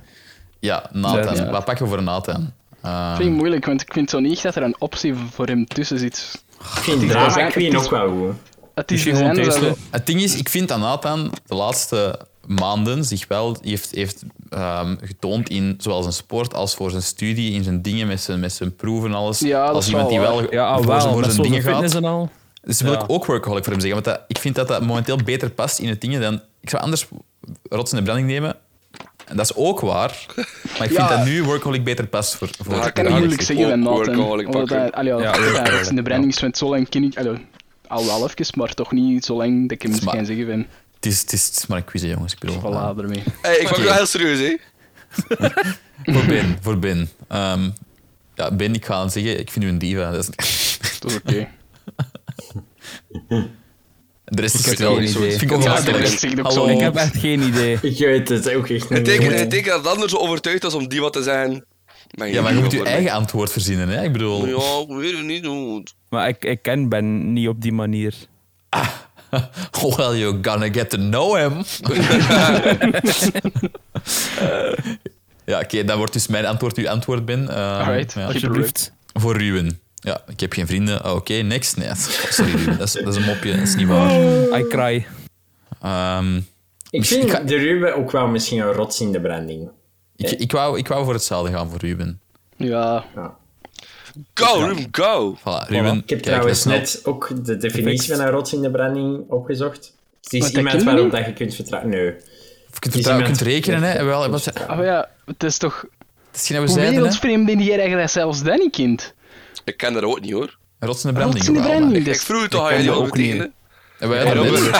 Ja, Nathan. Ja. Wat pakken we voor Nathan? Ehm, Vind ik moeilijk, want ik vind zo niet dat er een optie voor hem tussen zit. Ik vind drama drama queen queen ook ook wel goed. Het is Misschien iets gewoon anders tasteless. dan- Het ding is, ik vind dat Nathan de laatste maanden zich wel heeft, heeft ehm, getoond in zowel zijn sport als voor zijn studie, in zijn dingen met zijn, met zijn proeven en alles. Ja, dat als is iemand die wel wel waar. Ja, ah, voor, zijn, wel, voor met zijn zo'n dingen gaat. fitness en al. Dus wil Ja. ik ook workaholic voor hem zeggen. Want dat, ik vind dat dat momenteel beter past in het dingen dan... Ik zou anders rots in de branding nemen. En dat is ook waar. Maar ik Ja. vind dat nu workaholic beter past voor... voor Dat Dat kan ik Ja, moeilijk ik zeggen ook bij Maarten. workaholic Omdat pakken. hij- allee, ja, Ja, dat hij workaholic, rechts in de branding is, want zo lang ken ik... Allee, al wel even, maar toch niet zo lang dat ik hem Sma- kan zeggen ben. het, is, het, is, het is maar een quiz, hè, jongens. Ik bedoel, eh, Voilà, ermee. Hey, ik pak het wel heel serieus, hè? voor Ben. Voor ben. Ehm, ja, ben, ik ga hem zeggen, ik vind u een diva. Dat is, Dat is oké. de rest is heb wel- geen idee. Vind ik ook Ja, wel de rest makkelijk. zegt ook Hallo. zo. Ik heb echt geen idee. Ik weet het ook echt niet Het meer. teken, het teken dat het ander zo overtuigd was om die wat te zijn. Ja, maar je moet je eigen antwoord verzinnen. Hè? Ik bedoel... Ja, ik weet het niet hoe. het- Maar ik, ik ken Ben niet op die manier. Well, you're gonna get to know him. ja, oké, dat wordt dus mijn antwoord, uw antwoord, Ben. Eh, Alright. ja. Alsjeblieft. Voor Ruben. Ja, ik heb geen vrienden. Ah, oké, next. Nee, sorry, Ruben. Dat is, dat is een mopje, dat is niet waar. I cry. Ehm, Ik Ik ga- vind de Ruben ook wel misschien een rots in de branding. ik, ik, wou, ik wou voor hetzelfde gaan voor Ruben. Ja, Ja. Go, Ruben, go! Voilà, Ruben. Ik heb kijk, dat trouwens is nou- net ook de definitie Perfect. van een rots in de branding opgezocht. Het is Maar dat iemand kennen waarop we dat je kunt vertrouwen. Nee. Je kunt, vertrouwen, iemand- kunt rekenen, hè. Wel, wat, het Ah, maar ja, het is toch... is geen dat we Hoe zeiden, hè. wereldvreemd ben jij eigenlijk zelfs dat niet kind? Ik ken dat ook niet hoor. Rots in de branding. Rots in de jawel, branding, maar- Ik dus... vroeg het toch aan jullie dat al ook niet. meteen. En wij hadden Robin, net-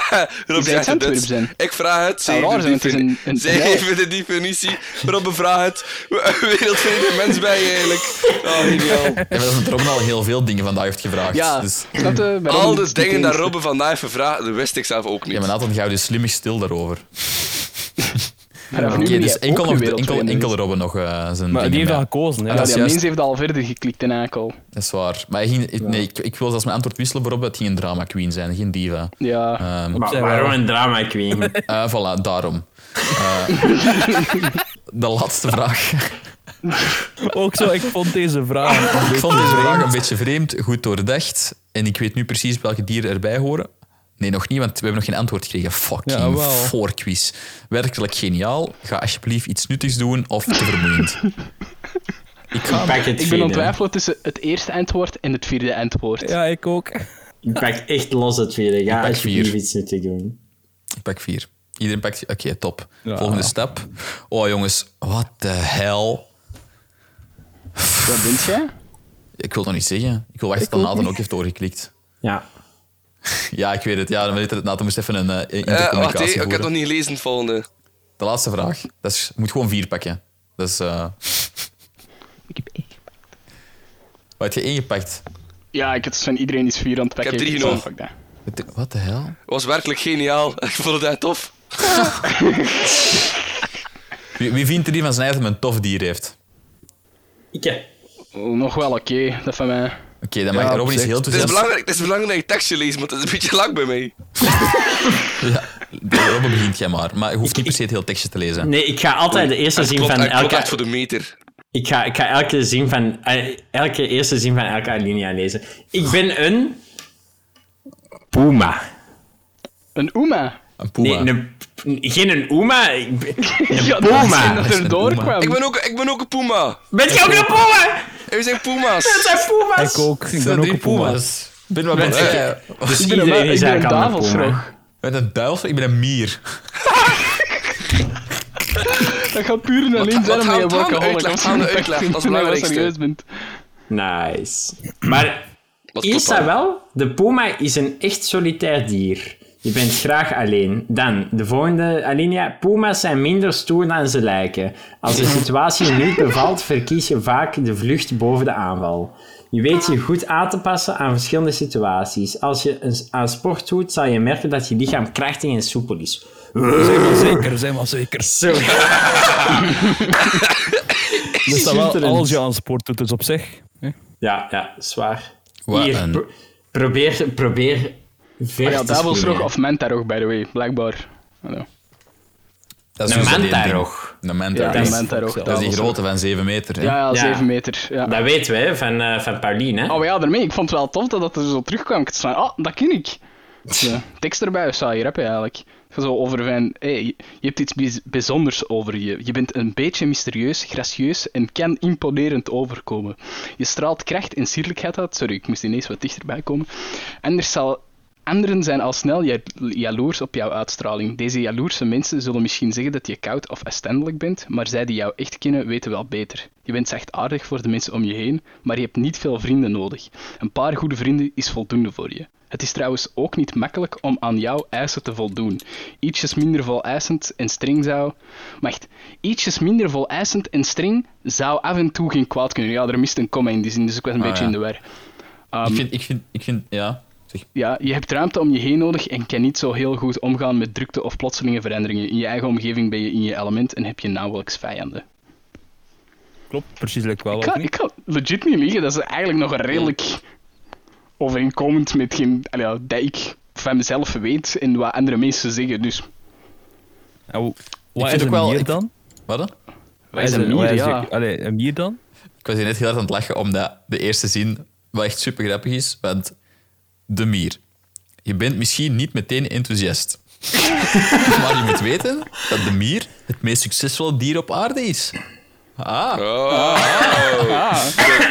Robin zei het zegt Antwerp het. zijn. Ik vraag het, zij zou raar heeft de zijn, want het is defini- een- een zij bril. heeft de definitie. Robin vraagt het. Wereldvreemde mens ben je eigenlijk. Oh, geniaal. Ja, maar dat is Robin al heel veel dingen vandaag heeft gevraagd. Ja, Dus, snap je? Bij Al Robin de is het niet dingen dat eens. Robin vandaag heeft gevraagd, dat wist ik zelf ook ja, maar niet. Nathan, gaan we dus slimmig stil daarover. Maar vanaf nu Oké, ben dus jij enkel, ook nog de- een enkel, wereldvreemde. enkel Robben nog eh, zijn Maar dingen die heeft bij. al gekozen. hè. Ja, dat is die juist. mens heeft al verder geklikt in Akel. Dat is waar. Maar hij ging, ik- nee, ik, ik wil zelfs mijn antwoord wisselen voor Robben. Het ging een drama queen zijn, geen diva. Ja. Ehm, Maar Zij waarom wel. een drama queen? eh, voilà, daarom. Eh, de laatste vraag. Ook zo, ik vond deze vraag. een Ik beetje vond deze vreemd. vraag een beetje vreemd, goed doordacht. En ik weet nu precies welke dieren erbij horen. Nee, nog niet, want we hebben nog geen antwoord gekregen. Ja, Fucking wel. voorquiz. Werkelijk geniaal. Ga alsjeblieft iets nuttigs doen of te vermoeiend. Ik ga... Pak het Ik ben vierde. ontwijfeld tussen het eerste antwoord en het vierde antwoord. Ja, ik ook. Ik pak echt los het vierde. Ga pak alsjeblieft vier. iets nuttig doen. Ik pak vier. Iedereen pakt... Oké, top. Ja. Volgende stap. Oh, jongens. What the hell? Wat vind jij? Ik wil het nog niet zeggen. Ik wil wachten tot Nathan ook heeft doorgeklikt. Ja. Ja, ik weet het. Ja, dan weet het. Nathan moest even een eh, Eh, intercommunicatie wacht, hé, ik heb voeren. het nog niet gelezen, het volgende. De laatste vraag. Dat is, je moet gewoon vier pakken. Dat is... eh Ik heb één. Wat heb je ingepakt? Ja, ik heb dus van iedereen iets vier aan het pakken. heb drie zo, genomen. fuck dat. Wat de hel? was werkelijk geniaal. Ik vond het echt tof. Wie, wie vindt er die van zijn item een tof dier heeft? Ik heb... Oh, Nog wel oké, dat van mij. Oké, dan mag Ja, op Robin is zich. heel Het is, enthousiast. belangrijk, het is belangrijk dat je tekstje leest, want het is een beetje lang bij mij. Ja, Robin begint jij maar. Maar je hoeft niet per se het heel tekstje te lezen. Nee, ik ga altijd de eerste zin Klopt, van en klopt echt elke... voor de meter. Ik ga, ik ga elke, zin van, eh, elke eerste zin van elke alinea lezen. Ik ben een... Puma. Een Uma. Een Nee, puma. een, geen een Uma. ik ben- Ja, Een dat is Puma. geen dat Dat is er een doorkwam. Uma. Ik ben ook, ik ben ook een puma. Ben je ook een Puma? En we zijn puma's. Dat zijn Puma's. Ik ook. Ik ben ook drie een puma. puma's. Ik ben wel Mensen, blij. Dus Ik ben een- iedereen is ik ben een eigenlijk aan de duivelsrok. Puma. Met een duivel? Ik ben een mier. Dat gaat puur en alleen Wat- wat zijn omdat je gaan we- gaan we workaholic uitleggen? bent. Gaan we uitleggen? Dat is het Nee, belangrijkste. serieus bent. Nice. Maar Wat Eerst dat klopt dan? wel, de puma is een echt solitair dier. Je bent graag alleen. Dan, de volgende alinea. Puma's zijn minder stoer dan ze lijken. Als de situatie je niet bevalt, verkies je vaak de vlucht boven de aanval. Je weet je goed aan te passen aan verschillende situaties. Als je eens aan sport doet, zal je merken dat je lichaam krachtig en soepel is. Zijn maar zeker, zijn maar zeker. Zo. Dus dat wel, Schitterend. als je aan sport doet, dus op zich. hè. Ja, ja, zwaar. Wat Hier, een- pro- probeer, probeer ver Ah te ja, springen. duivelsrok of mentarog, by the way. Blijkbaar. Hallo. Dat is Een dus dat één ding. mantarog. Een Ja, mantarog. een Dat is- mentarog. Dat is die duivelsrok. grote van 7 meter. hè? Ja, ja, Ja. 7 meter. Ja. Dat weten we hè, van, eh, van Pauline. Hè? Oh maar ja, daarmee. Ik vond het wel tof dat dat er zo terugkwam. Ik dacht van, ah, dat ken ik. Ja. Tekst erbij of saai rap eigenlijk. Zo over van, hey, je je hebt iets bijz- bijzonders over je. Je bent een beetje mysterieus, gracieus en kan imponerend overkomen. Je straalt kracht en sierlijkheid uit. Sorry, ik moest ineens wat dichterbij komen. Anders zal, anderen zijn al snel ja- jaloers op jouw uitstraling. Deze jaloerse mensen zullen misschien zeggen dat je koud of afstandelijk bent, maar zij die jou echt kennen weten wel beter. Je bent zachtaardig voor de mensen om je heen, maar je hebt niet veel vrienden nodig. Een paar goede vrienden is voldoende voor je. Het is trouwens ook niet makkelijk om aan jouw eisen te voldoen. Ietsjes minder voleisend en streng zou. Wacht, ietsjes minder voleisend en streng zou af en toe geen kwaad kunnen. Ja, er mist een comma in die zin, dus ik was een Ah, beetje ja. in de war. Ehm, ik, vind, ik, vind, ik vind, ja. Zeg, ja, je hebt ruimte om je heen nodig en kan niet zo heel goed omgaan met drukte of plotselinge veranderingen. In je eigen omgeving ben je in je element en heb je nauwelijks vijanden. Klopt, precies like wel. Ik of kan, niet? ik kan legit niet liegen, dat is eigenlijk nog redelijk overeenkomend met geen, allee, ja, dat ik van mezelf weet en wat andere mensen zeggen. Dus En Nou, hoe- vind Wat is ook een wel- mier ik- dan? wat dan? wij zijn een- hier, is ja. een- Allee, een mier dan? Ik was hier net heel hard aan het lachen, omdat de eerste zin wel echt super grappig is. Want de mier. Je bent misschien niet meteen enthousiast. maar je moet weten dat de mier het meest succesvolle dier op aarde is. Ah, Oh, De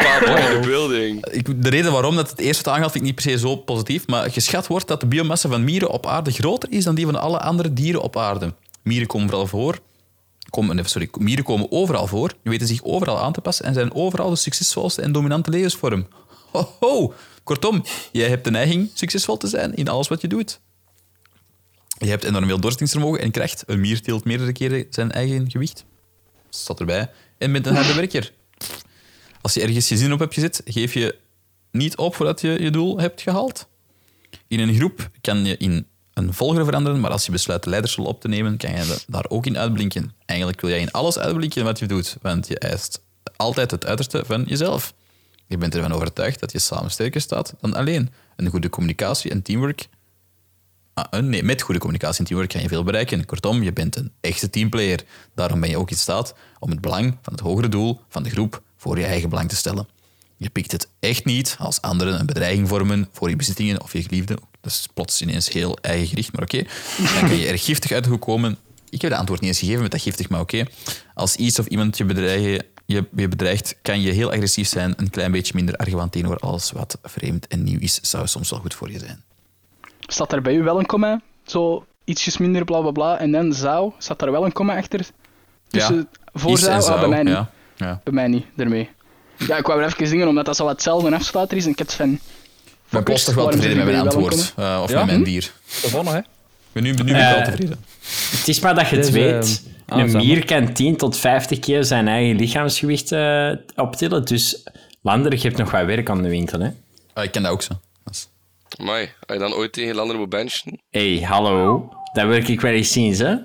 papa Oh. in de building. ik, de reden waarom dat het eerst wordt aangehaald vind ik niet per se zo positief, maar geschat wordt dat de biomassa van mieren op aarde groter is dan die van alle andere dieren op aarde. Mieren komen vooral voor. Komen, nee, sorry, mieren komen overal voor, die weten zich overal aan te passen en zijn overal de succesvolste en dominante levensvorm. Ho, ho. Kortom, jij hebt de neiging succesvol te zijn in alles wat je doet. Je hebt enorm veel doorzettingsvermogen en kracht. Een mier tilt meerdere keren zijn eigen gewicht. Staat erbij. En bent een harde werker. Als je ergens je zin op hebt gezet, geef je niet op voordat je je doel hebt gehaald. In een groep kan je in een volger veranderen, maar als je besluit de leidersrol op te nemen, kan je da- daar ook in uitblinken. Eigenlijk wil jij in alles uitblinken wat je doet, want je eist altijd het uiterste van jezelf. Je bent ervan overtuigd dat je samen sterker staat dan alleen. Een goede communicatie en teamwork. Ah, eh, nee, met goede communicatie en teamwork kan je veel bereiken. Kortom, je bent een echte teamplayer. Daarom ben je ook in staat om het belang van het hogere doel van de groep voor je eigen belang te stellen. Je pikt het echt niet als anderen een bedreiging vormen voor je bezittingen of je geliefden. Dat is plots ineens heel eigen gericht, maar oké. Dan kun je er giftig uit de hoek komen. Ik heb de antwoord niet eens gegeven met dat giftig, maar oké. Als iets of iemand je, bedreigen, je, je bedreigt, kan je heel agressief zijn. Een klein beetje minder argwaan tegenover alles wat vreemd en nieuw is, zou soms wel goed voor je zijn. Staat daar bij u wel een comma? Zo ietsjes minder bla bla bla. En dan zou, staat daar wel een comma achter? Tussen voor Is en zou, ah, bij mij niet. Ja. Ja. Bij mij niet, daarmee. Ja, ik wou er even zingen omdat dat zo wat hetzelfde afsluiter is en ik heb van... Ik ben plots toch wel Waarom tevreden met zitten mijn jullie wel antwoord. eh, of met mijn dier. Gewonnen, hè? Ik ben nu, nu ben ik wel Eh, tevreden. Het is maar dat je het Dus, weet. ehm, een ah, mier kan 10 tot 50 keer zijn eigen lichaamsgewicht eh, optillen. Dus Lander geeft nog wat werk aan de winkel. Hè? Ah, ik ken dat ook zo. Dat is- Mai, als je dan ooit tegen Lander moet benchen? hey, hallo. Dat wil ik wel eens zien, hè?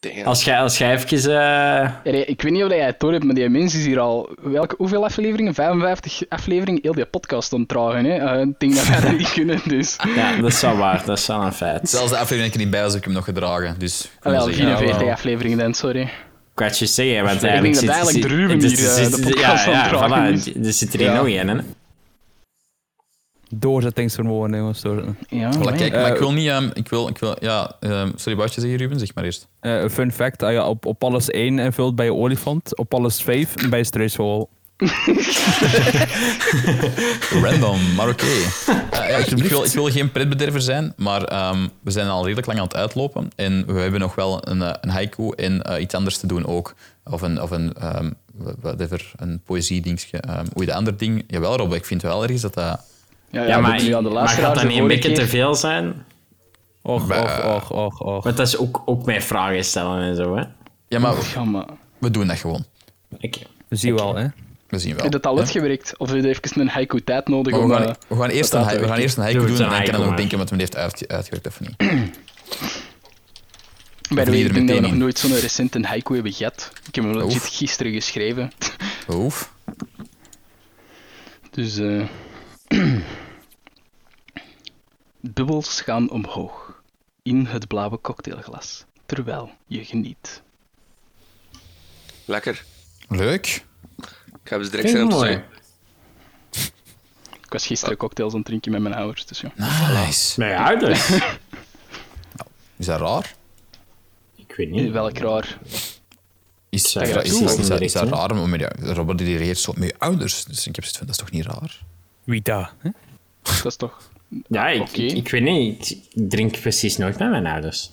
Damn. Als jij als jij even... eh, Ja, nee, ik weet niet of jij het door hebt, maar die mens is hier al... Welke, hoeveel afleveringen? 55 afleveringen? Heel die podcast ontdragen, hè. Eh, ik denk dat wij dat niet kunnen, dus... Ja, dat is wel waar. Dat is wel een feit. Zelfs de aflevering heb ik niet bij als ik hem nog gedragen. Dus ik kan Ah, wel, zeggen, ja, 44 wel. afleveringen dan, sorry. Ik wou het je zeggen, want denk eigenlijk... dat zit- eigenlijk zit- Ruben dus- hier, dus- eh, de dus- podcast aan Ja, het ja, dragen is. voilà. Er zit er hier nog één, hè? Doorzettingsvermogen, hè, jongens. doorzetten. Ja, Voilà, maar- kijk, maar ik wil niet... ehm, ik wil, ik wil, ja, ehm, sorry, wou je zeggen, Ruben? Zeg maar eerst. Eh, een fun fact, als je op, op alles 1 invult bij je olifant, op alles 5 bij je struisvogel. Random, maar oké. Eh, ja, ik, ik wil, ik wil geen pretbederver zijn, maar ehm, we zijn al redelijk lang aan het uitlopen. En we hebben nog wel een, eh, een haiku en eh, iets anders te doen ook. Of een, of een ehm, whatever, een poëzie-dingetje. ehm hoe je de ander ding... Jawel, Rob, ik vind wel ergens dat dat... ja, Ja, goed, maar, ja, de maar laatste gaat dat raar, de niet een vorige beetje te keer- veel zijn? Och, och, Bah. och, och, och. Want dat is ook, ook mijn vragen stellen en zo, hè? Ja, maar Ja, maar... we doen dat gewoon. Oké. Zie je wel, hè. We zien wel. Heb je dat al Ja. Oh, uitgewerkt? Of heb je even een haiku tijd nodig Maar om... we, gaan, e- eh, we, gaan eerst een, dat hai- we gaan uit- eerst een haiku Doe doen het en een dan kan haiku, ik nog maar. denken wat men heeft uitge- uitgewerkt of niet. Bij Vlieg de way, er ik denk dat we meteen nog in. nooit zo'n recente haiku hebben gehad. Ik heb hem legit Oef. gisteren geschreven. Oef. Dus eh bubbels gaan omhoog in het blauwe cocktailglas terwijl je geniet. Lekker. Leuk. Ik heb ze direct Vind zin ik om te mooi. zeggen. Ik was gisteren cocktails aan het drinken met mijn ouders. Dus ja. Ah. Nice. Mijn ouders? Is dat raar? ik weet niet. Welk raar. Is, Zeg, is- dat is- doe is- ik is dat, direct, is dat hè? raar? Maar met jou- Robert die reageert zo met je ouders. Dus ik heb zoiets van, dat is toch niet raar? Wie dat? hè? Dat is toch... Ja, ik, Oké. ik, ik weet niet. Ik drink precies nooit met mijn ouders.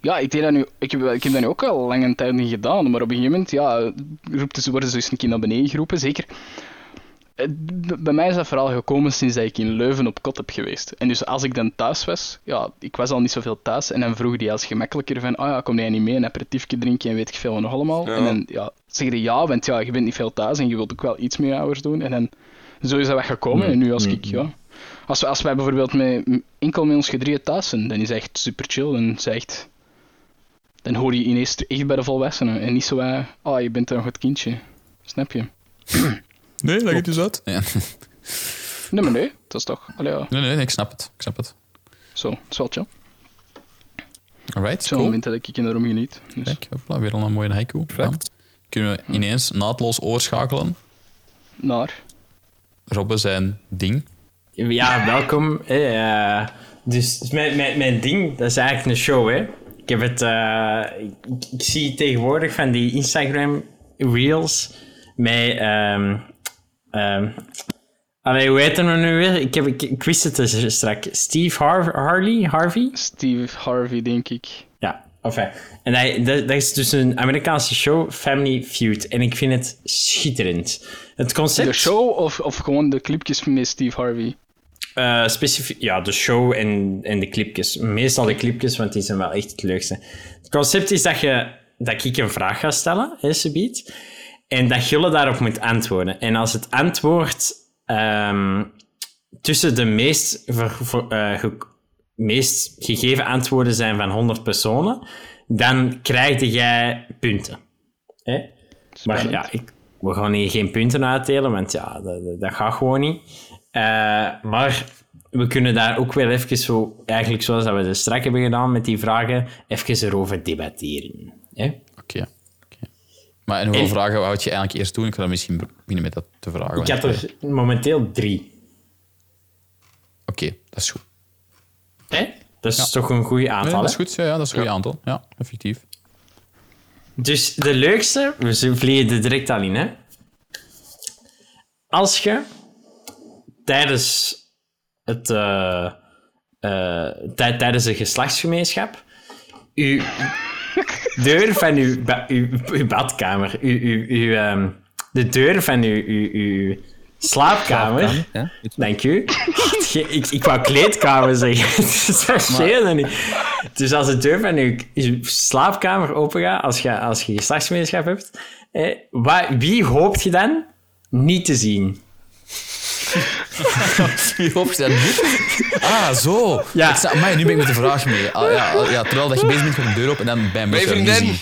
Ja, ik, deed dat nu, ik, heb, ik heb dat nu ook al lange tijd niet gedaan, maar op een gegeven moment ja, roept ze, worden ze eens een keer naar beneden geroepen, zeker. Eh, b- Bij mij is dat vooral gekomen sinds dat ik in Leuven op kot heb geweest. En dus als ik dan thuis was, ja, ik was al niet zoveel thuis, en dan vroeg die als gemakkelijker van, oh ja, kom jij niet mee, een aperitiefje drinken en weet ik veel wat nog allemaal. Ja. En dan ja, zeggen die ja, want ja, je bent niet veel thuis en je wilt ook wel iets meer ouders doen. En dan, zo is dat wat gekomen, en nu als ik, ja... Als, we, als wij bijvoorbeeld met, enkel met ons gedrieën thuis zijn, dan is het echt super chill, dan is het echt dan hoor je ineens echt bij de volwassenen. En niet zo, eh, ah, je bent nog het kindje. Snap je? Nee, leg het dus uit. Ja. Nee, maar nee, dat is toch. Allee, ja. Nee, nee, nee, ik snap het. Ik snap het. Zo, het is wel chill. Alright, Zo'n cool. moment dat ik enorm geniet. Dus. Hm. Kijk, hopla, weer al een mooie haiku. Perfect. Ja. Kunnen we ineens naadloos oorschakelen. Naar. Robben zijn ding. Ja, welkom. Eh, eh, dus mijn, mijn, mijn ding, dat is eigenlijk een show, hè. Ik heb het... eh, ik, ik zie tegenwoordig van die Instagram reels met... ehm ehm allee, hoe heet hem nou nu weer? Ik, heb, ik, ik wist het dus straks. Steve Har- Harley? Harvey? Steve Harvey, denk ik. Ja, enfin. En hij, dat, dat is dus een Amerikaanse show, Family Feud. En ik vind het schitterend. Het concept... De show of, of gewoon de clipjes met Steve Harvey? Eh, specifiek, ja, de show en, en de clipjes. Meestal de clipjes, want die zijn wel echt het leukste. Het concept is dat, je, dat ik een vraag ga stellen, hè, subiet. En dat Gulle daarop moet antwoorden. En als het antwoord ehm, tussen de meest, ver- ver- eh, ge- meest gegeven antwoorden zijn van 100 personen, dan krijg jij punten. Hè? Maar Spannend. ja, ik, we gaan hier geen punten uitdelen, want ja, dat, dat, dat gaat gewoon niet. Eh, maar we kunnen daar ook wel even zo, eigenlijk zoals dat we de strak hebben gedaan met die vragen, even erover debatteren. Hè? Oké. oké. Maar en hoeveel En- vragen wou je eigenlijk eerst doen? Ik kan dan misschien beginnen met dat te vragen. Ik had er momenteel drie. Oké, dat is goed. Ah, Hè? Dat is toch een goed aantal. Nee, dat is hè? goed. Ja, ja, dat is een goed aantal. Ja, effectief. Dus de leukste, we z- vliegen er direct al in, hè. Als je tijdens, het, eh, eh, tij- tijdens de geslachtsgemeenschap uw deur van uw, ba- uw, uw badkamer, uw, uw, uw, ehm, de deur van uw, uw, uw slaapkamer, Ja? Dank u. Ge- ik, ik wou kleedkamer zeggen. Dat scheelde niet. Dus als de deur van je je slaapkamer opengaat, als je, als je geslachtsgemeenschap hebt, eh, wa- wie hoopt je dan niet te zien? Opgezet. Ah, zo. Ja. Ja. Ik snap, amai, nu ben ik met de vraag mee. Ah, ja, ah, ja, terwijl dat je bezig bent, gaat de deur op en dan bij een Mijn bus vriendin.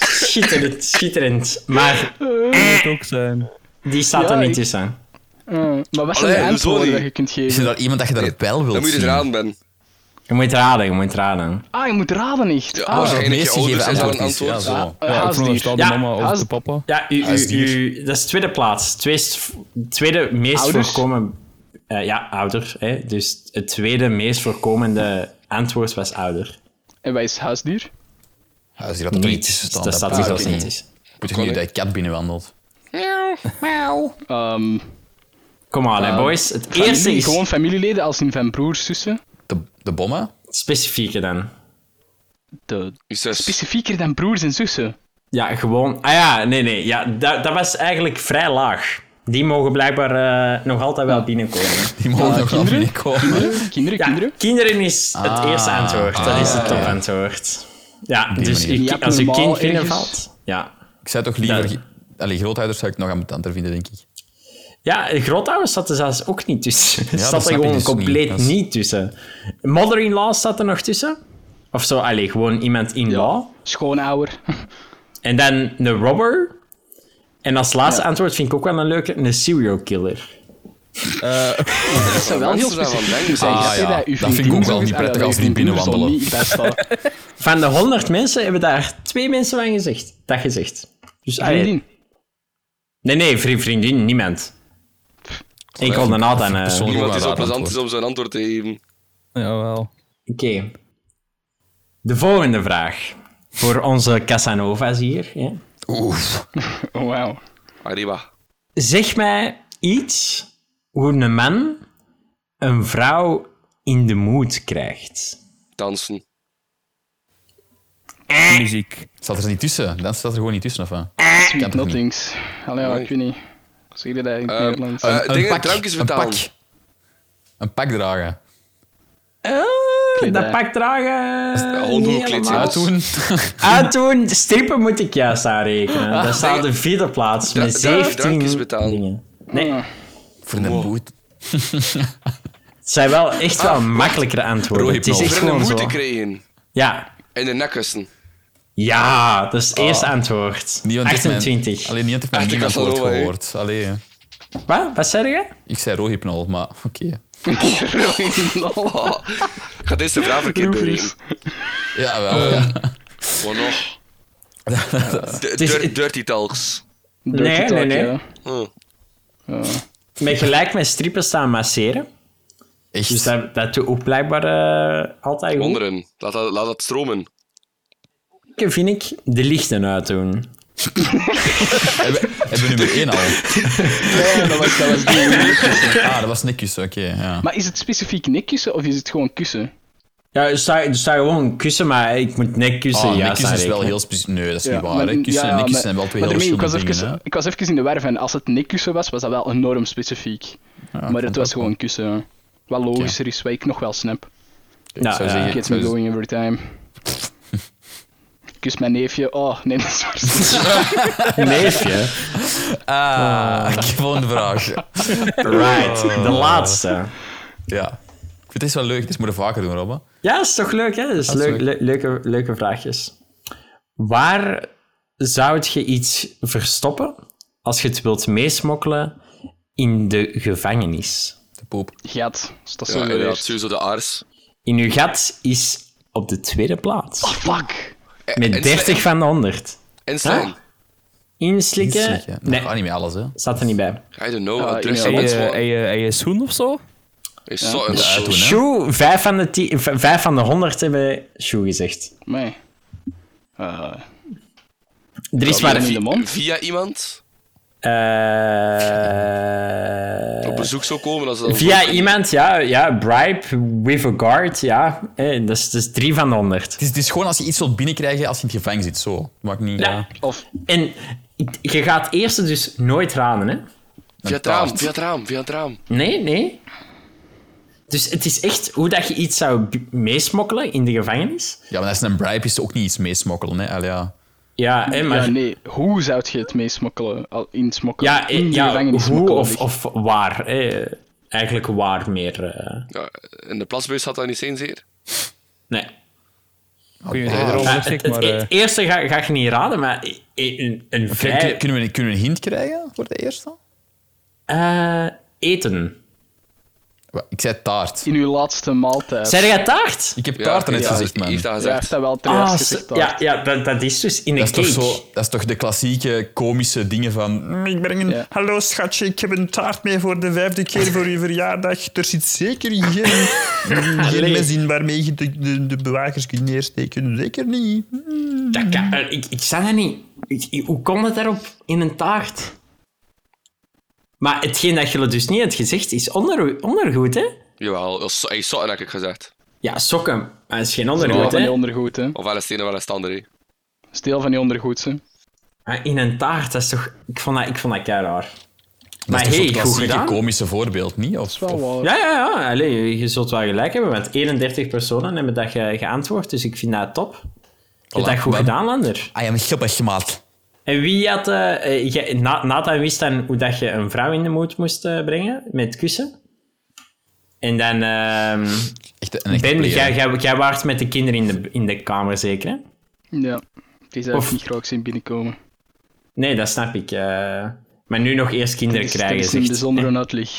Schitterend, schitterend. Maar Dat ook zijn. die staat Ja, er niet ik- tussen. Eh, maar wat zijn Allee, hoezo de antwoorden niet? dat je kunt Is er geven? daar iemand dat je daar wel wilt Dan moet je zien? Ah, er aan ben. Je moet raden, je moet raden. Ah, je moet raden echt. Ja, ah, als je het enige meeste ouders geven is al een antwoord antwoord. is, ja, zo. Ah. eh, Ja, ik vond huisdier. dat de Ja, mama of haas- de papa. Ja, u, u, is duur. u- dat is tweede plaats. Twee, tweede meest Ouders? voorkomen... eh, ja, ouder. Hè? Dus het tweede meest voorkomende antwoord was ouder. En wij is huisdier? Ah, is hier dat er niet tussen staan? Dus Dat staat er ah, zelfs oké. niet tussen. Moet je nu dat je kat binnenwandelt? Ehm, Kom aan, Ehm, hè, boys. Het familie, eerste is Gewoon familieleden als in van broers, zussen. De, de bommen? het specifieke dan. De, Is zes. specifieker dan broers en zussen. Ja, gewoon... Ah ja, nee, nee. Ja, dat, dat was eigenlijk vrij laag. Die mogen blijkbaar eh, nog altijd wel binnenkomen. Die mogen nog wel kinderen? binnenkomen. Kinderen, Ja, kinderen. kinderen is het Ah, eerste antwoord. Dat is het topantwoord. Ja, dus manier. uw Je ki- hebt als uw normaal kind ergens- binnenvalt... Ja. Ik zou toch liever... Ja. Allee, grootouders zou ik nog ambetanter vinden, denk ik. Ja, de grootouders zat er zelfs ook niet tussen. Er dat zat er snap ik gewoon dus compleet niet. niet. Dat is- tussen. Mother-in-law staat er nog tussen. Of zo, allee, gewoon iemand in law. Schoonouder. En dan de robber. En als laatste antwoord vind ik ook wel een leuke, een serial killer. Dat zijn wel heel mensen daarvan specifiek. denken, zijn. zeg. Gaat Ah, ja. hij uw Dat vind vriendin ik ook zo wel niet gezegd- prettig Ah, als ja, die uw vriendin binnenwandelen. moest er niet bij staan. Van de 100 mensen hebben daar twee mensen van gezegd. Dat gezegd. Dus allee, Vriendin. Nee, nee, vri- vriendin, niemand. Enkel de naad aan. eh, Persoonlijk. Niemand die Een zo raar plezant is antwoord. om zijn antwoord te geven. Jawel. Oké. De volgende vraag. Voor onze Casanova's hier. Ja. Oh, wauw. Arriba. Zeg mij iets hoe een man een vrouw in de moed krijgt. Dansen. Muziek. Staat er niet tussen? Dan staat er gewoon niet tussen, of wat? Sweet toch niet? nothings. Allee, ja, Nee. ik weet niet. Hoe zeg je dat in het Ehm, Nederlands? eh, dingen, pak, drankjes een betalen. pak. Een pak dragen. Oh, Eh, Oké, dat daar. pak Ja, dragen. hondhoek niet kleedt helemaal. zich Uit doen. Uitdoen, strippen moet ik juist Ah. aanrekenen. Dat staat op de vierde plaats Dra- met dra- 17 drankjes betalen. Ah. dingen. Nee, Voor een boot. het zijn wel echt Ah. wel makkelijkere antwoorden. Rode Het is knol. echt Voor een gewoon zo. moeite krijgen. Ja. In de nek kussen. ja, dat Ah. is het eerste antwoord. Niemand heeft mijn- 28. Alleen niemand heeft mijn Echt, ik nieuwe was al antwoord over, hè. gehoord. Allee, hè. Wat? Wat zei je? ik zei rohypnol, maar oké. Oh. Ik ga deze vraag verkeerd berekenen. Ja, Eh, wel. ja. Wat nog? D- is- dir- Dirty Talks. Nee, nee, nee. Hm. Met gelijk met strippen staan masseren. Echt. Dus dat, dat doe ik blijkbaar eh, altijd goed. Wonderen. Laat dat, laat dat stromen. Ik vind ik de lichten uitdoen. Hebben hebben we nummer 1 al? dat was, dat was die. Ah, dat was Nikus, oké. ja. Maar is het specifiek nek kussen of is het gewoon kussen? Ja, dus er staat, er staat gewoon kussen, maar ik moet net kussen. Ah, ja, Nikus is aanrekenen. wel heel specifiek. Nee, dat is niet waar. maar- hè. Kussen en ja, Nikus maar- zijn wel twee maar heel daarmee, ik was verschillende dingen. even- hè. Ik was even in de war van als het nekkussen was, was dat wel enorm specifiek. maar het dat was ook gewoon kussen. ja. Wat logischer is, wat ik nog wel snap. Ja, zou Nou, ja. zeggen- Gets me dus- going every time. Kus mijn neefje. Oh, nee, dat is waar. Neefje. Ah, oké, volgende vraag. Right, de laatste. Ja. Ik vind het wel leuk, dit moeten we vaker doen, Robbe. Ja, is toch leuk, hè? Dat is leuk, leuk. le- leuke, leuke vraagjes. Waar zou je iets verstoppen als je het wilt meesmokkelen in de gevangenis? De poep. Gat. Dus dat is Ja, zo ja, weer. sowieso de aars. In uw gat is op de tweede plaats. Fuck. Met en 30 van de 100. En slaan. Inslikken? Ziek, hè. Dat eh, Nee, gaat niet met alles, hè. staat er niet bij. I don't know. Ah, wat drugs ja. en Heb iets, je- wat- heb je- heb je schoen of zo? is zo een Ja, doen, hè. Shoe, 5 van de, 10 v- vijf van de 100 hebben shoe gezegd. Nee. Eh, Er is Ja, maar in een. de mond. Via iemand eh, Eh. op bezoek zou komen. Als dat via iemand, ja, ja, bribe, with a guard, ja. Eh, dat, is, dat is 3 van de 100. Het is, het is gewoon als je iets wilt binnenkrijgen als je in het gevangen zit, zo. Maakt niet... Ja. Of En ik- je gaat het eerste dus nooit raden, hè? Via het raam, via het raam, via het raam. Nee, nee. Dus het is echt hoe dat je iets zou b- meesmokkelen in de gevangenis. Ja, maar dat is een bribe, is ook niet iets meesmokkelen, hè. Allee, ja. Ja, hè, maar Ja, nee. Hoe zou je het meesmokkelen? Al insmokkelen? Ja, eh, in de ja gevangenis hoe mokkelen, of, zeg. of waar? eh, eigenlijk waar meer. eh, Ja, in de plasbus had dat niet eens zeer. nee. Ik weet niet of je erover niks Maar het, zegt, het maar... e- eh, eerste ga, ga je niet raden, maar i- i- een, een Kun- vrij... Kunnen, we, kunnen we een hint krijgen voor de eerste? eh, eten. Wa- Ik zei taart. In uw laatste maaltijd. Zijn jij taart? Ik heb Ja, taart net ja, gezegd, hij man. Heeft dat Ja, hij gezegd. heeft dat wel ter Ah, eerste s- gezegd. ja, ja dat, dat is dus in een Dat is, toch cake. zo, dat is toch de klassieke komische dingen van... "Mm, Ik breng een... Ja. Hallo schatje, ik heb een taart mee voor de vijfde keer voor uw verjaardag. Er zit zeker geen, Ah, geen mes in waarmee je de, de, de bewakers kunt neersteken. Zeker niet. Dat kan- eh, ik, ik zei dat niet. Ik- ik- hoe kon het daarop in een taart? Maar hetgeen dat jullie dus niet hebt gezegd, is onder, ondergoed, hè? Jawel, dat is- hij is zot, heb ik gezegd. Ja, sokken. Maar dat is geen Deel ondergoed, van die hè? ondergoed, hè. Of wel een steen of wel een stander. hè. Steel van die ondergoed, hè. Maar in een taart, dat is toch... Ik vond dat, ik vond dat raar. Maar Dat is toch hey, zo'n goed klassieke gedaan. komische voorbeeld, niet? Of, Dat is of- wel waar. Ja, ja, ja. Allee, je zult wel gelijk hebben, want 31 personen hebben dat ge- geantwoord, dus ik vind dat top. Je hebt Voilà, dat goed maar- gedaan, Lander. I am grappig, maat. En wie had... eh, eh, jij- Na- Nathan wist dan hoe dat je een vrouw in de moed moest eh, brengen, met kussen. En dan... ehm, Echt een echte ben, player. jij, jij, jij waart met de kinderen in de, in de kamer, zeker, hè? Ja. Die zou Of- ik niet graag zien binnenkomen. Nee, dat snap ik. eh. maar nu nog eerst kinderen Dus krijgen, dat is een zegt... bijzondere uitleg.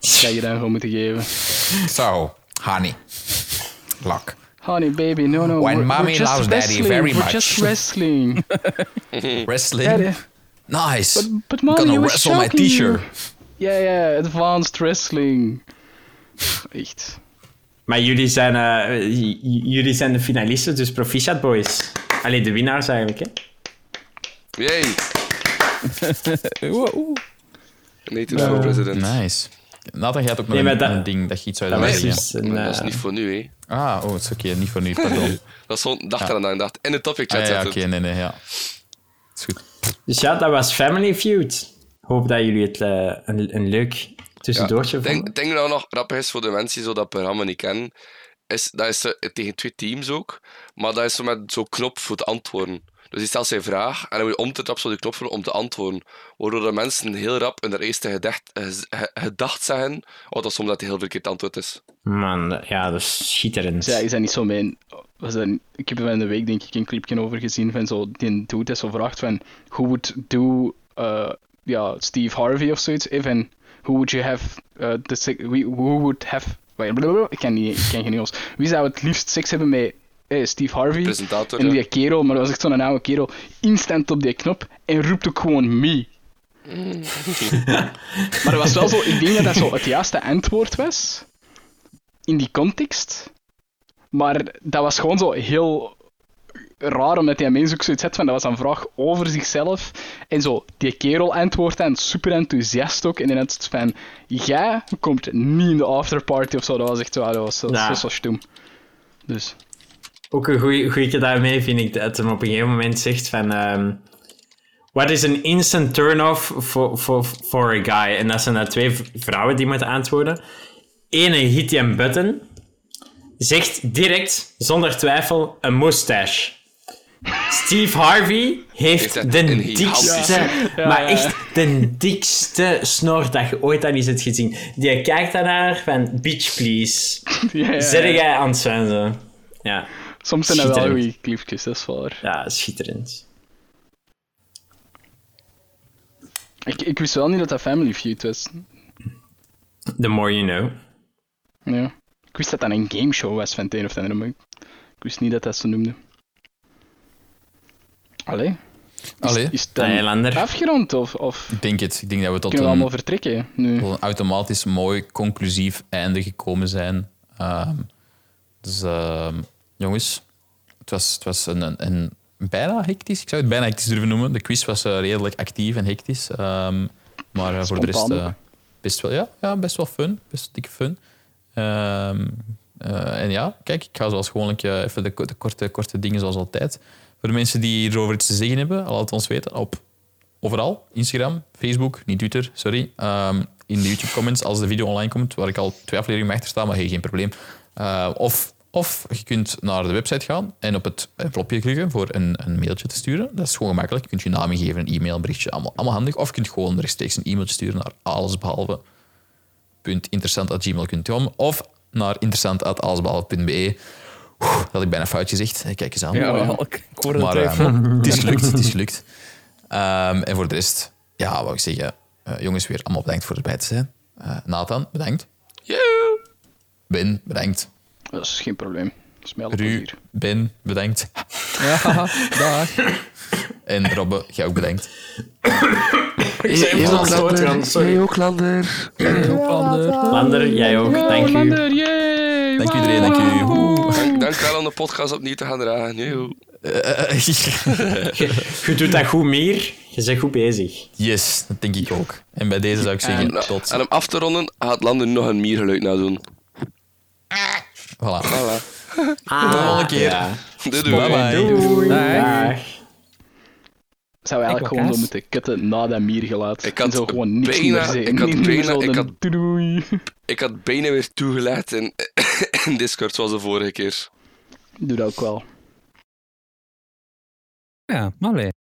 Krijg je daarvoor moeten geven. Zo, honey. Lak. Honey, baby, no, no. When we're, mommy we're just loves daddy wrestling. very we're much. just wrestling. Wrestling. Daddy, Nice. But- but I'm mommy, gonna you were wrestle my choking teacher. Ja, ja, advanced wrestling. Echt. Maar jullie zijn, eh, j- j- jullie zijn de finalisten, dus proficiat, boys. Allee, de winnaars eigenlijk, hè? Yay! Oeh, oeh. Native Nou. for president. Nice. Nathan, jij had ook nog Nee, maar een, dat- een ding dat je iets zou Dat willen was zeggen. dus een... Dat is Nou. eh, niet voor nu, hè. Ah, oh, het is oké. Niet voor nu, pardon. Dat stond, dacht eraan dat ik dacht. In de topic chat Ah, ja, zetten. oké. nee, nee, ja. Is goed. Dus ja, dat was Family Feud. Hoop dat jullie het eh, een, een leuk tussendoortje Ik vonden. denk, denk dat nog grappig is voor de mensen die zo dat programma niet kennen. Is, dat is eh, tegen twee teams ook, maar dat is zo met zo'n knop voor het antwoorden. Dus die stelt zijn vraag en dan moet je om te trap zo die knop vullen om te antwoorden. Waardoor de mensen heel rap hun eerste gedacht, eh, gez- ge- gedacht zeggen, of dat soms dat het heel verkeerd antwoord is. Man, dat- ja, dat is schitterend. Ja, is dat niet zo mijn... Was dat, ik heb er van de week denk ik een clipje over gezien van zo... Die dude dat zo vraagt van... Who would do... eh, ja, Steve Harvey of zoiets. Even, who would you have... eh, the sec- we- who would have... Wait, blablabla, ik kan, niet, ik kan geen Engels. Wie zou het liefst seks hebben met eh, Steve Harvey? Presentator, En ja. die kerel, maar dat was echt zo'n oude kerel. Instant op die knop en roept ook gewoon me. maar dat was wel zo... Ik denk dat dat zo het juiste antwoord was. In die context. Maar dat was gewoon zo heel raar, omdat die mens ook zoiets had van, dat was een vraag over zichzelf. En zo, die kerel antwoordt en super enthousiast ook. En dan had het van, jij komt niet in de afterparty of zo. Dat was echt zo, ah, dat was zo, Ja. zo, zo stom. Dus, Ook een goeie, goeie daarmee vind ik dat hem op een gegeven moment zegt van... ehm What is an instant turn-off for, for, for a guy? En dat zijn dan twee v- vrouwen die moeten antwoorden. Ene hit die een button. Zegt direct, zonder twijfel, een mustache. Steve Harvey heeft dat de een dikste, maar echt de dikste snor dat je ooit aan iets hebt gezien. Die kijkt daarnaar van, bitch please. ja, ja, Zet ja. jij aan het zijn, zo. Ja. soms zijn dat wel Schitterend. goede clipjes, dat is waar. Ja, schitterend. Ik, ik wist wel niet dat dat Family Feud was. The more you know. Ja. Ik wist dat dat een gameshow was van het een of het andere, maar ik ik wist niet dat dat ze noemde. Allee, Allee, is het De dan eilander. afgerond of, of ik denk het. Ik denk dat we tot kunnen we een, allemaal vertrekken nu? tot een automatisch mooi conclusief einde gekomen zijn. Ehm, dus ehm, jongens, het was, het was een, een, een bijna hectisch. Ik zou het bijna hectisch durven noemen. De quiz was eh, redelijk actief en hectisch. Ehm, maar eh, voor de rest Spontaan eh, best, wel, ja, ja, best wel fun. Best dikke fun. Ehm, eh, en ja, kijk, ik ga zoals gewoonlijk eh, even de, ko- de korte, korte dingen zoals altijd. Voor de mensen die hierover iets te zeggen hebben, laat het ons weten op overal. Instagram, Facebook, niet Twitter, sorry. Ehm, in de YouTube comments als de video online komt, waar ik al twee afleveringen mee achter sta, maar hey, geen probleem. Eh, of, of je kunt naar de website gaan en op het envelopje klikken voor een, een mailtje te sturen. Dat is gewoon gemakkelijk. Je kunt je naam geven, een e-mail, een berichtje, allemaal, allemaal handig. Of je kunt gewoon rechtstreeks een e-mailtje sturen naar allesbehalve interessant.gmail.com of naar interessant.allesbehalve.be. Oeh, Dat had ik bijna fout gezegd. Kijk eens aan. Ja, wel, ik ik hoorde het Maar terug. ehm, het is gelukt, het is gelukt. Ehm, en voor de rest, ja, wou ik zeggen, eh, jongens, weer allemaal bedankt voor erbij te zijn. Eh, Nathan, bedankt. Ben, bedankt. Dat is geen probleem. Dat is mij al op Ru, hier. Ben, bedankt. Ja, dag. En Robbe, jij ook bedankt. Lander, jij ook. Dank u. Lander, yay! Dank u iedereen, dank u. Dank, dank wel om de podcast opnieuw te gaan dragen. Joehoe. Je doet dat goed, Mier. Je bent goed bezig. Yes, dat denk ik ook. En bij deze zou ik zeggen, Nou, tot. En om af te ronden gaat Landen nog een miergeluid nadoen. Voilà. Ah, volgende keer. Ja. Doei doei. Bye bye. Doei. Dag. Dag. Zou Ik eigenlijk wil gewoon zo kaas. moeten kutten na dat miergeluid. Ik had en zo gewoon niks bijna- meer zeggen. ik had Niet meer bijna- zo ik een had- doei. Ik had bijna weer toegelaten in, in Discord zoals de vorige keer. Doe dat ook wel. Ja, maar allee.